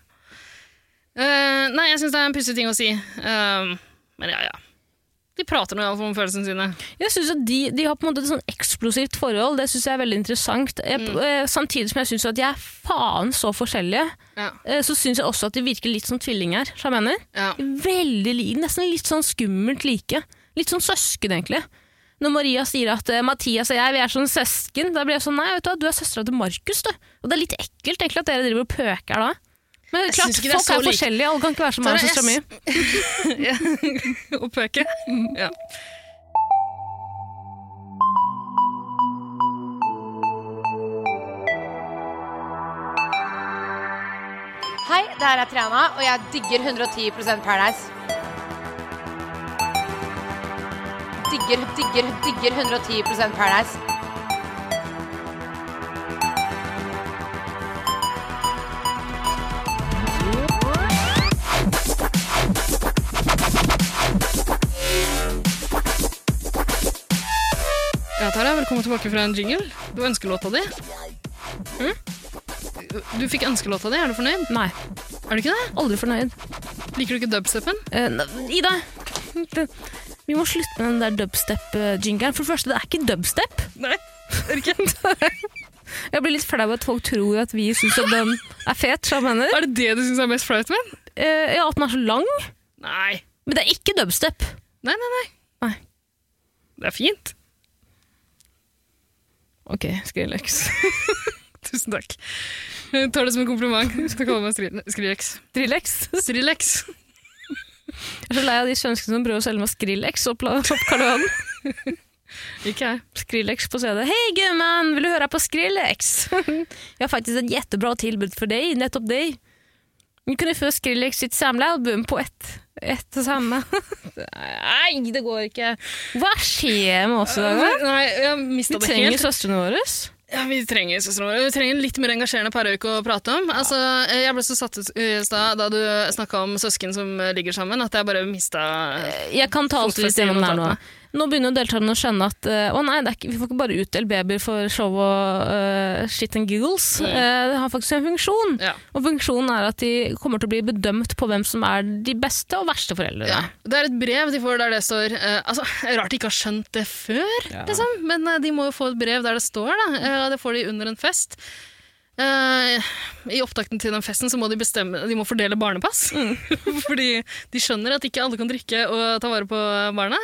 Speaker 3: Eh, nei, jeg syns det er en pussig ting å si. Eh, men ja, ja. De prater nå iallfall om følelsene sine.
Speaker 1: Jeg synes at de, de har på en måte et sånn eksplosivt forhold, det synes jeg er veldig interessant. Jeg, eh, Samtidig som jeg synes at de er faen så forskjellige,
Speaker 3: Ja,
Speaker 1: eh, så synes jeg også at de virker litt som tvillinger, som jeg mener.
Speaker 3: ja.
Speaker 1: Veldig, li- nesten litt sånn skummelt like. Litt sånn søsken, egentlig. Når Maria sier at eh, Mathias og jeg vi er sånn søsken, da blir jeg sånn nei, vet du hva, du er søstera til Markus, du. Og det er litt ekkelt egentlig at dere driver og pøker da. Men
Speaker 3: Jeg
Speaker 1: klart,
Speaker 3: synes ikke det er
Speaker 1: folk
Speaker 3: så
Speaker 1: er,
Speaker 3: like.
Speaker 1: forskjellige, alle kan ikke være som
Speaker 3: Tara,
Speaker 1: meg og søstera mi.
Speaker 3: jeg [LAUGHS] Og pøke. Ja.
Speaker 6: Hei, det her er Triana, og jeg digger 110 Paradise. Digger, digger, digger 110 Paradise.
Speaker 3: Ja, Tara, velkommen tilbake fra en jingle. Du har ønskelåta di. Hm? Du fikk ønskelåta di, er du fornøyd?
Speaker 1: Nei,
Speaker 3: Er du ikke det?
Speaker 1: aldri fornøyd.
Speaker 3: Liker du ikke dubstepen?
Speaker 1: Eh, n- Ida, [LAUGHS] det- vi må slutte med den der dubstep-jingeren. For det første, det er ikke dubstep.
Speaker 3: Nei, er det ikke?
Speaker 1: [LAUGHS] Jeg blir litt flau at folk tror at vi syns at den er fet. så jeg mener.
Speaker 3: Er det det du syns er mest flaut med? den?
Speaker 1: Eh, ja, At den er så lang.
Speaker 3: Nei.
Speaker 1: Men det er ikke dubstep.
Speaker 3: Nei, nei, nei.
Speaker 1: Nei.
Speaker 3: Det er fint.
Speaker 1: Ok, Skrillex.
Speaker 3: Tusen takk. Jeg tar det som en kompliment. Du skal kalle meg Skri- Skrillex.
Speaker 1: Skrillex.
Speaker 3: Skrillex.
Speaker 1: Jeg er så lei av de svenskene som prøver å selge meg Skrillex opp, la- opp Karl Johan. [LAUGHS]
Speaker 3: Ikke jeg.
Speaker 1: Skrillex på CD. Hei, gumman, vil du høre på Skrillex? [LAUGHS] Jeg har faktisk et jättebra tilbud for deg, nettopp deg. Du kan få Skrillex sitt samlealbum på ett ett og samme. Nei, det går ikke. Hva skjer med oss i dag? da?
Speaker 3: Nei, jeg mista
Speaker 1: Vi
Speaker 3: det
Speaker 1: trenger
Speaker 3: helt.
Speaker 1: søstrene våre.
Speaker 3: Ja, vi trenger søstrene våre. Vi trenger en litt mer engasjerende Parauk å prate om. Altså, eh, jeg ble så satt ut i stad da du snakka om søsken som eh, ligger sammen, at jeg bare mista
Speaker 1: Jeg kan ta alt
Speaker 3: Fotfeste
Speaker 1: litt gjennom det her nå.
Speaker 3: notatene.
Speaker 1: Nå begynner jo deltakerne å skjønne at eh, å nei, det er ikke, vi får ikke bare utdelt babyer for show og eh, shit and giggles. Eh, det har faktisk en funksjon.
Speaker 3: Mm. Ja.
Speaker 1: Og funksjonen er at de kommer til å bli bedømt på hvem som er de beste og verste foreldrene.
Speaker 3: Ja. Det er et brev de får der det står eh, altså, Rart de ikke har skjønt det før, liksom. men eh, de må jo få et brev der det står. Da. Eh, det får de under en fest. Eh, I opptakten til den festen så må de, bestemme, de må fordele barnepass. [LAUGHS] Fordi de skjønner at ikke alle kan drikke og ta vare på barna.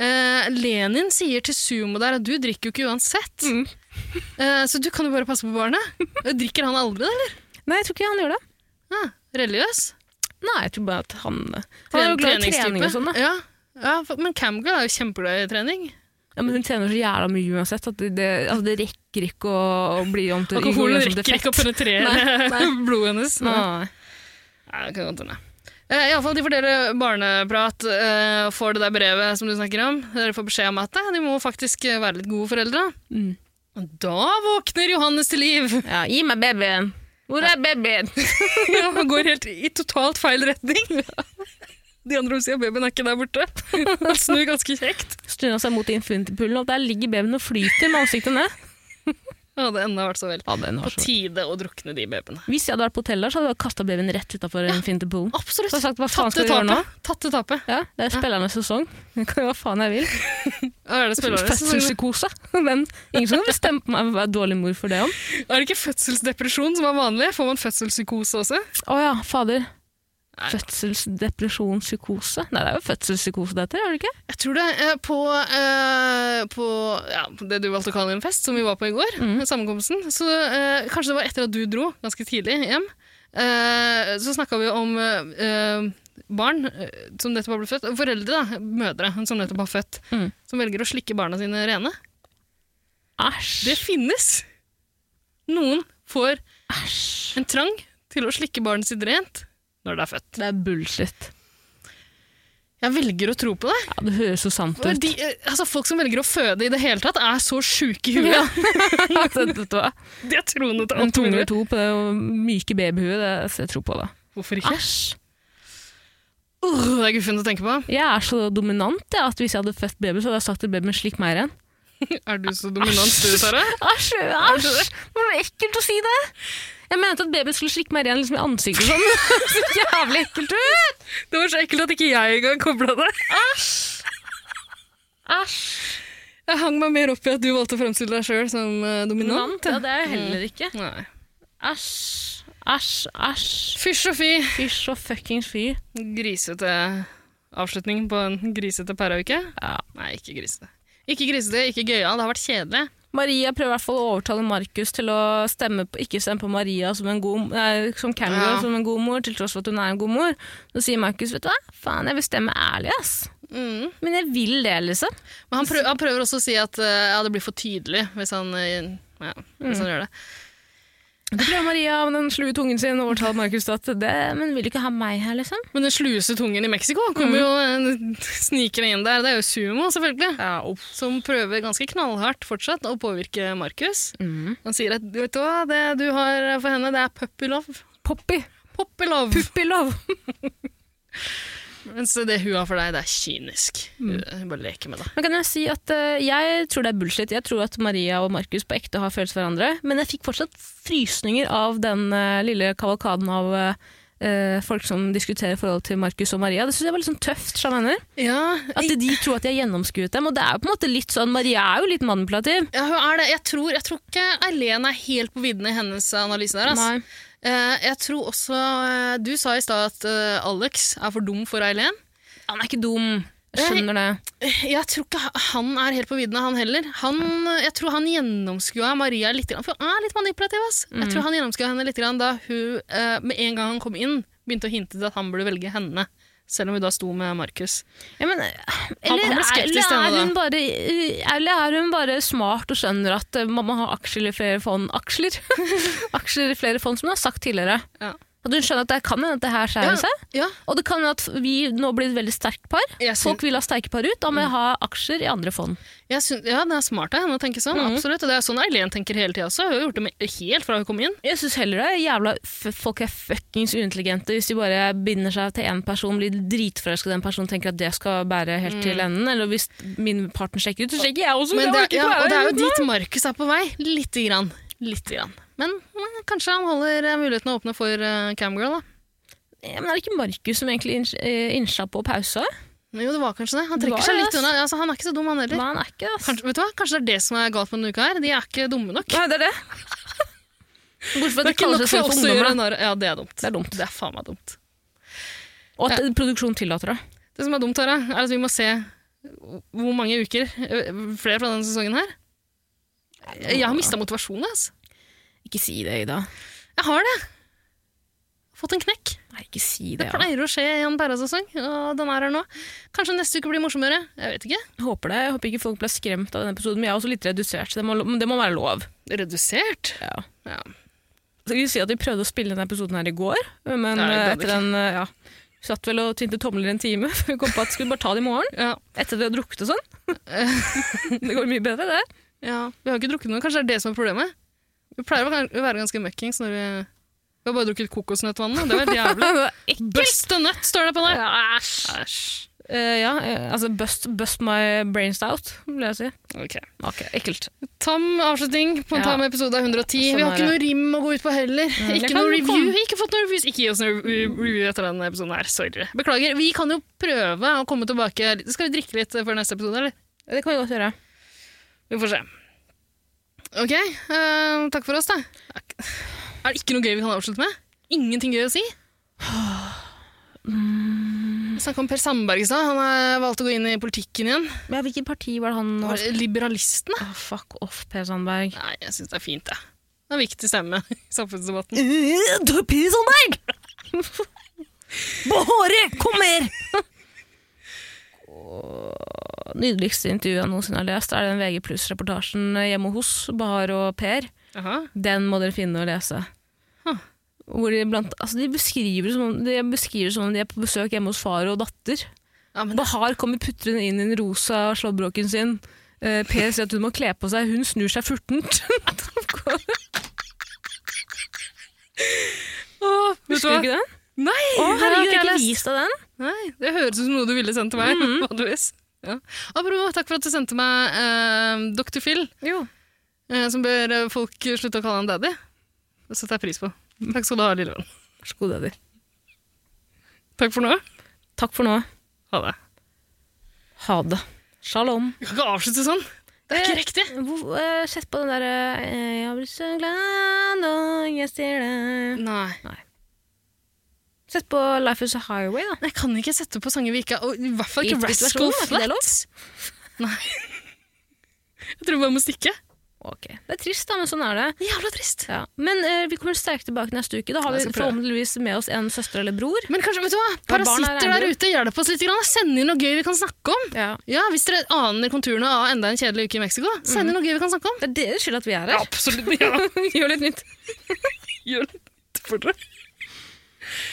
Speaker 3: Eh, Lenin sier til Sumo der at du drikker jo ikke uansett. Eh, så du kan jo bare passe på barnet. Drikker han aldri, da, eller?
Speaker 1: Nei, jeg tror ikke han gjør det.
Speaker 3: Ja, religiøs?
Speaker 1: Nei, jeg tror bare at han Han er jo glad i trening og sånn, da.
Speaker 3: Ja. Ja, for- men Camgirl er jo kjempeglad i trening.
Speaker 1: Ja, men hun trener så jævla mye uansett at det, det, altså, det rekker ikke å, å bli om til
Speaker 3: Alkoholen
Speaker 1: gjøre om til
Speaker 3: rekker ikke å
Speaker 1: fett.
Speaker 3: [LAUGHS]
Speaker 1: Nei,
Speaker 3: penetrere blodet hennes.
Speaker 1: Nei.
Speaker 3: Nei, det kan godt hende. Eh, i alle fall, de fordeler barneprat, eh, får det der brevet som du snakker om. Dere får beskjed om at eh, de må faktisk eh, være litt gode foreldre.
Speaker 1: Mm.
Speaker 3: Og da våkner Johannes til liv! [LAUGHS]
Speaker 1: Ja, gi meg babyen! Hvor er babyen?
Speaker 3: Ja, Han går helt i totalt feil retning. De andre sier babyen er ikke der
Speaker 1: [LAUGHS]
Speaker 3: borte. Han snur ganske kjekt.
Speaker 1: Stunda seg mot infinity-pullen, og der ligger babyen og flyter med ansiktet ned.
Speaker 3: Det hadde ennå vært så vel.
Speaker 1: Ja, den
Speaker 3: På
Speaker 1: var så
Speaker 3: tide å drukne de babyene.
Speaker 1: Hvis jeg hadde vært på hotell der, så hadde jeg kasta babyen rett utafor ja. Finterpoolen.
Speaker 3: Absolutt.
Speaker 1: Så har jeg sagt, hva faen
Speaker 3: Tatt
Speaker 1: skal
Speaker 3: det
Speaker 1: vi gjøre nå?
Speaker 3: tapet. Tatt det tapet.
Speaker 1: Ja, det er spillernes sesong. [LAUGHS] Jeg kan gjøre hva faen jeg vil.
Speaker 3: Er [LAUGHS] det, sånn- spillernes sesong?
Speaker 1: Fødselspsykose. [LAUGHS] Men ingen som kan bestemme på meg for å være dårlig mor for det om.
Speaker 3: er det ikke fødselsdepresjon som er vanlig? Får man fødselspsykose også?
Speaker 1: Å ja, fader.
Speaker 3: Nei.
Speaker 1: Fødselsdepresjon, psykose. Nei, det er jo fødselspsykose det heter, er det ikke?
Speaker 3: Jeg tror det. eh, På, eh, på ja, på det du valgte å kalle en fest, som vi var på i går, sammenkomsten, så eh, kanskje det var etter at du dro ganske tidlig hjem, eh, så snakka vi om eh, eh, barn eh, som nettopp har blitt født, foreldre, da, mødre som nettopp har født,
Speaker 1: Mm.
Speaker 3: som velger å slikke barna sine rene. Det
Speaker 1: Æsj.
Speaker 3: finnes! Noen får
Speaker 1: Æsj.
Speaker 3: en trang til å slikke barnet sitt rent når det er født.
Speaker 1: Det er bullshit.
Speaker 3: Jeg velger å tro på det.
Speaker 1: Ja, det høres så sant
Speaker 3: For
Speaker 1: ut.
Speaker 3: De, eh, altså, folk som velger å føde i det hele tatt, er så sjuke i
Speaker 1: [LAUGHS]
Speaker 3: huet. [LAUGHS]
Speaker 1: Ja. [LAUGHS] Altså, Dette var
Speaker 3: De er troende til
Speaker 1: en
Speaker 3: alt
Speaker 1: tunge
Speaker 3: mulig.
Speaker 1: eller to på det myke babyhuet, det setter jeg tro på, da.
Speaker 3: Hvorfor ikke?
Speaker 1: Æsj.
Speaker 3: Uh, det er guffent å tenke på.
Speaker 1: Jeg er så dominant jeg, at hvis jeg hadde født baby, så hadde jeg sagt til babyen 'slikk meg igjen'.
Speaker 3: Er du så dominant, du, Sara?
Speaker 1: Æsj! æsj. Det var ekkelt å si det! Jeg mente at babyen skulle slikke meg igjen liksom i ansiktet og sånn. Det [LAUGHS] så jævlig ekkelt ut!
Speaker 3: Det var så ekkelt at ikke jeg engang kobla det.
Speaker 1: Æsj.
Speaker 3: Jeg hang meg mer opp i at du valgte å fremstille deg sjøl som eh, dominant.
Speaker 1: Ja, det er jeg heller ikke.
Speaker 3: Nei.
Speaker 1: Æsj. Æsj, æsj.
Speaker 3: Fysj og fy.
Speaker 1: Fysj og fuckings fy.
Speaker 3: Grisete avslutning på en grisete pærauke.
Speaker 1: Ja.
Speaker 3: Nei, ikke grisete. Ikke grisete, ikke gøyal. Det har vært kjedelig.
Speaker 1: Maria prøver i hvert fall å overtale Markus til å stemme på, ikke stemme på Maria som, en god, nei, som Camilla
Speaker 3: Ja.
Speaker 1: som en god mor, til tross for at hun er en god mor. Så sier Markus, vet du hva, faen, jeg vil stemme ærlig, ass.
Speaker 3: Mm.
Speaker 1: Men jeg vil det, liksom.
Speaker 3: Men han prøver, han prøver også å si at eh, ja, det blir for tydelig hvis han, eh, ja, hvis han gjør det.
Speaker 1: Så prøver Maria med den slue tungen sin å overtale Markus til at det, men vil du ikke ha meg her, liksom?
Speaker 3: Men den sluse tungen i Mexico kommer jo eh, [LAUGHS] snikende inn der. Det er jo sumo, selvfølgelig. Som prøver ganske knallhardt fortsatt å påvirke Markus. Han sier at vet du hva, det du har for henne, det er puppy love.
Speaker 1: Poppy.
Speaker 3: Poppy love.
Speaker 1: Puppy love.
Speaker 3: Mens det hun har for deg, det er kynisk. Hun Bare leker med det.
Speaker 1: Men kan jeg si at eh, jeg tror det er bullshit. Jeg tror at Maria og Markus på ekte har følelser for hverandre. Men jeg fikk fortsatt frysninger av den eh, lille kavalkaden av eh, eh, folk som diskuterer forholdet til Markus og Maria. Det syns jeg var litt sånn tøft. skjønner du hva jeg mener.
Speaker 3: Ja,
Speaker 1: At de tror at de har gjennomskuet dem. Og det er jo på en måte litt sånn, Maria er jo litt manipulativ.
Speaker 3: ja, hun er det. Jeg tror, jeg tror ikke Eileen er helt på viddene i hennes analyse der. ass.
Speaker 1: Nei.
Speaker 3: Eh, jeg tror også eh, Du sa i stad at eh, Alex er for dum for Eileen.
Speaker 1: Han er ikke dum. Jeg skjønner det.
Speaker 3: Eh, Jeg tror ikke han er helt på viddene, han heller. Han, jeg tror han gjennomskua Maria litt, grann, for hun er litt manipulativ. Ass. Jeg tror han gjennomskua henne litt grann da hun, eh, med en gang han kom inn, begynte å hinte til at han burde velge henne. Selv om hun da sto med Markus.
Speaker 1: Ja, men, eh, eller,
Speaker 3: han ble skeptisk til
Speaker 1: eller,
Speaker 3: henne,
Speaker 1: er
Speaker 3: da.
Speaker 1: hun bare, eh, eller er hun bare smart og skjønner [LAUGHS] at eh, mamma har aksjer i flere fond Aksjer? aksjer i flere fond, som hun har sagt tidligere.
Speaker 3: Ja.
Speaker 1: At hun skjønner at det kan hende at det her
Speaker 3: Ja,
Speaker 1: skjærer seg.
Speaker 3: ja.
Speaker 1: Og det kan hende at vi nå blir et veldig sterkt par.
Speaker 3: Jeg syn-
Speaker 1: Folk vil ha sterke par ut, da må jeg ha aksjer i andre fond.
Speaker 3: Jeg syn- ja, det er smart av henne å tenke sånn. absolutt. Og det er sånn Eileen tenker hele tida også. Hun har gjort det med, helt fra hun kom inn.
Speaker 1: Jeg syns heller det. er Jævla f folk er fuckings uintelligente hvis de bare binder seg til én person, blir dritforelska i den personen tenker at det skal bære helt til enden. Eller hvis min partner sjekker ut, så sjekker jeg også.
Speaker 3: Men
Speaker 1: jeg
Speaker 3: det,
Speaker 1: orker ikke
Speaker 3: ja,
Speaker 1: å være
Speaker 3: og det er jo
Speaker 1: uten
Speaker 3: dit Markus er på vei. Lite grann. Lite grann. Men eh, kanskje han holder eh, mulighetene åpne for eh, Camgirl, da.
Speaker 1: Ja, Eh, men er det ikke Markus som egentlig inns- eh, innsa på pausa?
Speaker 3: Jo, det var kanskje det. Han
Speaker 1: Det
Speaker 3: trekker
Speaker 1: var
Speaker 3: seg
Speaker 1: det,
Speaker 3: litt
Speaker 1: ass.
Speaker 3: unna. Altså, han er ikke så dum, han heller.
Speaker 1: Nei, han er ikke det. ass.
Speaker 3: Kanskje, vet du hva? kanskje det er det som er galt med denne uka her. De er ikke dumme nok.
Speaker 1: Nei, det er det. [LAUGHS] Hvorfor at
Speaker 3: Det er
Speaker 1: de
Speaker 3: ikke
Speaker 1: kaller
Speaker 3: nok
Speaker 1: seg
Speaker 3: for
Speaker 1: selv
Speaker 3: oss
Speaker 1: for
Speaker 3: å gjøre
Speaker 1: ungdommer? da?
Speaker 3: narr Ja, det er dumt.
Speaker 1: Det er dumt.
Speaker 3: Det er faen meg dumt.
Speaker 1: Og at produksjonen tillater det.
Speaker 3: Det som er dumt, Tara, er at vi må se hvor mange uker eh, flere fra denne sesongen her. Jeg har mista motivasjonen, altså.
Speaker 1: Ikke si det, Ida.
Speaker 3: Jeg har det. Fått en knekk.
Speaker 1: Nei, ikke si
Speaker 3: Det
Speaker 1: det. Ja.
Speaker 3: pleier å skje i en Perra-sesong, og den er her nå. Kanskje neste uke blir morsommere. Jeg vet ikke.
Speaker 1: Jeg håper det. Jeg håper ikke folk ble skremt av denne episoden, men jeg er også litt redusert, så det må, lo- men det må være lov.
Speaker 3: Redusert?
Speaker 1: Ja.
Speaker 3: Ja.
Speaker 1: Så vi si at vi prøvde å spille denne episoden her i går, men eh,
Speaker 3: Nei, det hadde
Speaker 1: etter
Speaker 3: ikke.
Speaker 1: den eh, ja, vi satt vel og tinte tomler en time, [LAUGHS] for vi kom på at vi skulle bare ta det i morgen.
Speaker 3: Ja.
Speaker 1: Etter vi har drukket [LAUGHS] og sånn. det går mye bedre, det.
Speaker 3: ja. Vi har ikke drukket noe. Kanskje det er det som er problemet? Vi pleier å være- å være ganske møkkings når vi Vi har bare drukket kokosnøttvann. nå. [LAUGHS] Det var helt jævlig. Bust og nøtt står det på der! Æsj.
Speaker 1: Eh, ja, eh, altså bust, bust my brains out, vil jeg si.
Speaker 3: Ok.
Speaker 1: Ok, ekkelt.
Speaker 3: Tam avslutning på en
Speaker 1: Ja.
Speaker 3: tam episode av 110. vi har
Speaker 1: Sånn er
Speaker 3: ikke noe rim å gå ut på heller.
Speaker 1: jeg
Speaker 3: Ikke
Speaker 1: kan
Speaker 3: noe review.
Speaker 1: komme-
Speaker 3: Ikke fått noe reviews. Ikke gi oss noe re- review etter denne episoden her. Sorry. Beklager. Vi kan jo prøve å komme tilbake. Skal vi drikke litt før neste episode, eller?
Speaker 1: Det kan vi godt gjøre.
Speaker 3: Vi får se. Ok, eh, takk for oss da. Er det ikke noe gøy vi kan avslutte med? Ingenting gøy å si?
Speaker 1: Mm.
Speaker 3: Vi snakket om Per Sandberg i stad. Han eh, valgte å gå inn i politikken igjen.
Speaker 1: Men hvilket parti var det han
Speaker 3: Var
Speaker 1: var?
Speaker 3: det Liberalistene?
Speaker 1: Åh, fuck off, Per Sandberg.
Speaker 3: Nei, jeg syns det er fint, jeg. Det er en viktig stemme i samfunnsdebatten.
Speaker 1: Mm. Per Eh, Sandberg! Bahore, kom her! Nydeligste intervjuet jeg noensinne har lest, er den VG Pluss-reportasjen hjemme hos Bahar og Per.
Speaker 3: Jaha.
Speaker 1: Den må dere finne og lese.
Speaker 3: Huh.
Speaker 1: Hvor de, blant, altså de, beskriver det som om, de beskriver det som om de er på besøk hjemme hos far og datter.
Speaker 3: Ja, men
Speaker 1: Bahar kommer putrende inn i den rosa slåbroken sin. Eh, per sier at hun må kle på seg, hun snur seg [LAUGHS] furtent.
Speaker 3: Åh, vet du
Speaker 1: Husker du
Speaker 3: hva?
Speaker 1: ikke den?
Speaker 3: Nei,
Speaker 1: Å,
Speaker 3: det har
Speaker 1: herregud, jeg
Speaker 3: ikke
Speaker 1: har
Speaker 3: jeg
Speaker 1: ikke
Speaker 3: lest.
Speaker 1: vist deg den.
Speaker 3: Nei, det høres ut som noe du ville sendt til meg,
Speaker 1: Mm.
Speaker 3: [LAUGHS] vanligvis. Ja. Apropos, takk for at du sendte meg eh, Dr. Phil, eh, som ber eh, folk slutte å kalle han daddy. Det setter jeg pris på. Takk skal du ha, lille venn.
Speaker 1: Vær så god, Eddie.
Speaker 3: Takk for nå.
Speaker 1: Takk for nå.
Speaker 3: Ha det.
Speaker 1: Ha det. Shalom.
Speaker 3: Vi kan ikke avslutte sånn. Det er ikke riktig.
Speaker 1: Hvor, eh, sett på den der eh, Jeg blir så glad når jeg ser deg
Speaker 3: Nei.
Speaker 1: Sett på Life is a Highway, da.
Speaker 3: Jeg kan ikke sette på sanger vi ikke har. og I hvert fall ikke Rascal
Speaker 1: Giftversjonen, er ikke det lov?
Speaker 3: Flatts. Nei. Jeg tror vi bare må stikke.
Speaker 1: Ok. Det er trist, da, men sånn er det.
Speaker 3: Jævla trist.
Speaker 1: Ja. Men eh, vi kommer sterkt tilbake neste uke. Da har
Speaker 3: Jeg
Speaker 1: vi
Speaker 3: skal prøve.
Speaker 1: forhåpentligvis med oss en søster eller bror.
Speaker 3: Men kanskje, vet du hva?
Speaker 1: Ja, barn er
Speaker 3: Parasitter der
Speaker 1: regnbuer.
Speaker 3: ute, hjelp oss litt. Grann. Send inn noe gøy vi kan snakke om.
Speaker 1: Ja.
Speaker 3: Ja, Hvis dere aner konturene av enda en kjedelig uke i Mexico, send inn noe gøy vi kan snakke om.
Speaker 1: Det er deres skyld at vi [LAUGHS] er her.
Speaker 3: Absolutt. Mhm. Ja.
Speaker 1: Gjør litt nytt.
Speaker 3: Gjør litt for dere.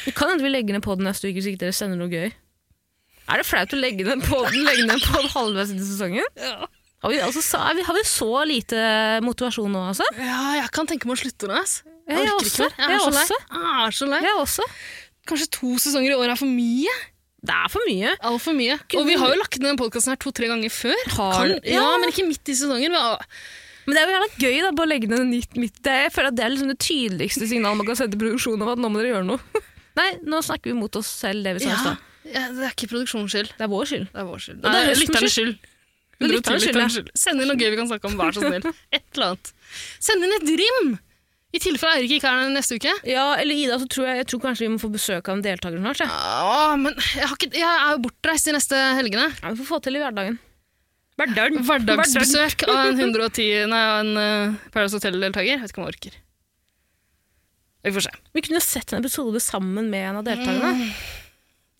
Speaker 1: Det kan hende vi legger ned podden neste uke hvis ikke dere sender noe gøy. Er det flaut å legge ned podden, legge ned podden halvveis inn i
Speaker 3: [LAUGHS]
Speaker 1: sesongen? Har vi, altså, sa- er vi, har vi så lite motivasjon nå, altså?
Speaker 3: Ja, jeg kan tenke meg å slutte nå. ass.
Speaker 1: Ja, jeg
Speaker 3: orker ikke
Speaker 1: også.
Speaker 3: mer. Jeg er
Speaker 1: Jeg
Speaker 3: så lei.
Speaker 1: også.
Speaker 3: Jeg er så lei.
Speaker 1: Jeg også.
Speaker 3: Kanskje to sesonger i året er for mye?
Speaker 1: Det er for mye.
Speaker 3: Altfor mye.
Speaker 1: Kunne-
Speaker 3: Og vi har jo lagt ned den podkasten her to-tre ganger før.
Speaker 1: Har-
Speaker 3: Kan, ja,
Speaker 1: Ja.
Speaker 3: men ikke midt i sesongen. men-
Speaker 1: Men det er jo jævla gøy da, bare å legge ned en nytt midt. Det, er- jeg føler at det er liksom det tydeligste signalet man kan sende til produksjonen om at nå må dere gjøre noe. [LAUGHS] Nei, nå snakker vi mot oss selv, det vi sa i
Speaker 3: Ja,
Speaker 1: stad.
Speaker 3: ja, det er ikke produksjonens skyld.
Speaker 1: Det er vår skyld.
Speaker 3: Det er vår skyld.
Speaker 1: Og det er
Speaker 3: Nei,
Speaker 1: høstens
Speaker 3: lytternes skyld.
Speaker 1: Det er lytternes skyld, ja.
Speaker 3: Lytternes skyld. Send inn noe gøy vi kan snakke om, vær så snill. [LAUGHS] Et eller annet. Send inn et rim! I tilfelle Eirik ikke er her neste uke.
Speaker 1: Ja, eller Ida, så tror jeg, jeg tror kanskje vi må få besøk av en deltaker snart. Ja.
Speaker 3: Åh, men jeg, har ikke, jeg er jo bortreist de neste helgene.
Speaker 1: Ja, vi får få til i hverdagen. Hverdagen.
Speaker 3: [LAUGHS] Hverdagsbesøk av en 110 Nei, av en eh, Paradise Hotel-deltaker. Vet ikke om jeg orker. Vi får se.
Speaker 1: Vi kunne jo sett en episode sammen med en av deltakerne.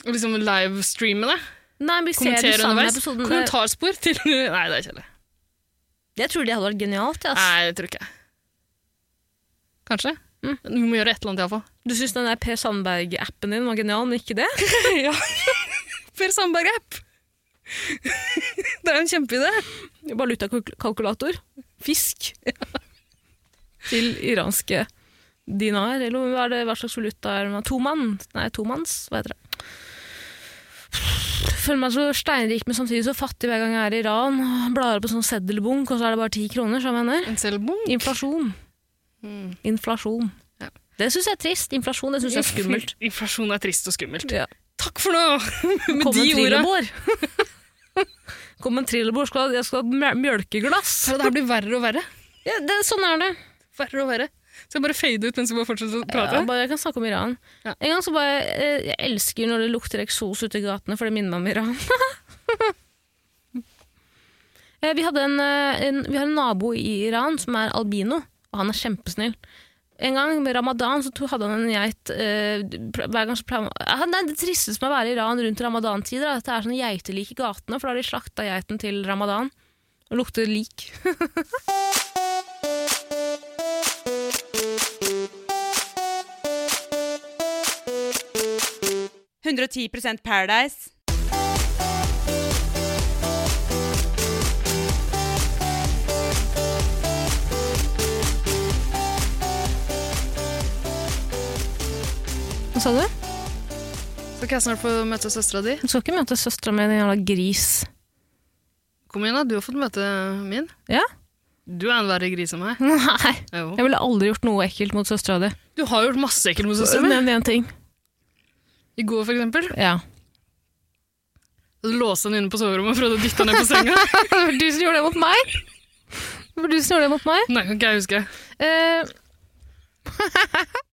Speaker 3: Og Liksom livestreame det.
Speaker 1: Nei, men vi ser de
Speaker 3: Kommentere
Speaker 1: samme
Speaker 3: underveis.
Speaker 1: episodene.
Speaker 3: Kommentarspor til [LAUGHS] Nei, det er kjedelig.
Speaker 1: Jeg tror det hadde vært genialt. ja, ass.
Speaker 3: Nei, det tror ikke jeg. Kanskje? Du må gjøre et eller annet iallfall.
Speaker 1: Du syns den der Per Sandberg-appen din var genial, men ikke det?
Speaker 3: ja. Per Sandberg-app! [LAUGHS] det er jo en kjempeidé.
Speaker 1: Valutakalkulator. [LAUGHS] Fisk. Til iranske dinar, eller hva, er det, hva slags valuta er det? Tomann? Nei, tomanns, hva heter det? Føler meg så steinrik, men samtidig så fattig hver gang jeg er i Iran. Blar opp en sånn seddelbunk, og så er det bare ti kroner, som jeg mener.
Speaker 3: En selbong.
Speaker 1: Inflasjon. Mm. Inflasjon.
Speaker 3: Ja.
Speaker 1: Det syns jeg er trist. Inflasjon, det syns jeg er [LAUGHS] skummelt.
Speaker 3: Inflasjon er trist og skummelt.
Speaker 1: Ja.
Speaker 3: Takk for nå! [LAUGHS] Med
Speaker 1: Kom
Speaker 3: de
Speaker 1: en
Speaker 3: orda.
Speaker 1: trillebår! [LAUGHS] Kom en trillebår, skal, jeg skal ha mel- mjølkeglass!
Speaker 3: Så Det her blir verre og verre.
Speaker 1: Ja, det, sånn er det.
Speaker 3: Verre og verre. Skal jeg bare fade ut mens vi bare fortsetter å prate?
Speaker 1: Ja, bare, jeg kan snakke om Iran.
Speaker 3: Ja.
Speaker 1: En gang så bare eh, Jeg elsker når det lukter eksos ute i gatene, for det minner meg om Iran. [LAUGHS] Eh, vi, hadde en, eh, en, vi har en nabo i Iran som er albino, og han er kjempesnill. En gang med ramadan så to- hadde han en geit eh, pl- hver gang så pleier han, Ah, Nei, Det tristeste med å være i Iran rundt ramadantider, er at det er sånne geitelik i gatene, for da har de slakta geiten til ramadan. Og lukter lik.
Speaker 7: Paradise.
Speaker 1: Hva sa du?
Speaker 3: Skal ikke jeg snart få møte søstera di?
Speaker 1: Du skal ikke møte søstera mi, din jævla gris.
Speaker 3: Kom igjen, da. Du har fått møte min.
Speaker 1: Ja?
Speaker 3: Du er en verre gris enn meg.
Speaker 1: [LAUGHS] Nei.
Speaker 3: Jo.
Speaker 1: Jeg ville aldri gjort noe ekkelt mot søstera di.
Speaker 3: Du har gjort masse ekkelt mot søstera mi.
Speaker 1: Nevn én ting.
Speaker 3: I går, for eksempel.
Speaker 1: Ja. [LAUGHS]
Speaker 3: Du låste henne inne på soverommet og prøvde å dytte henne ned på senga.
Speaker 1: Det var du som gjorde det mot meg! Det var du som gjorde det mot meg.
Speaker 3: Nei, kan ikke jeg huske.
Speaker 1: Eh,